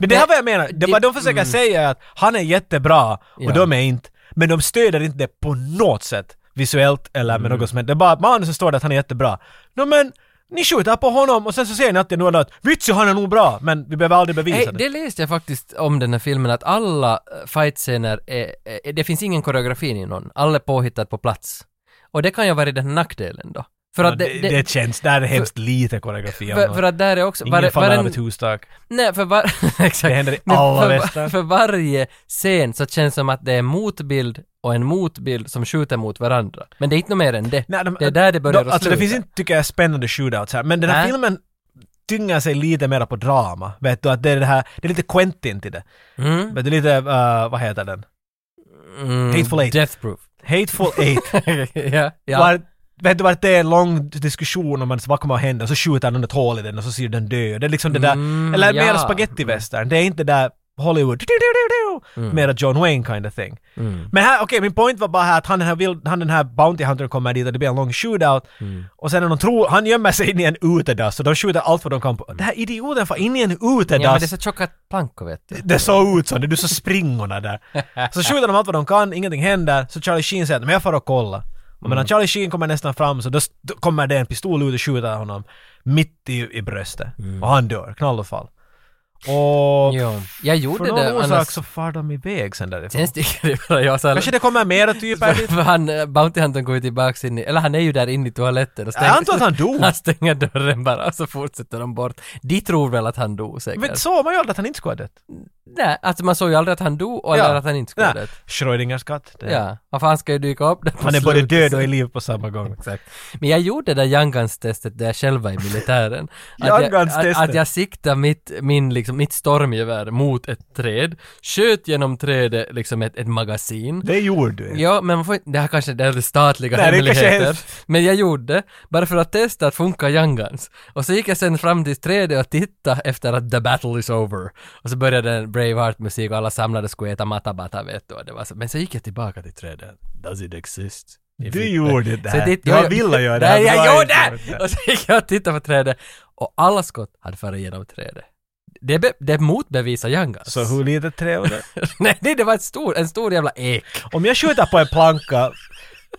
[SPEAKER 2] Men det här
[SPEAKER 1] Men-
[SPEAKER 2] var jag menar, det var de försöker säga är att han är jättebra och
[SPEAKER 1] mm. Ja.
[SPEAKER 2] de är inte. Men de stöder inte det på något sätt visuellt eller
[SPEAKER 1] Mm.
[SPEAKER 2] med något som helst. Det är bara att manuset står det att han är jättebra. No, men ni skjuter på honom och sen så säger ni alltid något annat. Vitsi han är nog bra men vi behöver aldrig bevisa
[SPEAKER 1] Hey,
[SPEAKER 2] det.
[SPEAKER 1] det läste jag faktiskt om den här filmen att alla eh, fightscener är, är, det finns ingen koreografi i någon, alla är påhittat på plats. Och det kan ju vara den här nackdelen då. För
[SPEAKER 2] Ja,
[SPEAKER 1] att
[SPEAKER 2] det, det, känns, där är hemskt lite koreografi.
[SPEAKER 1] för, för
[SPEAKER 2] För,
[SPEAKER 1] att där är också...
[SPEAKER 2] ingen
[SPEAKER 1] var-
[SPEAKER 2] faller
[SPEAKER 1] varen-
[SPEAKER 2] av ett hustak.
[SPEAKER 1] Nej, för var... exakt.
[SPEAKER 2] Det händer i
[SPEAKER 1] Men
[SPEAKER 2] alla
[SPEAKER 1] för,
[SPEAKER 2] västern.
[SPEAKER 1] För varje scen så känns det som att det är en motbild och en motbild som skjuter mot varandra. Men det är inte något mer än det.
[SPEAKER 2] Nej, de-
[SPEAKER 1] det är där det börjar
[SPEAKER 2] de,
[SPEAKER 1] att
[SPEAKER 2] Alltså det
[SPEAKER 1] sluta.
[SPEAKER 2] finns inte, tycker jag, spännande shootouts här, men den här
[SPEAKER 1] Nej.
[SPEAKER 2] filmen tyngar sig lite mer på drama. Vet du, att det är det här, det är lite Quentin till det.
[SPEAKER 1] Mm,
[SPEAKER 2] Vet du, lite, eh, vad heter den?
[SPEAKER 1] mm,
[SPEAKER 2] Hateful Eight.
[SPEAKER 1] Death Proof.
[SPEAKER 2] Hateful Eight.
[SPEAKER 1] ja, ja.
[SPEAKER 2] Var, vet du vart det är en lång diskussion om att vad kommer att hända, så skjuter han under ett hål i den och så ser den dö. Det är liksom det där,
[SPEAKER 1] Mm,
[SPEAKER 2] eller
[SPEAKER 1] ja.
[SPEAKER 2] mera spagettivästern. Det är inte där Hollywood,
[SPEAKER 1] Mm.
[SPEAKER 2] mera John Wayne kind of thing. Men här, okej, min point var bara här att han den här, vild, han den här Bounty Hunter kommer dit och det blir en lång shootout.
[SPEAKER 1] Mm.
[SPEAKER 2] Och sen när de tror, han gömmer sig in i en utedass så de skjuter allt vad de kan på. Den här idioten får in i en utedass.
[SPEAKER 1] Mm. ja, men det är så tjocka plankor vet du.
[SPEAKER 2] Det såg ut som det, du såg springorna där. Så skjuter de allt vad de kan, ingenting händer, så Charlie Sheen säger att men jag får och kolla. Och
[SPEAKER 1] Mm.
[SPEAKER 2] medan Charlie Sheen kommer nästan fram så då, st- då kommer det en pistol ut och skjuter honom mitt i, i bröstet. Och han dör, knall och fall. Och
[SPEAKER 1] Mm. Jo. Jag gjorde
[SPEAKER 2] för
[SPEAKER 1] det
[SPEAKER 2] någon
[SPEAKER 1] där,
[SPEAKER 2] orsak
[SPEAKER 1] annars...
[SPEAKER 2] så far de iväg sen därifrån.
[SPEAKER 1] Sen sticker det bara jag så
[SPEAKER 2] Kanske det kommer typ mera typer dit.
[SPEAKER 1] För han, eh, Bounty Hunter går ju tillbaks in i, eller han är ju där inne i toaletten och
[SPEAKER 2] Jag antar att Äh, han dog.
[SPEAKER 1] Han stänger dörren bara och så fortsätter de bort. De tror väl att han dog säkert.
[SPEAKER 2] Men såg man ju aldrig att han inte skulle ha dött?
[SPEAKER 1] Nej, alltså man såg ju aldrig att han dog och eller att han inte skulle ha
[SPEAKER 2] Nej.
[SPEAKER 1] dött.
[SPEAKER 2] Schrödingers katt. det-
[SPEAKER 1] Ja, varför han ska ju dyka upp där på
[SPEAKER 2] Han är både
[SPEAKER 1] slutet.
[SPEAKER 2] död och i liv på samma gång.
[SPEAKER 1] Exakt. Men jag gjorde det där Youngguns-testet där jag själv var i militären. att, jag,
[SPEAKER 2] Youngguns-testet.
[SPEAKER 1] att, att jag siktade mitt, min, liksom, mitt stormgevär mot ett träd, sköt genom trädet liksom ett, ett magasin.
[SPEAKER 2] Det gjorde du.
[SPEAKER 1] Ja, men man får, inte- det här kanske det är det statliga
[SPEAKER 2] Nej, det kanske
[SPEAKER 1] hemligheter.
[SPEAKER 2] helst.
[SPEAKER 1] men jag gjorde det, bara för att testa att funka Young Guns. Och så gick jag sen fram till 3D och tittade efter att the battle is over. Och så började en Braveheart-musik och alla samlades och skulle äta matabata, vet du. Och det var så. Men så gick jag tillbaka till 3D. Does it exist? If
[SPEAKER 2] Du
[SPEAKER 1] it-
[SPEAKER 2] gjorde det här.
[SPEAKER 1] dit-
[SPEAKER 2] Jag ville göra det här,
[SPEAKER 1] Nej,
[SPEAKER 2] men
[SPEAKER 1] jag
[SPEAKER 2] du har
[SPEAKER 1] gjorde
[SPEAKER 2] inte gjort
[SPEAKER 1] det!
[SPEAKER 2] det.
[SPEAKER 1] Och så gick jag och tittade på 3D. Och alla skott hade farit genom 3D. Det, be, det motbevisar Young Guns.
[SPEAKER 2] Så hur litet trä var det?
[SPEAKER 1] Nej, det var ett stor, en stor jävla ek.
[SPEAKER 2] Om jag skjuter på en planka,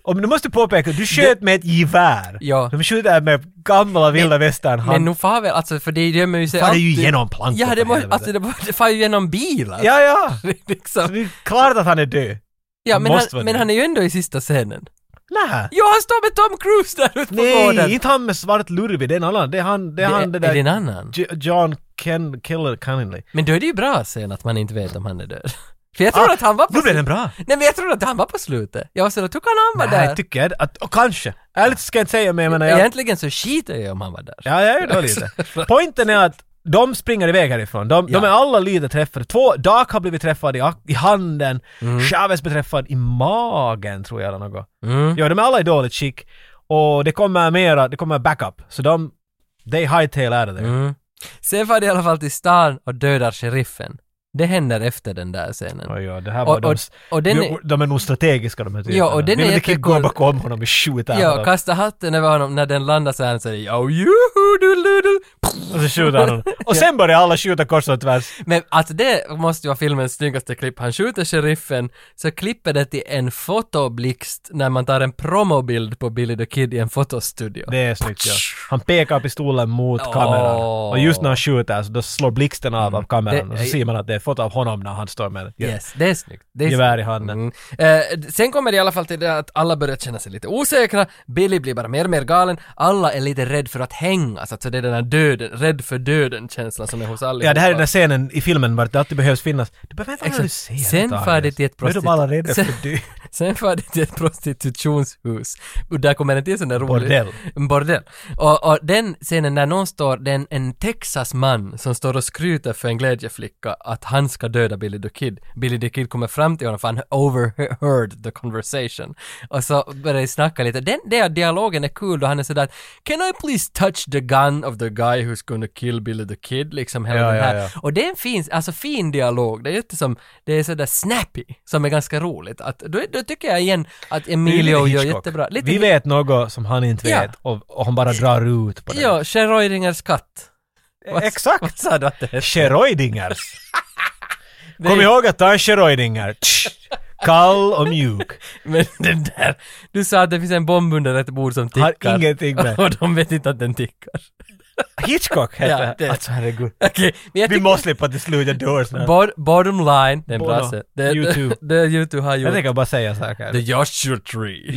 [SPEAKER 2] om du måste påpeka, du sköt med ett gevär.
[SPEAKER 1] Ja.
[SPEAKER 2] De skjuter med gamla vilda västern
[SPEAKER 1] Men
[SPEAKER 2] hand.
[SPEAKER 1] nog far väl, alltså för det gömmer ju sig
[SPEAKER 2] Far det ju
[SPEAKER 1] alltid-
[SPEAKER 2] genom plankor,
[SPEAKER 1] Ja, det,
[SPEAKER 2] för
[SPEAKER 1] må,
[SPEAKER 2] helvete.
[SPEAKER 1] alltså, det, må- det far ju genom bilar.
[SPEAKER 2] Ja, ja! Så
[SPEAKER 1] liksom.
[SPEAKER 2] det är klart att han är död.
[SPEAKER 1] ja men, han,
[SPEAKER 2] måste vara
[SPEAKER 1] men
[SPEAKER 2] det.
[SPEAKER 1] han är ju ändå i sista scenen.
[SPEAKER 2] Nä!
[SPEAKER 1] Ja, han står med Tom Cruise där ute på gården!
[SPEAKER 2] Nej, inte han med svart lurvig, det är en annan. Det är han, det är han det
[SPEAKER 1] är det en
[SPEAKER 2] där...
[SPEAKER 1] annan?
[SPEAKER 2] J- John Ken, Killer Cunningley.
[SPEAKER 1] Men då är det ju bra scen att man inte vet om han är död. För jag tror
[SPEAKER 2] Ah,
[SPEAKER 1] att han var på
[SPEAKER 2] Nu blev
[SPEAKER 1] slu-
[SPEAKER 2] den bra!
[SPEAKER 1] Nej men jag tror att han var på slutet. Jag var sådär, hur kan han vara
[SPEAKER 2] Nej,
[SPEAKER 1] där?
[SPEAKER 2] tycker jag. Att, och kanske. Ärligt ska jag inte säga, men jag menar... Jag,
[SPEAKER 1] Egentligen så skiter jag i om han var där.
[SPEAKER 2] Ja, jag är då lite. Pointen är att de springer iväg härifrån. De, de
[SPEAKER 1] Ja.
[SPEAKER 2] är alla lite träffade. Två, Dark har blivit träffad i, ak- i handen, Chavez blir träffad i magen tror jag eller något.
[SPEAKER 1] Mm.
[SPEAKER 2] Ja, de är alla i dåligt skick. Och det kommer mera, det kommer backup. Så de, they hightail out of there.
[SPEAKER 1] Mm. Sen far de i alla fall till stan och dödar sheriffen. Det händer efter den där scenen.
[SPEAKER 2] Oj, ja, det här
[SPEAKER 1] Och-
[SPEAKER 2] var de,
[SPEAKER 1] och- och den är-
[SPEAKER 2] de, de är nog strategiska de här typerna.
[SPEAKER 1] Ja, och den
[SPEAKER 2] Vill
[SPEAKER 1] är
[SPEAKER 2] inte kid
[SPEAKER 1] jättecool.
[SPEAKER 2] gå bakom honom och skjuta
[SPEAKER 1] Ja,
[SPEAKER 2] honom.
[SPEAKER 1] kasta hatten över honom. När den landar så här så är det oh, juhu, du, du, du.
[SPEAKER 2] Och så skjuter han honom. Och sen börjar alla skjuta kors och tvärs.
[SPEAKER 1] Men alltså det måste ju vara filmens snyggaste klipp. Han skjuter sheriffen, så klipper det till en fotoblixt när man tar en promobild på Billy the Kid i en fotostudio.
[SPEAKER 2] Det är snyggt ja. Han pekar pistolen mot kameran.
[SPEAKER 1] Åh. Mm.
[SPEAKER 2] Och just när han skjuter så då slår blixten av av kameran.
[SPEAKER 1] Det-
[SPEAKER 2] och så ser man att det är fått av honom när han står med ett
[SPEAKER 1] Yes, det är snyggt. Det är
[SPEAKER 2] gevär i
[SPEAKER 1] snyggt.
[SPEAKER 2] handen.
[SPEAKER 1] Mm. Eh, d- sen kommer det i alla fall till det att alla börjar känna sig lite osäkra, Billy blir bara mer och mer galen, alla är lite rädd för att hängas, alltså det är den här döden, rädd för döden-känslan som är hos allihopa.
[SPEAKER 2] Ja, det här är den här scenen i filmen vart det alltid behövs finnas. Du behöver vänta när du ser det,
[SPEAKER 1] Sen
[SPEAKER 2] Agnes.
[SPEAKER 1] far det till ett
[SPEAKER 2] Nu är de alla rädda
[SPEAKER 1] Sen-
[SPEAKER 2] för du.
[SPEAKER 1] Sen far det till ett prostitutionshus. Och där kommer en till sån där rolig...
[SPEAKER 2] Bordell.
[SPEAKER 1] En Bordell. Och, och den scenen när någon står, det är en, en Texas-man som står och skryter för en glädjeflicka att han ska döda Billy the Kid. Billy the Kid kommer fram till honom för han overheard the conversation. Och så börjar de snacka lite. Den där dialogen är kul då han är sådär att, “Can I please touch the gun of the guy who's gonna kill Billy the Kid?” liksom hela
[SPEAKER 2] Ja,
[SPEAKER 1] den
[SPEAKER 2] ja,
[SPEAKER 1] här.
[SPEAKER 2] ja.
[SPEAKER 1] Och det är en fin, alltså fin dialog, det är inte som, det är sådär snappy, som är ganska roligt. Att, då, då tycker jag igen att Emilio
[SPEAKER 2] Lite
[SPEAKER 1] gör
[SPEAKER 2] Hitchcock.
[SPEAKER 1] jättebra. Lite
[SPEAKER 2] Vi vet något som han inte
[SPEAKER 1] Ja.
[SPEAKER 2] vet och, och han bara drar ut på det. E-
[SPEAKER 1] Ja, Schrödingers katt. Vad-
[SPEAKER 2] Eh, Exakt.
[SPEAKER 1] Vad sa du att det hette?
[SPEAKER 2] Scheroidingars.
[SPEAKER 1] Det
[SPEAKER 2] Kom
[SPEAKER 1] är-
[SPEAKER 2] ihåg att ta en scheroidinger. Tsch. Kall och mjuk.
[SPEAKER 1] Men den där, du sa att det finns en bomb under ett bord som
[SPEAKER 2] Har
[SPEAKER 1] tickar.
[SPEAKER 2] ingenting med-
[SPEAKER 1] Och de vet inte att den tickar.
[SPEAKER 2] Hitchcock heter
[SPEAKER 1] Ja, det-
[SPEAKER 2] Alltså herregud.
[SPEAKER 1] Okej, men jag
[SPEAKER 2] Vi
[SPEAKER 1] tycker...
[SPEAKER 2] måste slippa till slut, jag dör snart.
[SPEAKER 1] Bod, bottom line, det är en bra
[SPEAKER 2] Bono,
[SPEAKER 1] sätt. Det,
[SPEAKER 2] U2.
[SPEAKER 1] det, det YouTube har
[SPEAKER 2] Jag
[SPEAKER 1] gjort.
[SPEAKER 2] tänker bara säga saker.
[SPEAKER 1] The Joshua Tree.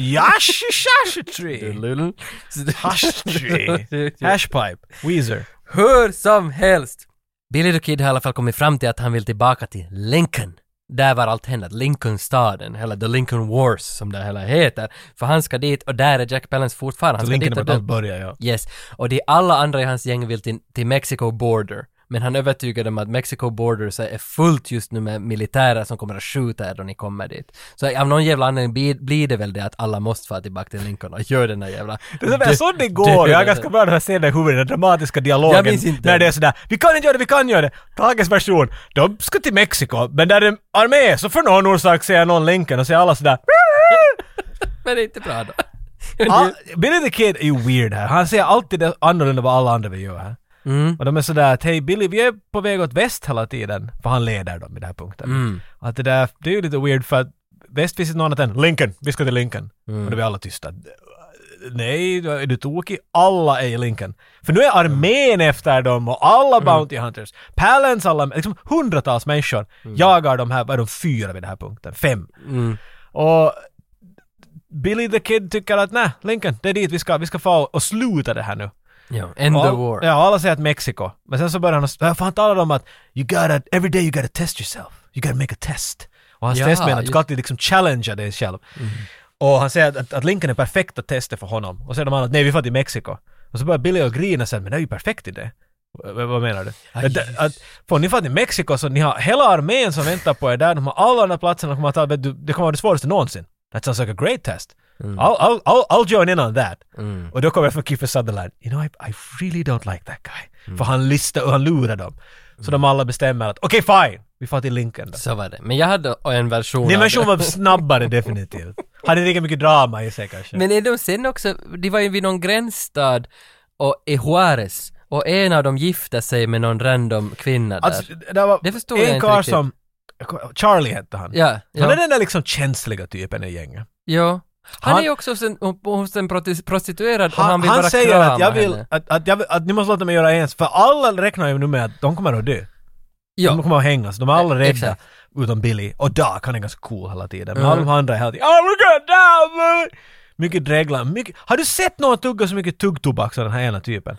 [SPEAKER 2] Yashishashitri!
[SPEAKER 1] Little-
[SPEAKER 2] Hashtree! Hashpipe! Weezer!
[SPEAKER 1] Hur som helst! Billy the Kid har i alla fall kommit fram till att han vill tillbaka till Lincoln. Där var allt hände, Lincolnstaden, eller The Lincoln Wars som det hela heter. För han ska dit och där är Jack Palance fortfarande. Han
[SPEAKER 2] Så
[SPEAKER 1] ska
[SPEAKER 2] Lincoln
[SPEAKER 1] dit och
[SPEAKER 2] vart allt
[SPEAKER 1] dö-
[SPEAKER 2] börjar ja.
[SPEAKER 1] Yes, och det är alla andra i hans gäng vill till, till Mexico border. Men han övertygar dem att Mexico border så är fullt just nu med militärer som kommer att skjuta er då ni kommer dit. Så av någon jävla anledning blir- blir det väl det att alla måste fara tillbaka till Lincoln och göra den där jävla...
[SPEAKER 2] Det är sådär, så det går, jag har ganska bra den här scenen i huvudet, den dramatiska dialogen.
[SPEAKER 1] Jag minns inte.
[SPEAKER 2] När det är sådär, vi kan inte göra det, vi kan göra det. Tages version, de ska till Mexiko, men där är en armé, så för någon orsak säger någon Lincoln och så är alla sådär
[SPEAKER 1] Men det är inte bra då.
[SPEAKER 2] Ah, Billy the Kid är ju weird här. Han säger alltid det annorlunda vad alla andra vill göra här. Och de är sådär att hej Billy, vi är på väg åt väst hela tiden. För han leder dem i den här punkten. Att det där, det är ju lite weird för att väst finns inte något annat än Lincoln, vi ska till Lincoln. Och då blir alla tysta. Nej, du- är du tokig? Alla är i Lincoln. För nu är armén efter dem och alla Bounty Hunters. Palance, alla, liksom hundratals människor jagar de här, vad är de, fyra vid den här punkten? Fem. Och Billy the Kid tycker att nej, Lincoln, det är dit vi ska, vi ska få och sluta det här nu.
[SPEAKER 1] Ja, end the
[SPEAKER 2] Och all-
[SPEAKER 1] war.
[SPEAKER 2] Ja, alla säger att Mexiko. Men sen så börjar han, och- för han talar om att you gotta, every day you gotta test yourself. You gotta make a test. Och hans
[SPEAKER 1] Ja,
[SPEAKER 2] test menar att du
[SPEAKER 1] just- Mm.
[SPEAKER 2] ska alltid liksom challengea dig själv. Och han säger att- att, att Lincoln är perfekta testet för honom. Och så säger de andra att nej, vi får till Mexiko. Och så börjar Billy och grina sen, men det är ju perfekt i det. V- vad menar du? Att,
[SPEAKER 1] Jesus.
[SPEAKER 2] att, får ni far till Mexiko så ni har hela armén som väntar på er där, de har alla de där platserna, kommer att ta, vet du, det kommer vara det svåraste någonsin. That sounds like a great test. I'll, I'll, I'll, I'll join in on that. Och då kommer jag från Kiefer Sutherland. You know, I, I really don't like that guy. För han listar och han lurar dem. Så de alla bestämmer att okej, fine, vi får till Lincoln då.
[SPEAKER 1] Så var det. Men jag hade en version
[SPEAKER 2] Din
[SPEAKER 1] av
[SPEAKER 2] version
[SPEAKER 1] det.
[SPEAKER 2] var snabbare definitivt. Hade inte lika mycket drama i sig kanske.
[SPEAKER 1] Men är de sen också, de var ju vid någon gränsstad och i Juarez och en av dem gifte sig med någon random kvinna där.
[SPEAKER 2] Alltså, det var
[SPEAKER 1] Det förstod jag
[SPEAKER 2] en
[SPEAKER 1] inte
[SPEAKER 2] karl
[SPEAKER 1] riktigt.
[SPEAKER 2] som... Charlie hette han.
[SPEAKER 1] ja, ja,
[SPEAKER 2] Han är
[SPEAKER 1] han,
[SPEAKER 2] den där liksom känsliga typen i gänget.
[SPEAKER 1] ja. Han,
[SPEAKER 2] Han-
[SPEAKER 1] är ju också hos en, hos en prosti- prostituerad och
[SPEAKER 2] Han,
[SPEAKER 1] han vill bara
[SPEAKER 2] säger
[SPEAKER 1] krama
[SPEAKER 2] att jag, vill,
[SPEAKER 1] henne.
[SPEAKER 2] att, att jag vill... Att ni måste låta mig göra ens. För alla räknar ju nu med att de kommer att dö. De
[SPEAKER 1] Ja,
[SPEAKER 2] kommer att hängas. De är alla
[SPEAKER 1] Eh,
[SPEAKER 2] rädda.
[SPEAKER 1] exakt.
[SPEAKER 2] Utom Billy. Och Doc, han är ganska cool hela tiden. Men
[SPEAKER 1] Mhm.
[SPEAKER 2] alla de andra är hela tiden oh, we're gonna die! man." Mycket dreglar. Mycket... Har du sett någon tugga så mycket tuggtobak som den här ena typen?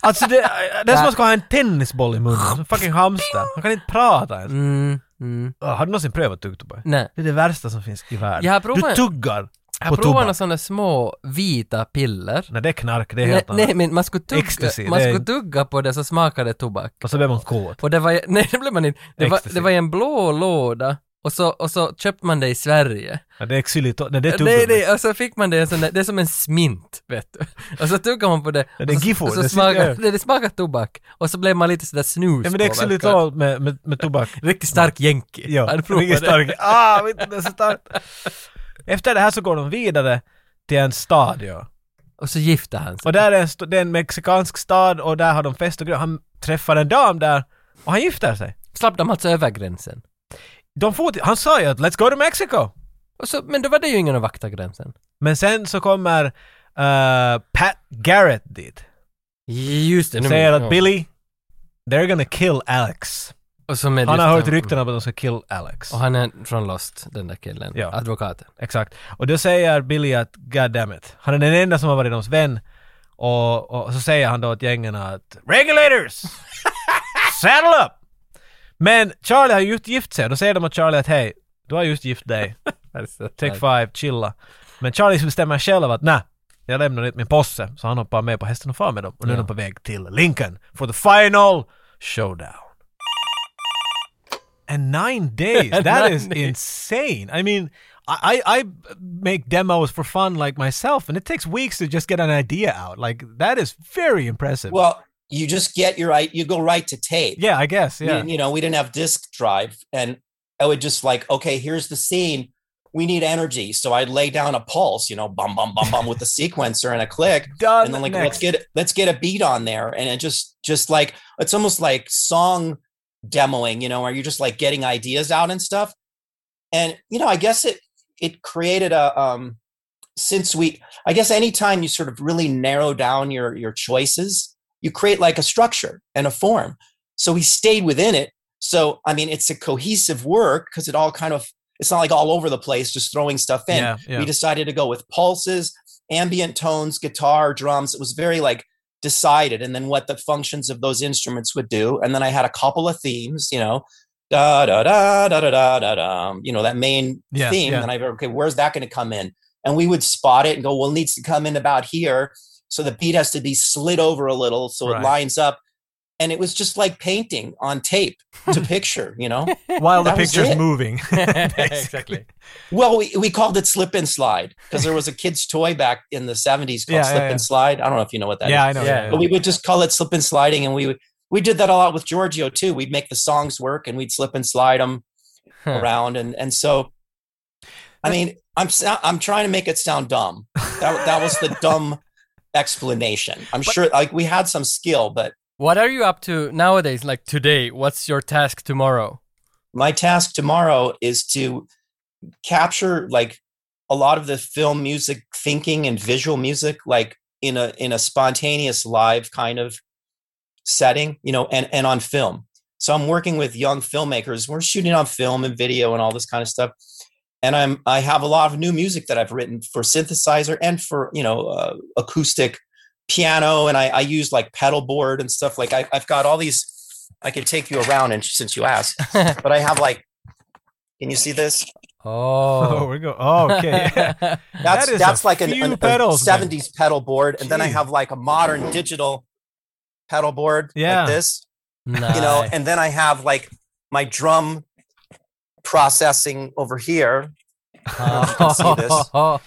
[SPEAKER 2] Alltså det, det är som att man ska ha en tennisboll i munnen. Som en fucking hamster. Han kan inte prata ens.
[SPEAKER 1] mm, mm,
[SPEAKER 2] Ah, Har du någonsin prövat tuggtobak?
[SPEAKER 1] nej.
[SPEAKER 2] Det är det värsta som finns i världen.
[SPEAKER 1] Jag har provat-
[SPEAKER 2] Du tuggar på
[SPEAKER 1] Jag provade några
[SPEAKER 2] tobak.
[SPEAKER 1] sådana små vita piller.
[SPEAKER 2] Nej, det är knark. Det är
[SPEAKER 1] Nej,
[SPEAKER 2] helt annat.
[SPEAKER 1] nej, men man skulle tugga,
[SPEAKER 2] Ecstasy,
[SPEAKER 1] man
[SPEAKER 2] det är-
[SPEAKER 1] skulle tugga på det så smakade det tobak.
[SPEAKER 2] Och så blir man kåt.
[SPEAKER 1] Och det var, nej det blev man inte. Det var,
[SPEAKER 2] Ecstasy.
[SPEAKER 1] det var i en blå låda och så, och så köpte man det i Sverige.
[SPEAKER 2] Ja, det är xylitol. Nej, det är
[SPEAKER 1] Nej,
[SPEAKER 2] tuggummi.
[SPEAKER 1] nej, och så fick man det, en sån där, det är som en smint, vet du. Och så tuggar man på det.
[SPEAKER 2] Ja, det är
[SPEAKER 1] och så,
[SPEAKER 2] giffo,
[SPEAKER 1] och så
[SPEAKER 2] det sitter
[SPEAKER 1] smakar,
[SPEAKER 2] över.
[SPEAKER 1] det, det smakar tobak. Och så blev man lite sådär snus
[SPEAKER 2] Ja, men det är xylitol med, med, med tobak.
[SPEAKER 1] Riktigt stark jänki.
[SPEAKER 2] Ja,
[SPEAKER 1] Han provade
[SPEAKER 2] mycket stark. Ah, vet du, det är så starkt. Efter det här så går de vidare till en stad, ja.
[SPEAKER 1] Och så gifte han sig.
[SPEAKER 2] Och där är en, st- det är en mexikansk stad och där har de fest och grejer. Han träffar en dam där och han gifter sig.
[SPEAKER 1] Slapp de alltså över gränsen.
[SPEAKER 2] De får till, han sa ju att let's go to Mexico.
[SPEAKER 1] Och så, men då var det ju ingen att vakta gränsen.
[SPEAKER 2] Men sen så kommer eh, Pat Garrett dit.
[SPEAKER 1] Just det. nu-
[SPEAKER 2] Säger
[SPEAKER 1] ja.
[SPEAKER 2] att Billy, they're gonna kill Alex.
[SPEAKER 1] Och som är
[SPEAKER 2] Han har hört
[SPEAKER 1] distan-
[SPEAKER 2] rykten om att de ska kill Alex.
[SPEAKER 1] Och han är från Lost, den där killen.
[SPEAKER 2] Ja.
[SPEAKER 1] Advokaten.
[SPEAKER 2] Exakt. Och då säger Billy att God damn it. Han är den enda som har varit deras vän. Och, och så säger han då åt gängen att Regulators! Saddle up! Men Charlie har ju just gift sig. Då säger de åt Charlie att hej, du har just gift dig. Take five, chilla. Men Charlie bestämmer själv att nej, jag lämnar inte min posse. Så han hoppar med på hästen och far med dem. Och nu är de på väg till Lincoln for the final showdown. And nine days. That is
[SPEAKER 1] Nine days.
[SPEAKER 2] insane. I mean, I, I I make demos for fun like myself, and it takes weeks to just get an idea out. Like that is very impressive.
[SPEAKER 4] Well, you just get your right, you go right to tape.
[SPEAKER 2] yeah, I guess.
[SPEAKER 4] We
[SPEAKER 2] Yeah.
[SPEAKER 4] didn't- you know, we didn't have disk drive. And I would just like, okay, here's the scene. We need energy. So I'd lay down a pulse, you know, bum, bum, bum, bum with the sequencer and a click.
[SPEAKER 2] Done.
[SPEAKER 4] And then like,
[SPEAKER 2] next.
[SPEAKER 4] let's get, let's get a beat on there. And it just, just like, it's almost like song demoing, you know, where you're just like getting ideas out and stuff. And, you know, I guess it, it created a, um, since we, I guess anytime you sort of really narrow down your, your choices, you create like a structure and a form. So he stayed within it. So I mean, it's a cohesive work because it all kind of it's not like all over the place, just throwing stuff in.
[SPEAKER 2] Yeah, yeah.
[SPEAKER 4] We decided to go with pulses, ambient tones, guitar, drums. It was very like decided, and then what the functions of those instruments would do. And then I had a couple of themes, you know, da da da da da da da da. You know that main
[SPEAKER 2] Yeah,
[SPEAKER 4] theme.
[SPEAKER 2] yeah.
[SPEAKER 4] And I okay, where's that going to come in? And we would spot it and go, well, it needs to come in about here. So the beat has to be slid over a little so
[SPEAKER 2] Right.
[SPEAKER 4] it lines up and it was just like painting on tape to picture, you know?
[SPEAKER 2] While the
[SPEAKER 4] That was
[SPEAKER 2] picture's
[SPEAKER 4] it.
[SPEAKER 2] moving.
[SPEAKER 1] exactly.
[SPEAKER 4] Well, we, we called it slip and slide because there was a kid's toy back in the 70s called
[SPEAKER 2] Yeah, yeah,
[SPEAKER 4] slip
[SPEAKER 2] yeah.
[SPEAKER 4] and slide. I don't know if you know what that is,
[SPEAKER 2] yeah, I know.
[SPEAKER 1] Yeah.
[SPEAKER 2] Yeah.
[SPEAKER 4] But we would just call it slip and sliding. And we would, we did that a lot with Giorgio too. We'd make the songs work and we'd slip and slide them
[SPEAKER 1] Huh.
[SPEAKER 4] around. And, and so, I mean, I'm, sou- I'm trying to make it sound dumb. That, that was the dumb explanation. I'm sure like we had some skill, but
[SPEAKER 1] What are you up to nowadays? Like today, what's your task tomorrow?
[SPEAKER 4] my task tomorrow is to capture like a lot of the film music thinking and visual music like in a in a spontaneous live kind of setting you know and and on film so i'm working with young filmmakers we're shooting on film and video and all this kind of stuff and i'm i have a lot of new music that i've written for synthesizer and for you know uh, acoustic piano and i i use like pedal board and stuff like I, i've got all these i could take you around and since you asked but i have like can you see this
[SPEAKER 2] Oh,
[SPEAKER 1] Oh.
[SPEAKER 2] we go. Oh, okay.
[SPEAKER 4] that's
[SPEAKER 2] That is
[SPEAKER 4] that's
[SPEAKER 2] a
[SPEAKER 4] like an,
[SPEAKER 2] few
[SPEAKER 4] an- a
[SPEAKER 2] pedals, man.
[SPEAKER 4] 70s pedal board and then i
[SPEAKER 2] Jeez.
[SPEAKER 4] have like a modern digital pedal board
[SPEAKER 2] Yeah.
[SPEAKER 4] like this
[SPEAKER 1] nice.
[SPEAKER 4] you know and then i have like my drum processing over here um, you can see this.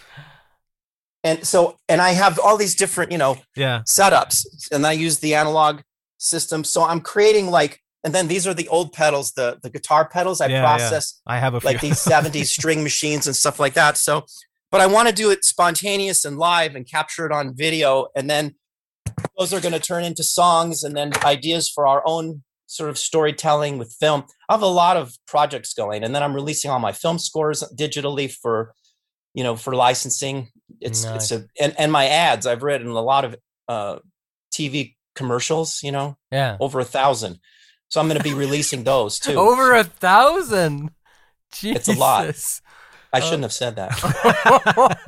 [SPEAKER 4] and so and i have all these different you know
[SPEAKER 2] yeah.
[SPEAKER 4] setups and i use the analog system so i'm creating like and then these are the old pedals the the guitar pedals i
[SPEAKER 2] Yeah, yeah.
[SPEAKER 4] process
[SPEAKER 2] I have a few.
[SPEAKER 4] like these 70s string machines and stuff like that. So, but I want to do it spontaneous and live and capture it on video. And then those are going to turn into songs and then ideas for our own sort of storytelling with film. I have a lot of projects going. And then I'm releasing all my film scores digitally for, you know, for licensing. It's, it's a, and, and my ads, I've written a lot of uh, TV commercials, you know,
[SPEAKER 1] yeah.
[SPEAKER 4] over a thousand. So I'm going to be releasing those too.
[SPEAKER 1] Over a thousand. Jesus.
[SPEAKER 4] It's a lot. I shouldn't have said that.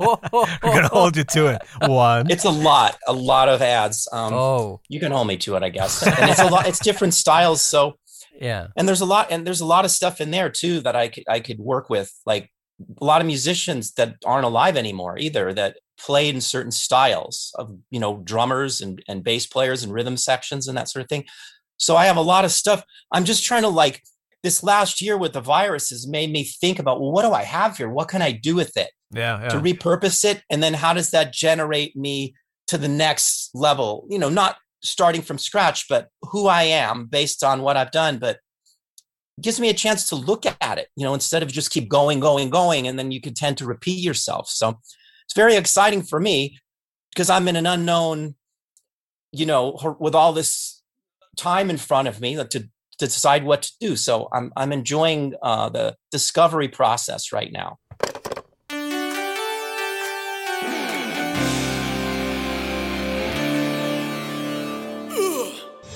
[SPEAKER 2] We're gonna hold you to it. One.
[SPEAKER 4] It's a lot, a lot of ads. Um,
[SPEAKER 1] oh,
[SPEAKER 4] You can hold me to it, I guess. And it's a lot. It's different styles. So,
[SPEAKER 1] yeah.
[SPEAKER 4] and there's a lot, and there's a lot of stuff in there too that I could I could work with, like a lot of musicians that aren't alive anymore either that played in certain styles of you know drummers and and bass players and rhythm sections and that sort of thing. So I have a lot of stuff. I'm just trying to like this last year with the virus has made me think about well, what do I have here? What can I do with it?
[SPEAKER 2] Yeah.
[SPEAKER 4] to
[SPEAKER 2] Yeah.
[SPEAKER 4] repurpose it and then how does that generate me to the next level you know not starting from scratch but who i am based on what i've done but it gives me a chance to look at it you know instead of just keep going going going and then you can tend to repeat yourself so it's very exciting for me because i'm in an unknown you know hor- with all this time in front of me like, to to decide what to do so i'm i'm enjoying uh, the discovery process right now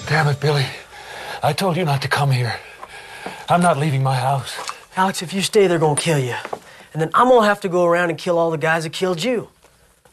[SPEAKER 7] Damn it, Billy. I told you not to come here. I'm not leaving my house.
[SPEAKER 8] Alex, if you stay, they're gonna kill you. And then I'm gonna have to go around and kill all the guys that killed you.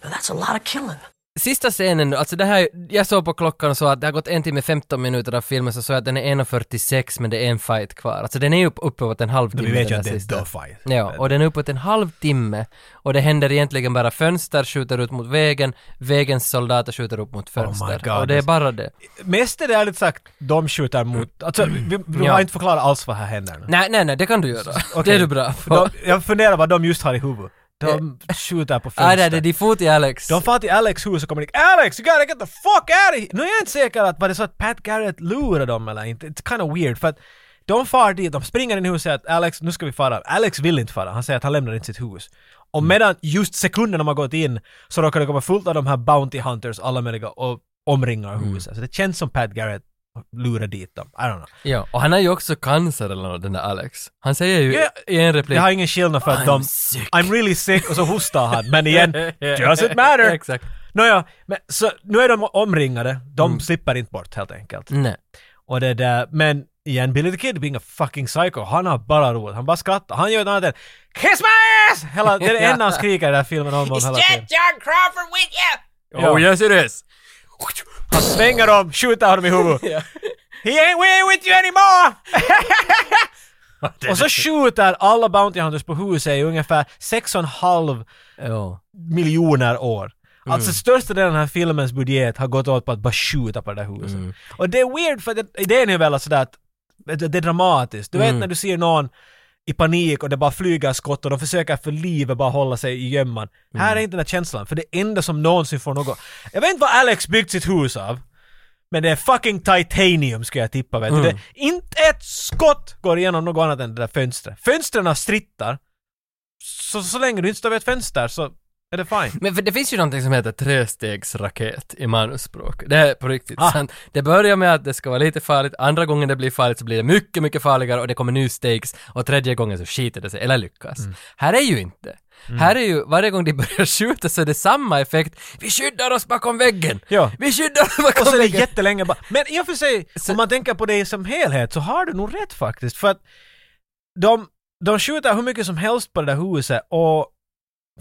[SPEAKER 8] Now that's a lot of killing.
[SPEAKER 1] Sista scenen, alltså det här, jag såg på klockan och såg att det har gått en timme 15 minuter av filmen, så såg jag att den är 1.46 men det är en fight kvar. Alltså den är ju upp, uppåt en halvtimme.
[SPEAKER 2] Vi vet ju
[SPEAKER 1] den
[SPEAKER 2] att det
[SPEAKER 1] här
[SPEAKER 2] är
[SPEAKER 1] sista.
[SPEAKER 2] the fight.
[SPEAKER 1] Ja, och den är uppåt en halvtimme och det händer egentligen bara fönster skjuter ut mot vägen, vägens soldater skjuter upp mot fönster.
[SPEAKER 2] Oh God.
[SPEAKER 1] och det är bara det.
[SPEAKER 2] Mest är det ärligt sagt, de skjuter mot... Alltså, vi, vi
[SPEAKER 1] Ja.
[SPEAKER 2] har inte förklarat alls vad här händer nu.
[SPEAKER 1] Nej, nej, nej, det kan du göra. Det är du bra på.
[SPEAKER 2] De, jag funderar vad de just har i huvudet. De skjuter på
[SPEAKER 1] Nej,
[SPEAKER 2] fönster.
[SPEAKER 1] nej, det är din fot i Alex.
[SPEAKER 2] De far till Alex hus och kommer dit Alex, you gotta get the fuck out of here! Nu är jag inte säker att var det så att Pat Garrett lurade dem eller inte. It's kind of weird för att de far dit, de springer in i huset och säger att Alex, nu ska vi fara. Alex vill inte fara, han säger att han lämnar inte sitt hus.
[SPEAKER 1] Mm.
[SPEAKER 2] Och medan just sekunden de har gått in så råkar det komma fullt av de här Bounty Hunters, alla möjliga, och omringar
[SPEAKER 1] Mm.
[SPEAKER 2] huset. Så det känns som Pat Garrett lurar dit dem. I don't know.
[SPEAKER 1] Ja, och han har ju också cancer eller något, den där Alex. Han säger ju
[SPEAKER 2] Ja,
[SPEAKER 1] i en replik...
[SPEAKER 2] Det har ingen skillnad för att
[SPEAKER 1] I'm
[SPEAKER 2] de...
[SPEAKER 1] sick.
[SPEAKER 2] I'm really sick och så hostar han. Men igen, doesn't matter!
[SPEAKER 1] Exakt.
[SPEAKER 2] Nåja, men så nu är de omringade. De slipper inte bort helt enkelt.
[SPEAKER 1] Nej.
[SPEAKER 2] Och det där, men igen, Billy the Kid being a fucking psycho, han har bara roligt. Han bara skrattar. Han gör något annat än “Kiss my ass!” hela, Det är det enda han skriker i den här filmen om och hela tiden.
[SPEAKER 9] John Crawford with you?
[SPEAKER 2] Ja.
[SPEAKER 1] yes it is!
[SPEAKER 2] Han svänger dem, skjuter honom i huvudet. “He ain't we with you anymore!” Och så skjuter alla Bounty Hunters på huset i ungefär 6,5
[SPEAKER 1] Ja.
[SPEAKER 2] miljoner år. Alltså största delen av den här filmens budget har gått åt på att bara skjuta på det där huset. Och det är weird för det, idén är väl sådär att vet du, det är dramatiskt. Du vet när du ser någon i panik och det bara flyger skott och de försöker för livet bara hålla sig i gömman. Här är inte den här känslan, för det enda som någonsin får något... Jag vet inte vad Alex byggt sitt hus av. Men det är fucking titanium skulle jag tippa vet du. Det, inte ett skott går igenom något annat än det där fönstret. Fönstren strittar. Så, så länge du inte står vid ett fönster så är det fine.
[SPEAKER 1] Men för det finns ju någonting som heter trestegsraket i manusspråk. Det är på riktigt
[SPEAKER 2] Ah.
[SPEAKER 1] sant. Det börjar med att det ska vara lite farligt, andra gången det blir farligt så blir det mycket, mycket farligare och det kommer new stakes och tredje gången så skiter det sig, eller lyckas.
[SPEAKER 2] Mm.
[SPEAKER 1] Här är ju inte. Här är ju, varje gång de börjar skjuta så är det samma effekt. Vi skyddar oss bakom väggen!
[SPEAKER 2] Ja.
[SPEAKER 1] Vi skyddar oss bakom
[SPEAKER 2] Och så är det
[SPEAKER 1] väggen!
[SPEAKER 2] jättelänge bara. Men i och för sig, om man tänker på det som helhet så har du nog rätt faktiskt. För att de, de skjuter hur mycket som helst på det där huset och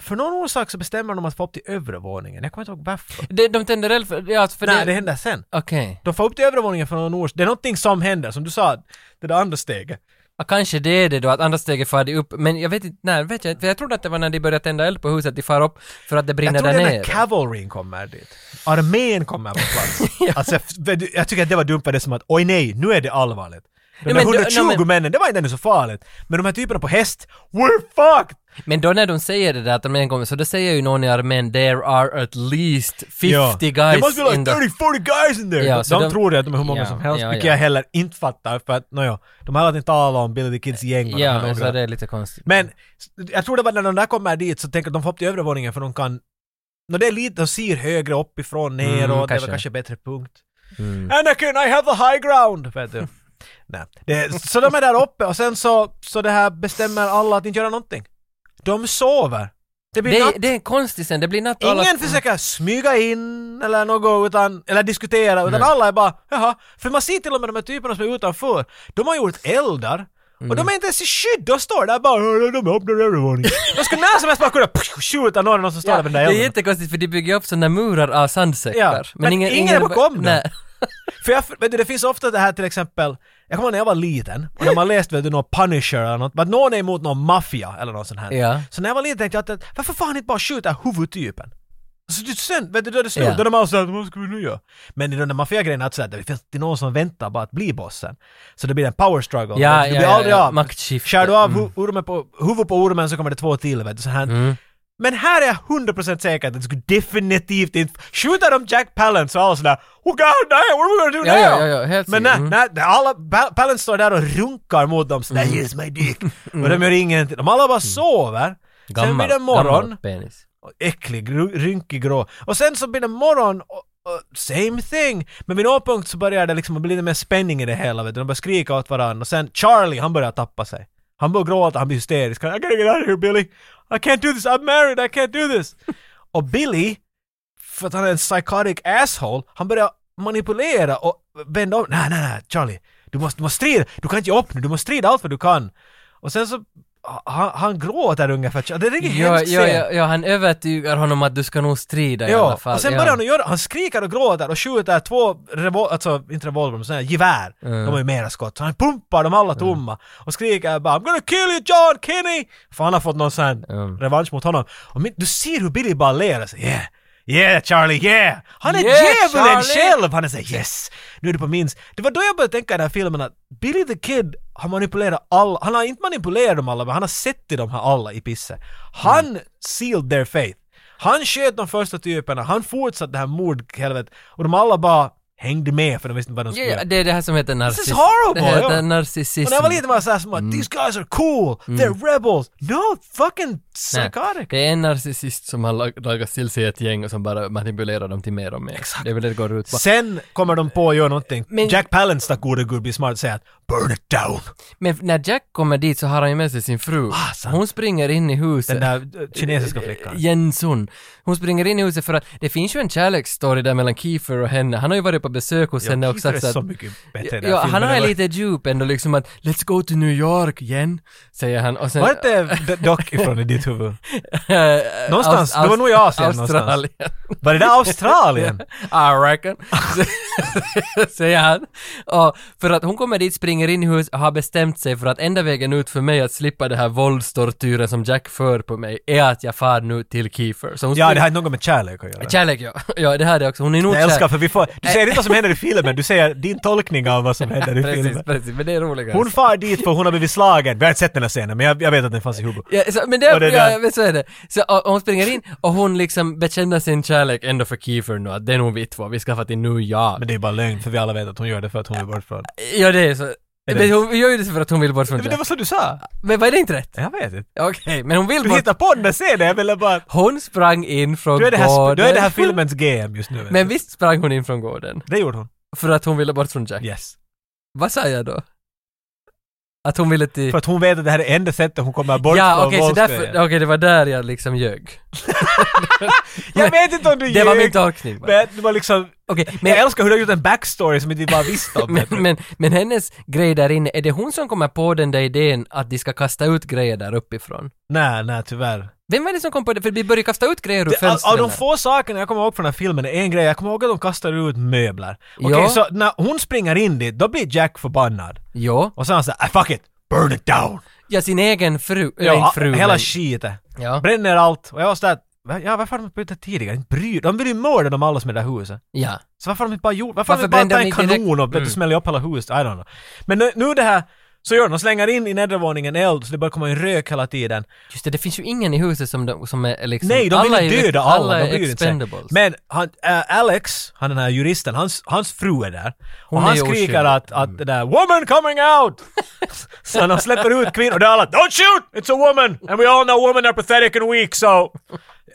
[SPEAKER 2] för någon orsak så bestämmer de att få upp till övre våningen. Jag kommer inte ihåg varför.
[SPEAKER 1] De, de tänder eld för, ja, för
[SPEAKER 2] Nej, det,
[SPEAKER 1] det...
[SPEAKER 2] händer sen.
[SPEAKER 1] Okej.
[SPEAKER 2] De får upp till övre våningen för någon orsak. Det är någonting som händer, som du sa, det där andra steget.
[SPEAKER 1] Ja, kanske det är det då, att andra steget far de upp, men jag vet inte, när vet jag inte, för jag trodde att det var när de började tända eld på huset, de far upp för att det
[SPEAKER 2] Jag
[SPEAKER 1] brinner
[SPEAKER 2] tror det
[SPEAKER 1] där
[SPEAKER 2] är när
[SPEAKER 1] nere.
[SPEAKER 2] cavalryn kommer dit. Armén kommer på plats. alltså, jag- jag tycker att det var dumt för det är som att oj nej, nu är det allvarligt. De
[SPEAKER 1] Nej,
[SPEAKER 2] där
[SPEAKER 1] men du-
[SPEAKER 2] 120
[SPEAKER 1] nej, men-
[SPEAKER 2] männen, det var inte ännu så farligt. Men de här typerna på häst, we're fucked!
[SPEAKER 1] Men då när de säger det där att armén kommer, så då säger ju någon i armén “There are at least 50 guys
[SPEAKER 2] There must be
[SPEAKER 1] in
[SPEAKER 2] like
[SPEAKER 1] the...”
[SPEAKER 2] 30-40 guys in there!
[SPEAKER 1] Ja,
[SPEAKER 2] de,
[SPEAKER 1] så
[SPEAKER 2] de
[SPEAKER 1] de-
[SPEAKER 2] tror det att de är hur många
[SPEAKER 1] Ja,
[SPEAKER 2] som helst,
[SPEAKER 1] ja,
[SPEAKER 2] vilket
[SPEAKER 1] ja.
[SPEAKER 2] jag heller inte fattar för att nåja, de har alltid talat om Billy the Kids gäng och de här
[SPEAKER 1] Ja,
[SPEAKER 2] några.
[SPEAKER 1] så det är lite konstigt.
[SPEAKER 2] Men s- jag tror det var när de där kommer dit så tänker jag att de får upp till övre våningen för de kan Nå det är lite, de ser högre uppifrån, neråt, det var
[SPEAKER 1] kanske.
[SPEAKER 2] kanske bättre punkt. Anakin, I have the high ground! Vet du. Nej. Det, så de är där uppe och sen så, så det här bestämmer alla att inte göra någonting. De sover. Det blir
[SPEAKER 1] det,
[SPEAKER 2] natt.
[SPEAKER 1] är, det är en konstig scen, det blir natt och alla- Mm.
[SPEAKER 2] Ingen försöker smyga in eller något utan, eller diskutera, utan alla är bara jaha. För man ser till och med de här typerna som är utanför, de har gjort eldar och
[SPEAKER 1] Mm.
[SPEAKER 2] de är inte ens i skydd, de står där bara "Hörru, de öppnar övervåningen. De skulle när som helst bara kunna pff, skjuta någon, någon som står där vid
[SPEAKER 1] det
[SPEAKER 2] den
[SPEAKER 1] är
[SPEAKER 2] där elden.
[SPEAKER 1] jättekonstigt för de bygger upp sådana murar av sandsäckar.
[SPEAKER 2] Ja, men ingen är bakom dem.
[SPEAKER 1] Nej.
[SPEAKER 2] För jag, vet du, det finns ofta det här till exempel, jag kommer ihåg när jag var liten och när man läste vet du, någon Punisher eller något, att någon är emot någon maffia eller något sånt här.
[SPEAKER 1] Ja.
[SPEAKER 2] Så när jag var liten tänkte jag att varför fan inte bara skjuta huvudtypen? Så du, sen, vet du, då är det slut,
[SPEAKER 1] Ja.
[SPEAKER 2] då är de alla såhär vad ska vi nu göra? Men i den där maffiagrejen är det så att det finns alltid någon som väntar bara att bli bossen. Så det blir en power struggle.
[SPEAKER 1] Ja,
[SPEAKER 2] du
[SPEAKER 1] ja,
[SPEAKER 2] blir
[SPEAKER 1] ja,
[SPEAKER 2] aldrig
[SPEAKER 1] ja.
[SPEAKER 2] av.
[SPEAKER 1] Maktskifte.
[SPEAKER 2] Skär du av
[SPEAKER 1] Mm.
[SPEAKER 2] hu- ormen på, huvudet på ormen så kommer det två till vet du, så här. Men här är jag 100% säker att det skulle definitivt inte... Skjuter de Jack Palance och alla sådär Oh god, nej, what are we gonna do
[SPEAKER 1] Ja,
[SPEAKER 2] now?
[SPEAKER 1] ja, ja, ja, helt
[SPEAKER 2] Men nej,
[SPEAKER 1] säkert. Mm.
[SPEAKER 2] nej, det- alla... Pal- Palance står där och runkar mot dem sådär
[SPEAKER 1] Mm.
[SPEAKER 2] Here's my dick. Och de gör ingenting. De alla bara sover. Sen blir det morgon
[SPEAKER 1] gammal penis.
[SPEAKER 2] och äcklig, ru- rynkig grå. Och sen så blir det morgon och, och same thing. Men vid någon punkt så börjar det liksom bli lite mer spänning i det hela vet du. De börjar skrika åt varandra och sen Charlie han börjar tappa sig. Han börjar gråta, han blir hysterisk. Han, I gotta get out of here Billy! I can't do this, I'm married, I can't do this! och Billy, för att han är en psychotic asshole, han börjar manipulera och vända om. Nej, nej, nej Charlie! Du måste, du måste strida, du kan inte ge upp nu, du måste strida allt vad du kan. Och sen så, han, han gråter ungefär, det är en riktigt
[SPEAKER 1] Ja,
[SPEAKER 2] hemskt
[SPEAKER 1] ja,
[SPEAKER 2] scen.
[SPEAKER 1] ja, ja, han övertygar honom att du ska nog strida i alla fall.
[SPEAKER 2] och sen
[SPEAKER 1] ja.
[SPEAKER 2] börjar han göra, han skriker och gråter och skjuter två, revol- alltså inte revolver, men sådana här gevär.
[SPEAKER 1] Mm.
[SPEAKER 2] De har ju mera skott. Så han pumpar dem alla tomma och skriker bara I'm gonna kill you John Kinney! För han har fått någon sån här revansch mot honom. Och min, du ser hur Billy bara ler och säger yeah, yeah Charlie, yeah! Han är
[SPEAKER 1] Yeah,
[SPEAKER 2] djävulen
[SPEAKER 1] Charlie!
[SPEAKER 2] själv! Han är såhär yes! Nu är du på min s-" Det var då jag började tänka i den här filmen att Billy the Kid har manipulerat alla, han har inte manipulerat dem alla men han har sett till dem här alla i pisset. Han
[SPEAKER 1] Mm.
[SPEAKER 2] sealed their faith. Han sköt de första typerna, han fortsatte det här mordhelvetet och de alla bara hängde med för de visste inte vad de
[SPEAKER 1] Ja,
[SPEAKER 2] skulle
[SPEAKER 1] ja,
[SPEAKER 2] göra.
[SPEAKER 1] det är det här som heter narcissism.
[SPEAKER 2] horrible,
[SPEAKER 1] Det heter
[SPEAKER 2] ja.
[SPEAKER 1] narcissism.
[SPEAKER 2] Och när jag var liten var jag såhär som
[SPEAKER 1] Mm.
[SPEAKER 2] att “These guys are cool, they're rebels, no fucking
[SPEAKER 1] Nej,
[SPEAKER 2] psychotic”.
[SPEAKER 1] Det är en narcissist som har lag- lagat till sig ett gäng och som bara manipulerar dem till mer och mer. Det är väl det det går ut på.
[SPEAKER 2] Sen kommer de på att göra någonting.
[SPEAKER 1] Men-
[SPEAKER 2] Jack Palance, gode gubbe, blir smart och säger att “Burn it down”.
[SPEAKER 1] Men när Jack kommer dit så har han ju med sig sin fru.
[SPEAKER 2] Ah, sant.
[SPEAKER 1] Hon springer in i huset.
[SPEAKER 2] Den där eh, kinesiska flickan.
[SPEAKER 1] Jensun. Hon springer in i huset för att det finns ju en kärleksstory där mellan Kiefer och henne. Han har ju varit på besök hos henne och
[SPEAKER 2] Kiefer
[SPEAKER 1] sagt
[SPEAKER 2] är
[SPEAKER 1] att...
[SPEAKER 2] så mycket bättre i den här
[SPEAKER 1] Ja, han
[SPEAKER 2] filmen
[SPEAKER 1] har
[SPEAKER 2] än
[SPEAKER 1] ju
[SPEAKER 2] vad-
[SPEAKER 1] lite djup ändå liksom att “Let's go to New York igen”, säger han och sen...
[SPEAKER 2] Var det inte dock ifrån i ditt huvud?
[SPEAKER 1] Eh,
[SPEAKER 2] Någonstans,
[SPEAKER 1] Aust-
[SPEAKER 2] det var nog i Asien någonstans.
[SPEAKER 1] Australien.
[SPEAKER 2] Var det där Australien?
[SPEAKER 1] I Ah, reckon. Säger han. Och för att hon kommer dit, springer in i hus och har bestämt sig för att enda vägen ut för mig att slippa det här våldstortyren som Jack för på mig är att jag far nu till Kiefer. Så hon
[SPEAKER 2] Ja,
[SPEAKER 1] springer-
[SPEAKER 2] det har något med kärlek att göra.
[SPEAKER 1] Kärlek ja. Ja, det här är också. Hon är nog
[SPEAKER 2] Jag
[SPEAKER 1] kär.
[SPEAKER 2] älskar för vi får, du säger inte vad som händer i filmen, du säger din tolkning av vad som händer i
[SPEAKER 1] Precis,
[SPEAKER 2] filmen.
[SPEAKER 1] precis. Men det är roligare.
[SPEAKER 2] Hon far dit för hon har blivit slagen. Vi har inte sett den här scenen men jag, jag vet att den fanns i huvudet.
[SPEAKER 1] Ja, så, men det,
[SPEAKER 2] Och det
[SPEAKER 1] ja,
[SPEAKER 2] där.
[SPEAKER 1] men så är det. Så, och, och hon springer in och hon liksom bekänner sin kärlek ändå för Kiefer nu att det är nog vi två, vi ska få till nu jag.
[SPEAKER 2] Men det är bara lögn för vi alla vet att hon gör det för att hon är bortförd.
[SPEAKER 1] Ja det är så.
[SPEAKER 2] det-
[SPEAKER 1] Men hon gör ju det för att hon vill bort från
[SPEAKER 2] Men det var
[SPEAKER 1] Jack.
[SPEAKER 2] så du sa.
[SPEAKER 1] Men var det inte rätt?
[SPEAKER 2] Jag vet inte.
[SPEAKER 1] Okej, men hon vill
[SPEAKER 2] Du
[SPEAKER 1] bort
[SPEAKER 2] hittar på den där scenen, jag ville bara...
[SPEAKER 1] Hon sprang in från
[SPEAKER 2] Du är det här, du
[SPEAKER 1] gården.
[SPEAKER 2] är det här filmens GM just nu. vet
[SPEAKER 1] Men
[SPEAKER 2] du.
[SPEAKER 1] visst sprang hon in från gården?
[SPEAKER 2] Det gjorde hon.
[SPEAKER 1] För att hon ville bort från Jack.
[SPEAKER 2] Yes.
[SPEAKER 1] Vad sa jag då? Att hon ville till...
[SPEAKER 2] För att hon vet att det här är enda sättet hon kommer bort
[SPEAKER 1] ja,
[SPEAKER 2] från
[SPEAKER 1] okej, så därför...
[SPEAKER 2] våldsspel.
[SPEAKER 1] Okej, det var där jag liksom ljög.
[SPEAKER 2] Jag vet inte om du
[SPEAKER 1] Det var
[SPEAKER 2] ljög,
[SPEAKER 1] min tolkning. va?
[SPEAKER 2] Men det var liksom...
[SPEAKER 1] Okej,
[SPEAKER 2] Men, jag
[SPEAKER 1] men,
[SPEAKER 2] älskar hur du har gjort en backstory som inte vi bara visste om.
[SPEAKER 1] men,
[SPEAKER 2] vet du.
[SPEAKER 1] men, men hennes grej där inne, är det hon som kommer på den där idén att de ska kasta ut grejer där uppifrån?
[SPEAKER 2] Nej, nej tyvärr.
[SPEAKER 1] Vem var det som kom på det? För vi började kasta ut grejer ur
[SPEAKER 2] Det- Av, Alltså, av
[SPEAKER 1] fönstren.
[SPEAKER 2] de få sakerna jag kommer ihåg från den här filmen är en grej, jag kommer ihåg att de kastar ut möbler. Okej,
[SPEAKER 1] Ja.
[SPEAKER 2] så när hon springer in dit, då blir Jack förbannad.
[SPEAKER 1] Ja,
[SPEAKER 2] Och sen han säger "Ah, “Fuck it, burn it down!”
[SPEAKER 1] ja, sin egen fru, ja,
[SPEAKER 2] Ja,
[SPEAKER 1] inte fru,
[SPEAKER 2] hela
[SPEAKER 1] men-
[SPEAKER 2] skiten.
[SPEAKER 1] ja.
[SPEAKER 2] Bränner allt. Och jag var sådär, "Va- ja varför har de inte brutit tidigare? Inte bryr De vill ju mörda dem alla som är där i huset.
[SPEAKER 1] ja.
[SPEAKER 2] Så varför har de inte bara gjort, varför,
[SPEAKER 1] Varför
[SPEAKER 2] har de inte bara
[SPEAKER 1] brände
[SPEAKER 2] tagit en
[SPEAKER 1] de inte
[SPEAKER 2] kanon och
[SPEAKER 1] direkt?
[SPEAKER 2] mm. smäller upp hela huset? I don't know. Men nu, nu det här, så gör de, de slänger in i nedervåningen eld så det börjar komma en rök hela tiden.
[SPEAKER 1] Just det, det finns ju ingen i huset som, de, som är liksom...
[SPEAKER 2] Nej, de vill ju
[SPEAKER 1] är-
[SPEAKER 2] döda alla.
[SPEAKER 1] Alla
[SPEAKER 2] de
[SPEAKER 1] är
[SPEAKER 2] bryr sig.
[SPEAKER 1] expendables.
[SPEAKER 2] Men han, äh, Alex, han den här juristen, hans, hans fru är där. och
[SPEAKER 1] är
[SPEAKER 2] han
[SPEAKER 1] ju
[SPEAKER 2] skriker
[SPEAKER 1] oskyldig.
[SPEAKER 2] att, att det där “Woman coming out!” Så de släpper ut kvinnor och det är alla “Don't shoot! It's a woman! And we all know women are pathetic and weak so...”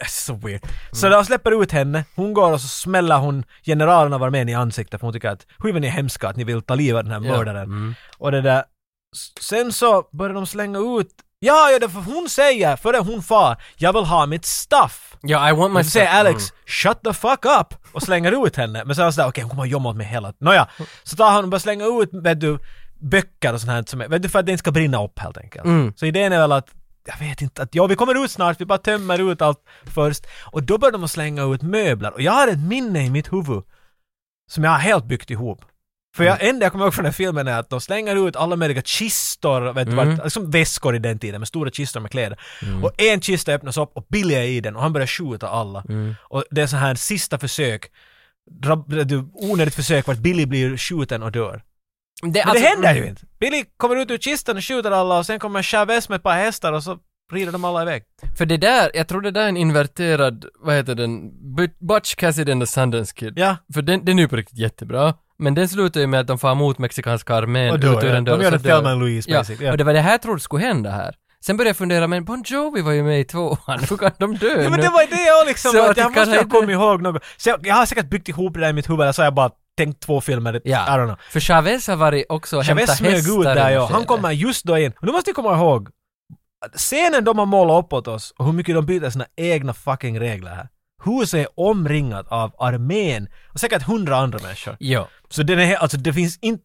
[SPEAKER 2] That's so weird. Så
[SPEAKER 1] Mm.
[SPEAKER 2] de släpper ut henne, hon går och så smäller hon generalen av armén i ansiktet för hon tycker att “Hur är ni hemska att ni vill ta livet av den här
[SPEAKER 1] Ja. Mm.
[SPEAKER 2] mördaren?” Och det där S- Sen så börjar de slänga ut Ja, ja, det för hon säger, före hon far, jag vill ha mitt stuff.
[SPEAKER 1] Ja, I want my
[SPEAKER 2] Men så säger
[SPEAKER 1] stuff.
[SPEAKER 2] Alex “shut the fuck up” och slänger ut henne. Men så är han sådär, okej hon kommer att jobba åt mig hela Nåja, så tar han och börjar slänga ut, vet du, böcker och sånt här som är, vet du, för att det inte ska brinna upp helt enkelt. Så idén är väl att, jag vet inte, att ja vi kommer ut snart, vi bara tömmer ut allt först. Och då börjar de att slänga ut möbler. Och jag har ett minne i mitt huvud som jag har helt byggt ihop. För jag,
[SPEAKER 1] Mm.
[SPEAKER 2] enda jag kommer ihåg från den här filmen är att de slänger ut alla möjliga kistor, vet du,
[SPEAKER 1] Mm.
[SPEAKER 2] vart, liksom väskor i den tiden, med stora kistor med kläder. Och en kista öppnas upp och Billy är i den och han börjar skjuta alla.
[SPEAKER 1] Mm.
[SPEAKER 2] Och det är så här sista försök, drab- du- onödigt försök vart Billy blir skjuten och dör.
[SPEAKER 1] Mm.
[SPEAKER 2] Men Alltså, det händer ju inte! Billy kommer ut ur kistan och skjuter alla och sen kommer Chavez med ett par hästar och så rider de alla iväg.
[SPEAKER 1] För det där, jag tror det där är en inverterad, vad heter den, But- Butch Cassidy and the Sundance Kid.
[SPEAKER 2] Ja.
[SPEAKER 1] För den, den är ju på riktigt jättebra. Men den slutar ju med att de far mot mexikanska armén
[SPEAKER 2] Och dör,
[SPEAKER 1] ut ur
[SPEAKER 2] ja.
[SPEAKER 1] en dörr,
[SPEAKER 2] De gör
[SPEAKER 1] så
[SPEAKER 2] en Thelma and Louise,
[SPEAKER 1] ja.
[SPEAKER 2] basically, ja.
[SPEAKER 1] Och det var det här jag trodde skulle hända här. Sen började jag fundera, men Bon Jovi var ju med i tvåan, hur kan de dö
[SPEAKER 2] Ja, men
[SPEAKER 1] nu?
[SPEAKER 2] det var det jag liksom,
[SPEAKER 1] Så
[SPEAKER 2] att
[SPEAKER 1] att
[SPEAKER 2] jag
[SPEAKER 1] det kanske
[SPEAKER 2] måste ha
[SPEAKER 1] inte-
[SPEAKER 2] kommit ihåg något. Så jag, jag har säkert byggt ihop det där i mitt huvud, eller så har jag bara tänkt två filmer,
[SPEAKER 1] Ja.
[SPEAKER 2] I don't know.
[SPEAKER 1] För Chavez har varit också och
[SPEAKER 2] Chavez
[SPEAKER 1] hämtat
[SPEAKER 2] smög
[SPEAKER 1] hästar.
[SPEAKER 2] ut där
[SPEAKER 1] i
[SPEAKER 2] ja,
[SPEAKER 1] något
[SPEAKER 2] han
[SPEAKER 1] skede.
[SPEAKER 2] kommer just då in. Och nu måste ni komma ihåg, att scenen de har målat upp åt oss och hur mycket de byter sina egna fucking regler här. Huset är omringat av armén och säkert hundra andra människor.
[SPEAKER 1] Ja.
[SPEAKER 2] Så den är, he- alltså det finns inte,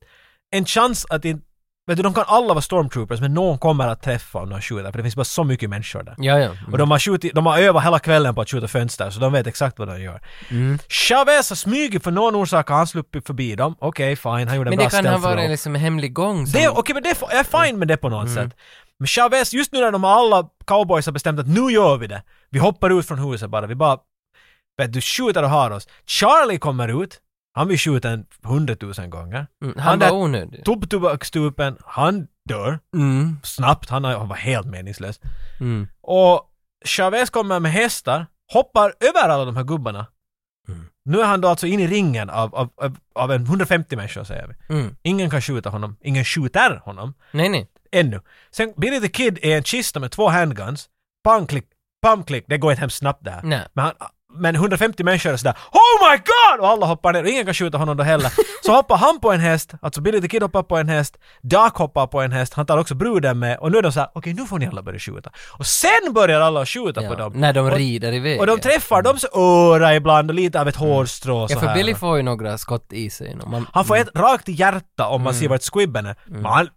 [SPEAKER 2] en chans att inte... Vet du, de kan alla vara stormtroopers men någon kommer att träffa om de skjuter för det finns bara så mycket människor där.
[SPEAKER 1] Ja, ja.
[SPEAKER 2] Och de har, skjutit, de har övat hela kvällen på att skjuta fönster, så de vet exakt vad de gör.
[SPEAKER 1] Mm.
[SPEAKER 2] Chavez har smugit för någon orsak, har han sluppit förbi dem. Okej, fine, han gjorde en
[SPEAKER 1] Men
[SPEAKER 2] bra
[SPEAKER 1] det kan ha
[SPEAKER 2] stealth
[SPEAKER 1] varit
[SPEAKER 2] roll.
[SPEAKER 1] liksom Mm. en hemlig gång som...
[SPEAKER 2] Det, okej, men det får- jag är fine med det på något sätt. Men Chavez, just nu när de alla cowboys har bestämt att nu gör vi det. Vi hoppar ut från huset bara. Vi bara... Vet du, skjuter och har oss. Charlie kommer ut. Han blir skjuten hundratusen gånger.
[SPEAKER 1] Mm,
[SPEAKER 2] Han
[SPEAKER 1] han
[SPEAKER 2] där-
[SPEAKER 1] var onödig.
[SPEAKER 2] Tubbtobaksstupen, han dör
[SPEAKER 1] Mm,
[SPEAKER 2] snabbt. Han, har- han var helt meningslös.
[SPEAKER 1] mm.
[SPEAKER 2] Och Chavez kommer med hästar, hoppar över alla de här gubbarna.
[SPEAKER 1] Mm.
[SPEAKER 2] Nu är han då alltså inne i ringen av, av, av, av en 150 människor säger vi.
[SPEAKER 1] Mm.
[SPEAKER 2] Ingen kan skjuta honom, ingen skjuter honom.
[SPEAKER 1] Nej, nej.
[SPEAKER 2] Ännu. Sen Billy the Kid är en kista med två handguns. Pang klick, pam klick. Det går inte hemskt snabbt där.
[SPEAKER 1] Nej.
[SPEAKER 2] Men, han, men 150 människor är sådär Oh my god! Och alla hoppar ner och ingen kan skjuta honom då heller. Så hoppar han på en häst, alltså Billy the Kid hoppar på en häst, Doc hoppar på en häst, han tar också bruden med och nu är de såhär okej nu får ni alla börja skjuta. Och sen börjar alla skjuta på
[SPEAKER 1] Ja,
[SPEAKER 2] dem.
[SPEAKER 1] När de
[SPEAKER 2] Och-
[SPEAKER 1] rider iväg.
[SPEAKER 2] Och de träffar dem så öra ibland och lite av ett hårstrå så
[SPEAKER 1] Ja, för
[SPEAKER 2] här.
[SPEAKER 1] Billy får ju några skott i sig. nu. Man,
[SPEAKER 2] Han får ett rakt i hjärta om
[SPEAKER 1] Mm.
[SPEAKER 2] man ser vart squibben är. Men han,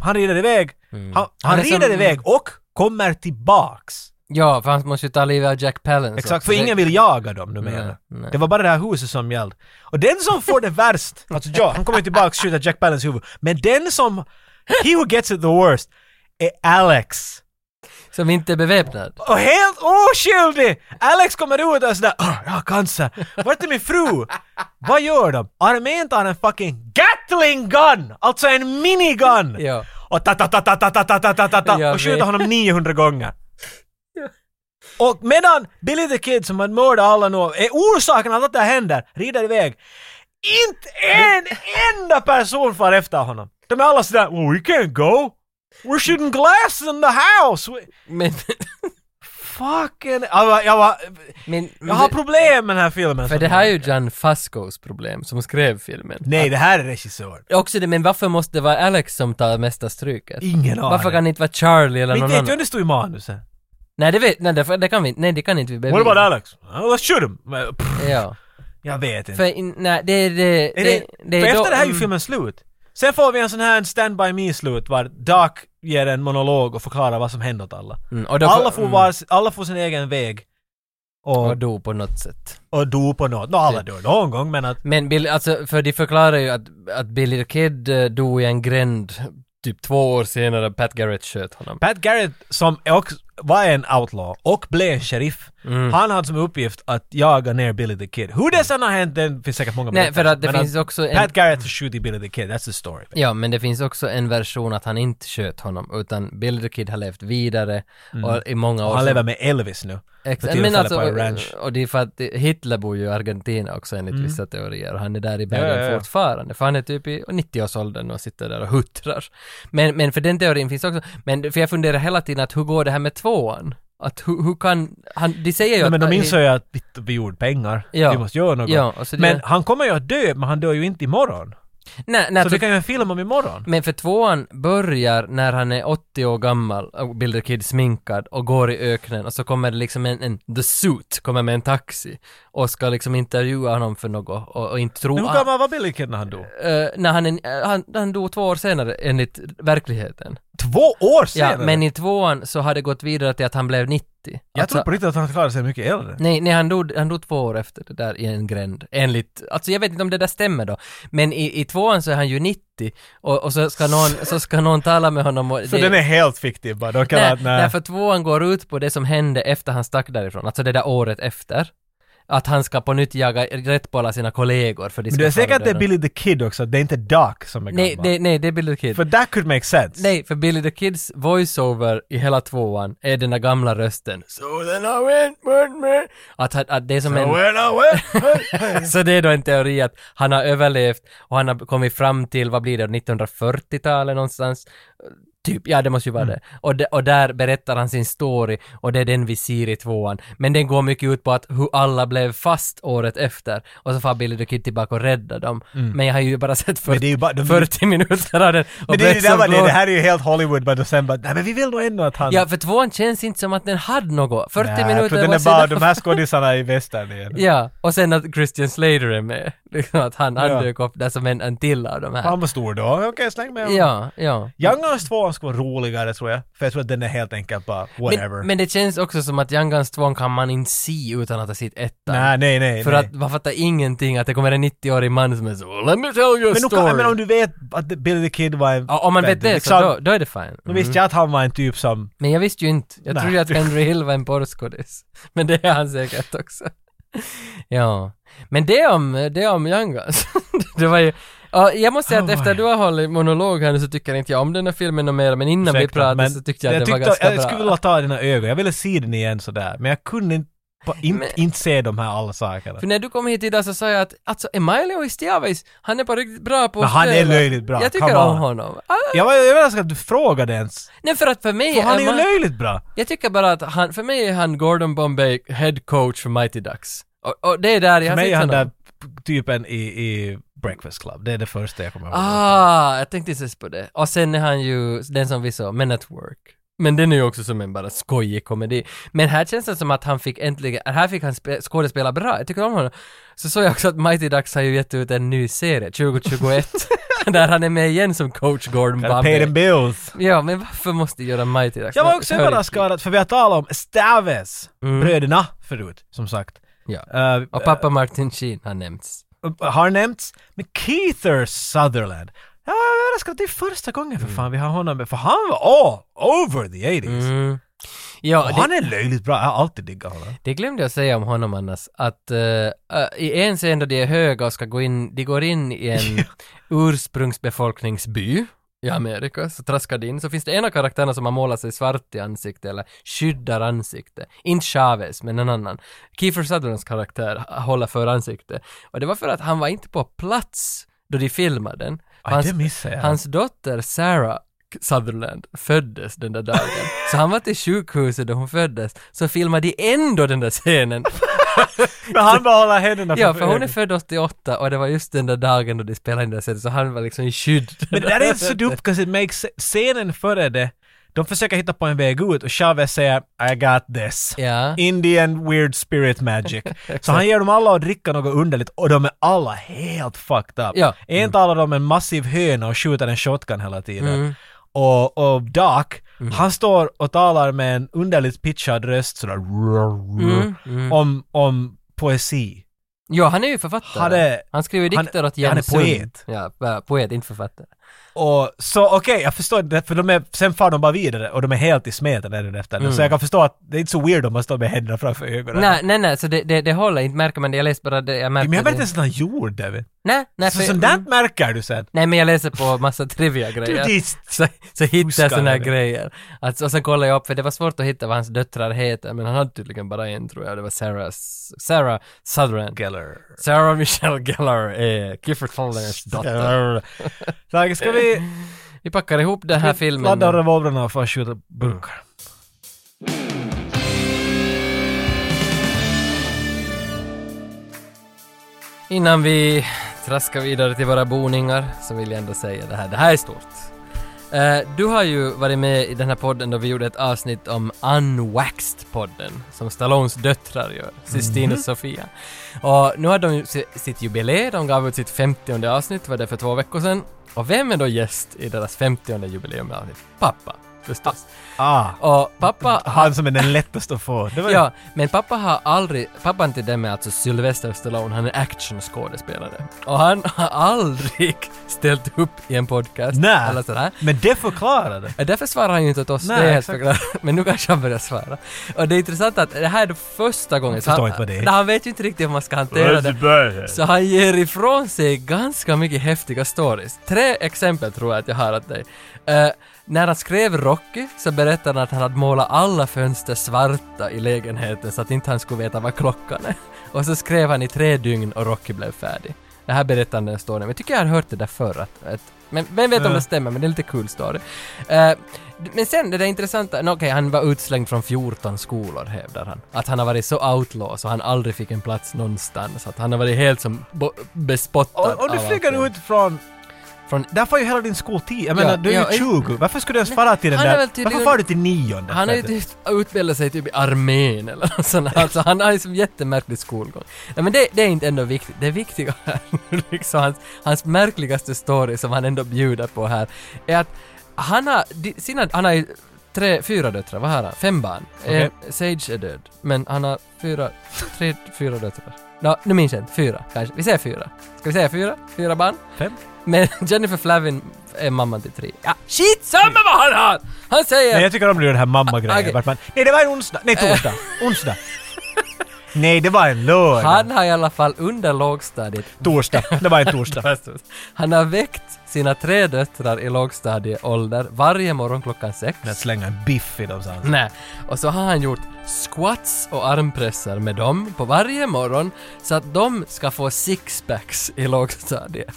[SPEAKER 2] han rider iväg. Han, han,
[SPEAKER 1] Mm. Han är
[SPEAKER 2] rider
[SPEAKER 1] som-
[SPEAKER 2] iväg och kommer tillbaks.
[SPEAKER 1] Ja, för han måste ju ta livet av Jack Palance.
[SPEAKER 2] Exakt,
[SPEAKER 1] också.
[SPEAKER 2] för
[SPEAKER 1] Det-
[SPEAKER 2] ingen vill jaga dem numera.
[SPEAKER 1] Nej, nej.
[SPEAKER 2] Det var bara det här huset som gällde. Och den som får det värst, alltså ja, han kommer ju tillbaka och skjuter Jack Palance huvud. Men den som, he who gets it the worst, är Alex.
[SPEAKER 1] Som inte är beväpnad.
[SPEAKER 2] Och helt oskyldig! Alex kommer ut och sådär "Åh, jag har cancer. Vart är min fru? Vad gör de? Armén tar en fucking Gatling gun! Alltså en minigun!
[SPEAKER 1] Ja.
[SPEAKER 2] Och ta ta ta ta ta ta ta ta ta ta ta
[SPEAKER 1] Jag
[SPEAKER 2] och skjuter
[SPEAKER 1] vet.
[SPEAKER 2] honom 900 gånger. Och medan Billy the Kid som har mördat alla nu, är orsaken att allt det här händer, rider iväg. Inte en enda person far efter honom. De är alla sådär well, we can't go. We're shooting glass in the house. We-
[SPEAKER 1] Men...
[SPEAKER 2] Fucking... Jag var, jag, var,
[SPEAKER 1] men
[SPEAKER 2] jag har problem med den här filmen.
[SPEAKER 1] Mm. För det här är ju John Fascos problem, som skrev filmen.
[SPEAKER 2] Nej, det här är regissör.
[SPEAKER 1] Också det, men varför måste det vara Alex som tar mesta stryket?
[SPEAKER 2] Ingen aning.
[SPEAKER 1] Varför kan det inte vara Charlie eller
[SPEAKER 2] Men
[SPEAKER 1] någon
[SPEAKER 2] inte vet ju
[SPEAKER 1] annan?
[SPEAKER 2] om det stod i manuset.
[SPEAKER 1] Nej, det vet, nej, det, det kan vi inte, nej det kan inte vi
[SPEAKER 2] What
[SPEAKER 1] bevisa.
[SPEAKER 2] about Alex? Oh, let's shoot him! Men, pff,
[SPEAKER 1] Ja.
[SPEAKER 2] Jag vet inte.
[SPEAKER 1] För, in- nej, det är det,
[SPEAKER 2] är det,
[SPEAKER 1] det
[SPEAKER 2] för efter
[SPEAKER 1] då-
[SPEAKER 2] det här är ju
[SPEAKER 1] mm.
[SPEAKER 2] filmen slut. Sen får vi en sån här en Stand By Me-slut var Doc ger en monolog och förklarar vad som hände åt alla.
[SPEAKER 1] Mm, och då,
[SPEAKER 2] Alla får,
[SPEAKER 1] mm,
[SPEAKER 2] vars, alla får sin egen väg. Och,
[SPEAKER 1] Och dog på något sätt.
[SPEAKER 2] och dog på något. Nå, alla dör någon gång men att...
[SPEAKER 1] Men Bill, alltså, för de förklarar ju att, att Billy the Kid eh, dog i en gränd typ två år senare Pat Garrett sköt honom.
[SPEAKER 2] Pat Garrett som är också var en outlaw och blev en sheriff.
[SPEAKER 1] Mm.
[SPEAKER 2] Han hade som uppgift att jaga ner Billy the Kid. Hur det sen har hänt, det finns säkert många
[SPEAKER 1] Nej, för att det
[SPEAKER 2] berättelser, men
[SPEAKER 1] finns också en...
[SPEAKER 2] Pat Garrett skjutit Billy the Kid, that's the story.
[SPEAKER 1] Ja, men det finns också en version att han inte sköt honom, utan Billy the Kid har levt vidare och i många år.
[SPEAKER 2] Mm. Han lever med Elvis nu.
[SPEAKER 1] Ex-
[SPEAKER 2] för
[SPEAKER 1] men
[SPEAKER 2] tillfället
[SPEAKER 1] alltså,
[SPEAKER 2] på en ranch.
[SPEAKER 1] och det är för att det- Hitler bor ju i Argentina också enligt vissa teorier och han är där i bergen
[SPEAKER 2] Mm. Ja, ja, ja.
[SPEAKER 1] fortfarande för han är typ i 90-årsåldern och sitter där och huttrar. Men, men för den teorin finns också, men för jag funderar hela tiden att hur går det här med tvåan? Att hur, hur kan, han, de säger ju
[SPEAKER 2] Nej, men
[SPEAKER 1] att...
[SPEAKER 2] de insåg ju att vi, vi gjorde pengar,
[SPEAKER 1] Ja.
[SPEAKER 2] vi måste göra något.
[SPEAKER 1] Ja, och så det-
[SPEAKER 2] men han kommer ju att dö, men han dör ju inte imorgon.
[SPEAKER 1] Nej, nej,
[SPEAKER 2] Så
[SPEAKER 1] för-
[SPEAKER 2] vi kan ju ha en film om imorgon.
[SPEAKER 1] Men för tvåan börjar när han är 80 år gammal, och Bill the Kid sminkad och går i öknen och så kommer det liksom en, en The Suit, kommer med en taxi och ska liksom intervjua honom för något och, och inte tro...
[SPEAKER 2] Men hur gammal var Billy Kid när han dog?
[SPEAKER 1] Eh, när han, är- han, han dog två år senare enligt verkligheten.
[SPEAKER 2] Två år senare!
[SPEAKER 1] Ja, men i tvåan så har det gått vidare till att han blev 90.
[SPEAKER 2] Jag
[SPEAKER 1] Alltså-
[SPEAKER 2] tror på riktigt att han klarade sig mycket äldre.
[SPEAKER 1] Nej, nej han, dog, han dog två år efter det där i en gränd, enligt, alltså jag vet inte om det där stämmer då, men i, i tvåan så är han ju 90 och, och så, ska någon, så ska någon tala med honom och
[SPEAKER 2] Så
[SPEAKER 1] det-
[SPEAKER 2] den är helt fiktiv bara. De kan
[SPEAKER 1] Nej,
[SPEAKER 2] att-
[SPEAKER 1] nej, för tvåan går ut på det som hände efter han stack därifrån, alltså det där året efter. Att han ska på nytt jaga rätt på alla sina kollegor för de
[SPEAKER 2] Men
[SPEAKER 1] ska
[SPEAKER 2] du är
[SPEAKER 1] fara
[SPEAKER 2] säker att det är
[SPEAKER 1] döda.
[SPEAKER 2] Billy the Kid också, det är inte Doc som är
[SPEAKER 1] Nej,
[SPEAKER 2] gammal?
[SPEAKER 1] nej, nej, det är Billy the Kid.
[SPEAKER 2] För that could make sense.
[SPEAKER 1] Nej, för Billy the Kids voiceover i hela tvåan är den där gamla rösten. So then I went, went, went. Att, han- att det är som en...
[SPEAKER 2] When I went-
[SPEAKER 1] Så det är då en teori att han har överlevt och han har kommit fram till, vad blir det, 1940-talet någonstans? Typ, ja det måste ju vara
[SPEAKER 2] Mm.
[SPEAKER 1] det. Och, de, och där berättar han sin story och det är den vi ser i tvåan. Men den går mycket ut på att hur alla blev fast året efter och så far Billy the Kid tillbaka och räddar dem. Men jag har ju bara sett
[SPEAKER 2] Mm. Men det är ju
[SPEAKER 1] 40,
[SPEAKER 2] bara- de-
[SPEAKER 1] 40 minuter av den. och
[SPEAKER 2] Men det, är
[SPEAKER 1] blev
[SPEAKER 2] det,
[SPEAKER 1] så
[SPEAKER 2] där var det,
[SPEAKER 1] glad.
[SPEAKER 2] det här är ju helt Hollywood, men sen bara nej men vi vill nog ändå att han...
[SPEAKER 1] Ja, för tvåan känns inte som att den hade något. 40
[SPEAKER 2] Nej, jag
[SPEAKER 1] minuter
[SPEAKER 2] tror den
[SPEAKER 1] var
[SPEAKER 2] är bara
[SPEAKER 1] sedan-
[SPEAKER 2] de här skådisarna i västern igen.
[SPEAKER 1] Ja, och sen att Christian Slater är med. Liksom att han,
[SPEAKER 2] Ja.
[SPEAKER 1] han dök upp där som en, en till av de här.
[SPEAKER 2] Han var stor då. Okej, släng med honom.
[SPEAKER 1] Ja, ja.
[SPEAKER 2] Young Guns 2 ska vara roligare tror jag. För jag tror att den är helt enkelt bara whatever.
[SPEAKER 1] Men, men det känns också som att Young Guns 2 kan man inte se utan att ha sett ettan.
[SPEAKER 2] nej, nej, nej.
[SPEAKER 1] För
[SPEAKER 2] nej.
[SPEAKER 1] att man fattar ingenting att det kommer en 90-årig man som är så "Well, ”Let me tell you a
[SPEAKER 2] men, nu
[SPEAKER 1] story”.
[SPEAKER 2] kan, men om du vet att Billy the Kid var en...
[SPEAKER 1] Ja, om man vet det så
[SPEAKER 2] liksom,
[SPEAKER 1] då, då är det fine.
[SPEAKER 2] Då visste jag att han var en typ som...
[SPEAKER 1] Men jag visste ju inte. Jag
[SPEAKER 2] Nej.
[SPEAKER 1] trodde att Henry Hill var en porrskådis. Men det är han säkert också. Ja. Men det om, det om Young Guns. det var ju... Ja, jag måste säga att
[SPEAKER 2] Oh,
[SPEAKER 1] efter
[SPEAKER 2] boy.
[SPEAKER 1] du har hållit monolog här nu så tycker inte jag om den här filmen och mer, men innan vi
[SPEAKER 2] ursäkta,
[SPEAKER 1] pratade
[SPEAKER 2] men
[SPEAKER 1] så tyckte jag att det var ganska
[SPEAKER 2] Jag skulle
[SPEAKER 1] bra.
[SPEAKER 2] vilja ta dina ögon. Jag ville se den igen sådär. Men jag kunde inte, bara, inte,
[SPEAKER 1] Men-
[SPEAKER 2] inte se de här alla sakerna.
[SPEAKER 1] För när du kom hit idag så sa jag att alltså Emilio Estevez, han är på riktigt bra på
[SPEAKER 2] Men
[SPEAKER 1] att
[SPEAKER 2] han är
[SPEAKER 1] spela.
[SPEAKER 2] löjligt bra,
[SPEAKER 1] Jag
[SPEAKER 2] come
[SPEAKER 1] tycker om
[SPEAKER 2] on.
[SPEAKER 1] honom. Ah,
[SPEAKER 2] Jag var jag var överraskad att du frågade ens.
[SPEAKER 1] nej för att för mig
[SPEAKER 2] För han är ju
[SPEAKER 1] Emil-
[SPEAKER 2] löjligt bra.
[SPEAKER 1] Jag tycker bara att han, för mig är han Gordon Bombay head coach för Mighty Ducks. Och, och det är där jag
[SPEAKER 2] För
[SPEAKER 1] har
[SPEAKER 2] mig
[SPEAKER 1] sett
[SPEAKER 2] är han
[SPEAKER 1] honom.
[SPEAKER 2] där typen i, i Breakfast Club. Det är det första jag kommer ihåg.
[SPEAKER 1] Ah, jag tänkte inte ens på det. Och sen är han ju den som vi sa, Men at Work. Men den är ju också som en bara skojig komedi. Men här känns det som att han fick äntligen, här fick han spe, skådespela bra, jag tycker om honom. Så såg jag också att Mighty Ducks har ju gett ut en ny serie, 2021, där han är med igen som coach Gordon
[SPEAKER 2] Gotta pay them
[SPEAKER 1] Bombay.
[SPEAKER 2] bills.
[SPEAKER 1] Ja, men varför måste jag göra Mighty Ducks?
[SPEAKER 2] Jag var
[SPEAKER 1] Man
[SPEAKER 2] också
[SPEAKER 1] hör inte.
[SPEAKER 2] överraskad att- för vi har talat om Staves, bröderna förut, som sagt.
[SPEAKER 1] Ja.
[SPEAKER 2] Eh,
[SPEAKER 1] Mm. Och pappa Martin Sheen har nämnts.
[SPEAKER 2] har nämnts, men Keither Sutherland. Jag var överraskad, det är första gången för
[SPEAKER 1] Mm.
[SPEAKER 2] fan vi har honom med, för han var all over the 80s.
[SPEAKER 1] Ja,
[SPEAKER 2] Och
[SPEAKER 1] det-
[SPEAKER 2] han är löjligt bra, jag har alltid diggat honom.
[SPEAKER 1] Det glömde jag säga om honom annars, att eh, eh, i en scen då de är höga och ska gå in, de går in i en ursprungsbefolkningsby i Amerika, så traskar de in, så finns det en av karaktärerna som har målat sig svart i ansiktet eller skyddar ansiktet. Inte Chavez, men en annan. Kiefer Sutherlands karaktär håller för ansiktet. Och det var för att han var inte på plats då de filmade den.
[SPEAKER 2] Aj, det missade jag.
[SPEAKER 1] Hans dotter Sarah Sutherland föddes den där dagen. Så han var till sjukhuset då hon föddes, så filmade de ändå den där scenen.
[SPEAKER 2] Men han bara håller händerna
[SPEAKER 1] Ja, för hon är
[SPEAKER 2] ögonen.
[SPEAKER 1] född 88 och det var just den där dagen då de spelade in den där scenen, så han var liksom i skydd.
[SPEAKER 2] Men det där är inte så dumt, 'cause it makes scenen före det, de försöker hitta på en väg ut och Chavez säger I got this.
[SPEAKER 1] Ja.
[SPEAKER 2] Indian weird spirit magic. så han ger dem alla att dricka något underligt och de är alla helt fucked up.
[SPEAKER 1] Ja.
[SPEAKER 2] En talar om en massiv höna och skjuter en shotgun hela tiden.
[SPEAKER 1] Mm.
[SPEAKER 2] Och, och Doc, han står och talar med en underligt pitchad röst sådär
[SPEAKER 1] Mm,
[SPEAKER 2] Om, om poesi.
[SPEAKER 1] Ja, han är ju författare.
[SPEAKER 2] Han är-
[SPEAKER 1] han skriver
[SPEAKER 2] han-
[SPEAKER 1] dikter åt
[SPEAKER 2] han är
[SPEAKER 1] Jens Sund.
[SPEAKER 2] poet.
[SPEAKER 1] Ja, ja, poet, inte författare.
[SPEAKER 2] Och så okej, jag förstår det, för de är, sen far de bara vidare och de är helt i smeten även efter det. Så jag kan förstå att det är inte så weird om man står med händerna framför ögonen.
[SPEAKER 1] Mm. Nej, nej, nej, så det, det, det håller inte, märker man det. Jag läste bara det, jag märkte
[SPEAKER 2] Men jag vet
[SPEAKER 1] det.
[SPEAKER 2] inte ens att han gjorde det. vet du.
[SPEAKER 1] Nej, nej,
[SPEAKER 2] Så
[SPEAKER 1] för-
[SPEAKER 2] sånt där märker du sen.
[SPEAKER 1] Nej men jag läser på massa trivia-grejer.
[SPEAKER 2] Du, det är-
[SPEAKER 1] så, så hittar jag
[SPEAKER 2] Fuskar
[SPEAKER 1] såna här
[SPEAKER 2] det.
[SPEAKER 1] grejer. Alltså, och sen kollar jag upp, för det var svårt att hitta vad hans döttrar heter, men han hade tydligen bara en tror jag, det var Sarah, Sarah Sutherland.
[SPEAKER 2] Geller.
[SPEAKER 1] Sarah Michelle Gellar är Kiefer Sutherlands dotter.
[SPEAKER 2] Tack, ska vi
[SPEAKER 1] Vi packar ihop den här filmen. Mm.
[SPEAKER 2] ladda revolverna och få skjuta burkar?
[SPEAKER 1] Innan vi traskar vidare till våra boningar så vill jag ändå säga det här. Det här är stort. Eh, du har ju varit med i den här podden då vi gjorde ett avsnitt om Unwaxed-podden som Stallones döttrar gör, Sistine och Sofia. Och nu har de ju si- sitt jubileum, de gav ut sitt 50 avsnitt, var det för två veckor sedan. Och vem är då gäst i deras 50 jubileumavsnitt? Pappa, förstås.
[SPEAKER 2] Ah,
[SPEAKER 1] Och pappa...
[SPEAKER 2] han som är den lättaste att få. Det var
[SPEAKER 1] Ja, men pappa har aldrig, pappan till dem är alltså Sylvester Stallone, han är actionskådespelare. Och han har aldrig ställt upp i en podcast
[SPEAKER 2] Nej.
[SPEAKER 1] eller sådär.
[SPEAKER 2] Men det förklarade.
[SPEAKER 1] Ja, Därför svarar han ju inte åt oss,
[SPEAKER 2] Nej,
[SPEAKER 1] det är helt
[SPEAKER 2] exakt.
[SPEAKER 1] förklarat. Men nu kanske han börjar svara. Och det är intressant att det här är det första gången, så
[SPEAKER 2] förstår
[SPEAKER 1] han,
[SPEAKER 2] inte vad det är.
[SPEAKER 1] Nej, han vet ju inte riktigt hur man ska hantera det. Så han ger ifrån sig ganska mycket häftiga stories. Tre exempel tror jag att jag har åt dig. Eh, när han skrev Rocky så berättade han att han hade målat alla fönster svarta i lägenheten så att inte han skulle veta vad klockan är. Och så skrev han i tre dygn och Rocky blev färdig. Det här berättar han den storyn, men jag tycker jag har hört det där förr. Att, att, men vem vet om det stämmer, men det är lite kul story. Eh, men sen det där intressanta, no, okej han var utslängd från 14 skolor hävdar han. Att han har varit så outlaw så han aldrig fick en plats någonstans. Att han har varit helt som bo- bespottad
[SPEAKER 2] Om, om du
[SPEAKER 1] av
[SPEAKER 2] flyger
[SPEAKER 1] allting.
[SPEAKER 2] ut från
[SPEAKER 1] Från,
[SPEAKER 2] Där får ju hela din skoltid. Jag menar,
[SPEAKER 1] Ja,
[SPEAKER 2] du är
[SPEAKER 1] ja,
[SPEAKER 2] ju 20. Varför skulle du ens fara till den
[SPEAKER 1] han är
[SPEAKER 2] där?
[SPEAKER 1] väl tydligen-
[SPEAKER 2] Varför far du till nionde?
[SPEAKER 1] han har ju
[SPEAKER 2] För att-
[SPEAKER 1] typ utbildat sig typ i armén eller något sånt. Alltså han har ju som jättemärklig skolgång. Nej men det, det är inte ändå viktigt. Det viktiga här, nu, liksom hans, hans märkligaste story som han ändå bjuder på här, är att han har, di- sina, han har ju tre, fyra döttrar, vad har han? Fem barn.
[SPEAKER 2] Okej.
[SPEAKER 1] Eh, Sage är död, men han har fyra, tre, fyra döttrar. Nå, nu minns jag inte, fyra kanske. Vi säger fyra. Ska vi säga fyra? Fyra barn?
[SPEAKER 2] Fem?
[SPEAKER 1] Men Jennifer Flavin är mamman till tre. Ja, shit samma vad han har! Han säger...
[SPEAKER 2] Nej, jag tycker om det är den här mamma-grejen.
[SPEAKER 1] Okej.
[SPEAKER 2] Vart man, nej, det var en onsdag. Nej, torsdag. onsdag. Nej, det var en lördag.
[SPEAKER 1] Han har i alla fall under lågstadiet
[SPEAKER 2] Torsdag. Det var en torsdag.
[SPEAKER 1] Han har väckt sina tre döttrar i lågstadieålder varje morgon klockan sex.
[SPEAKER 2] Men slänga en biff i dem, sa han.
[SPEAKER 1] Nej. Och så har han gjort squats och armpressar med dem på varje morgon så att de ska få sixpacks i lågstadiet.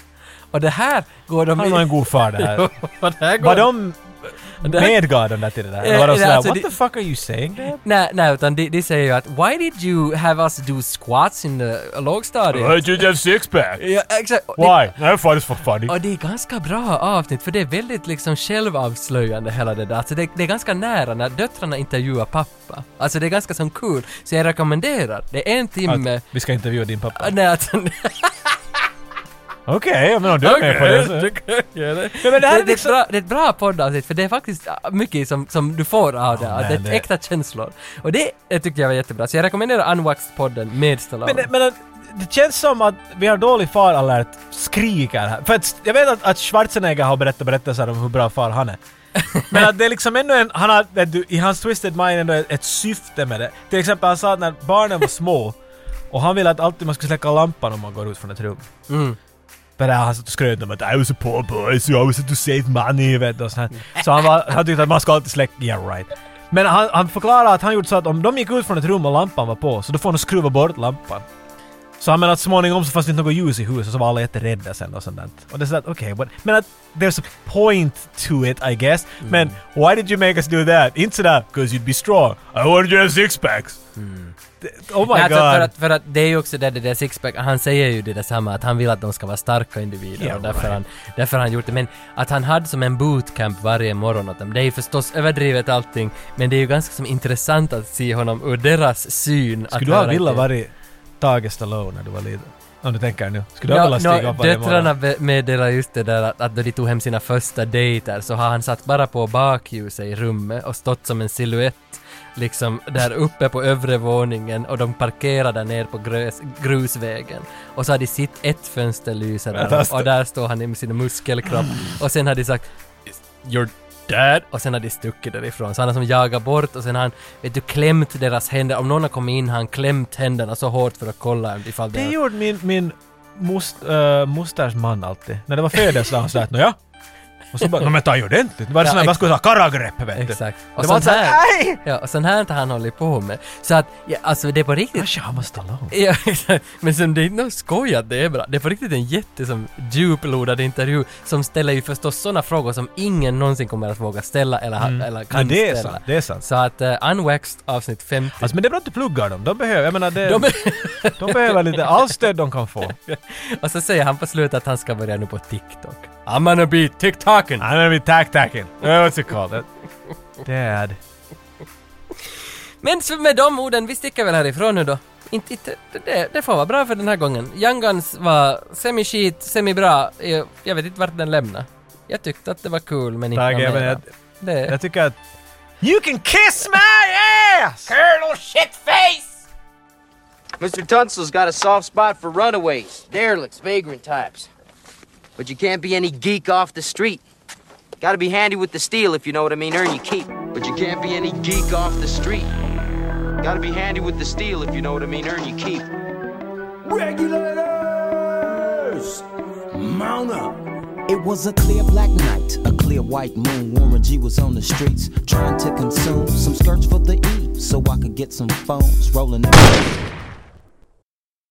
[SPEAKER 1] Och det här går de...
[SPEAKER 2] Han var en god far det här.
[SPEAKER 1] Och det här går
[SPEAKER 2] Var de
[SPEAKER 1] Mm. det här-
[SPEAKER 2] medgav de där till det där?
[SPEAKER 1] Eh,
[SPEAKER 2] Eller var de
[SPEAKER 1] nej,
[SPEAKER 2] sådär,
[SPEAKER 1] alltså,
[SPEAKER 2] what
[SPEAKER 1] det-
[SPEAKER 2] the fuck are you saying? babe?"
[SPEAKER 1] Nej, nej, utan de, de säger ju att “Why did you have us do squats in the lågstadiet?”
[SPEAKER 2] did you have six pack?
[SPEAKER 1] Ja, exakt. Och det-
[SPEAKER 2] That fun is for funny.
[SPEAKER 1] Och det är ganska bra avsnitt för det är väldigt liksom självavslöjande hela det där. Alltså det, det är ganska nära när döttrarna intervjuar pappa. Alltså det är ganska som kul. Så jag rekommenderar. Det är en timme...
[SPEAKER 2] Vi ska intervjua din pappa.
[SPEAKER 1] Ah, Nej, alltså, nej,
[SPEAKER 2] Okej, men om du är med på det så...
[SPEAKER 1] det kan jag göra.
[SPEAKER 2] Ja, men det
[SPEAKER 1] Det,
[SPEAKER 2] här
[SPEAKER 1] det,
[SPEAKER 2] är liksom...
[SPEAKER 1] är ett bra, det är ett bra poddavsnitt för det är faktiskt ah, mycket som, som du får av det. att det är
[SPEAKER 2] nej, det-
[SPEAKER 1] äkta känslor. Och det, det tycker jag var jättebra. Så jag rekommenderar Unwaxed-podden med Stallone.
[SPEAKER 2] Men, det- men att- det känns som att vi har dålig faralert skriker här. För att, jag vet att, att Schwarzenegger har berättat berättelser om hur bra far han är. Men att det är liksom ändå en, han har, vet du, i hans twisted mind ändå ett, ett syfte med det. Till exempel han sa att när barnen var små och han ville att alltid man skulle släcka lampan om man går ut från ett rum.
[SPEAKER 1] Mm.
[SPEAKER 2] För det här, han satt och skröt om att I was a poor boy so I was to save money vet du, och sånt här. Så han, var, han tyckte att man ska alltid släcka, yeah right. Men han, han förklarade att han gjorde så att om de gick ut från ett rum och lampan var på så då får de skruva bort lampan. Så han menar att småningom så fanns det inte något ljus i huset så var alla jätterädda sen och sånt där. Och det är sådär, okej, okay, men att there's a point to it I guess. Men why did you make us do that? Inte sådär, 'cause you'd be strong. I wanted you to have six packs. Det- Oh my
[SPEAKER 1] Nej, alltså,
[SPEAKER 2] god.
[SPEAKER 1] För att, för att det är ju också det, det där sixpack, han säger ju det där samma att han vill att de ska vara starka individer
[SPEAKER 2] Yeah,
[SPEAKER 1] och därför,
[SPEAKER 2] right.
[SPEAKER 1] han, därför har han gjort det. Men att han hade som en bootcamp varje morgon åt dem, det är ju förstås överdrivet allting, men det är ju ganska som intressant att se honom ur deras syn. att
[SPEAKER 2] Skulle du ha
[SPEAKER 1] höra
[SPEAKER 2] velat
[SPEAKER 1] till-
[SPEAKER 2] vara Tage Stallone när du var liten? Om du tänker nu. Skulle du
[SPEAKER 1] Ja,
[SPEAKER 2] ha velat stiga upp
[SPEAKER 1] no,
[SPEAKER 2] varje morgon?
[SPEAKER 1] döttrarna be- meddelar just det där att, att då de tog hem sina första dejter så har han satt bara på bakljuset i rummet och stått som en siluett liksom där uppe på övre våningen och de parkerar där ner på grös, grusvägen. Och så har de sitt ett fönster lyser där
[SPEAKER 2] Fantastiskt.
[SPEAKER 1] och där står han med sin muskelkropp och sen har de sagt “You're dead” och sen har de stuckit därifrån. Så han har som jagat bort och sen har han, vet du, klämt deras händer. Om någon har kommit in har han klämt händerna så hårt för att kolla ifall
[SPEAKER 2] Det
[SPEAKER 1] har-
[SPEAKER 2] gjorde min, min must, äh, musters man alltid. När det var födelsedag han sa att nåja. Och så bara, "Nå, men ta ju ordentligt. Det var
[SPEAKER 1] Ja,
[SPEAKER 2] sån här, man
[SPEAKER 1] ex-
[SPEAKER 2] skulle ta karagrepp vet du.
[SPEAKER 1] Exakt.
[SPEAKER 2] Det var
[SPEAKER 1] sånt
[SPEAKER 2] såhär, nej!
[SPEAKER 1] Ja, och sånt här har han hållit på med. Så att, ja, alltså det är på riktigt...
[SPEAKER 2] Kanske han var Stallone.
[SPEAKER 1] Ja, exakt. Men sen det är inte någon skoj att det är bra. Det är på riktigt en jätte som djuplodad intervju som ställer ju förstås sådana frågor som ingen någonsin kommer att våga ställa eller, ha- eller kan
[SPEAKER 2] Mm. Men det är
[SPEAKER 1] ställa.
[SPEAKER 2] sant, det är sant.
[SPEAKER 1] Så att uh, Unwaxed avsnitt 50.
[SPEAKER 2] Alltså men det är bra att du pluggar dem. De behöver, jag menar det,
[SPEAKER 1] de,
[SPEAKER 2] de, behöver lite, all stöd de kan få.
[SPEAKER 1] och så säger han på slutet att han ska börja nu på TikTok. I'm gonna be TikToken!
[SPEAKER 2] I'm gonna be tack-tacking. Uh, What's it called? That- Dad.
[SPEAKER 1] Men så med de orden, vi sticker väl härifrån nu då. Inte, inte, det, det får vara bra för den här gången. Young Guns var semi-skit, semi-bra. Jag, jag vet inte vart den lämnar. Jag tyckte att det var kul, men inte
[SPEAKER 2] Tage,
[SPEAKER 1] något
[SPEAKER 2] men
[SPEAKER 1] mera.
[SPEAKER 2] jag,
[SPEAKER 1] det,
[SPEAKER 2] jag tycker att... You can kiss my ass!
[SPEAKER 5] Colonel Shitface! Mr. Tunsil's got a soft spot for runaways, derelicts, vagrant types. But you can't be any geek off the street. Gotta be handy with the steel if you know what I mean, earn your keep. But you can't be any geek off the street. Gotta be handy with the steel if you know what I mean, earn your keep.
[SPEAKER 7] Regulators! Mount up! It was a clear black night, a clear white moon. Warren G was on the streets trying to consume some skirts for the E so I could get some phones rolling. up.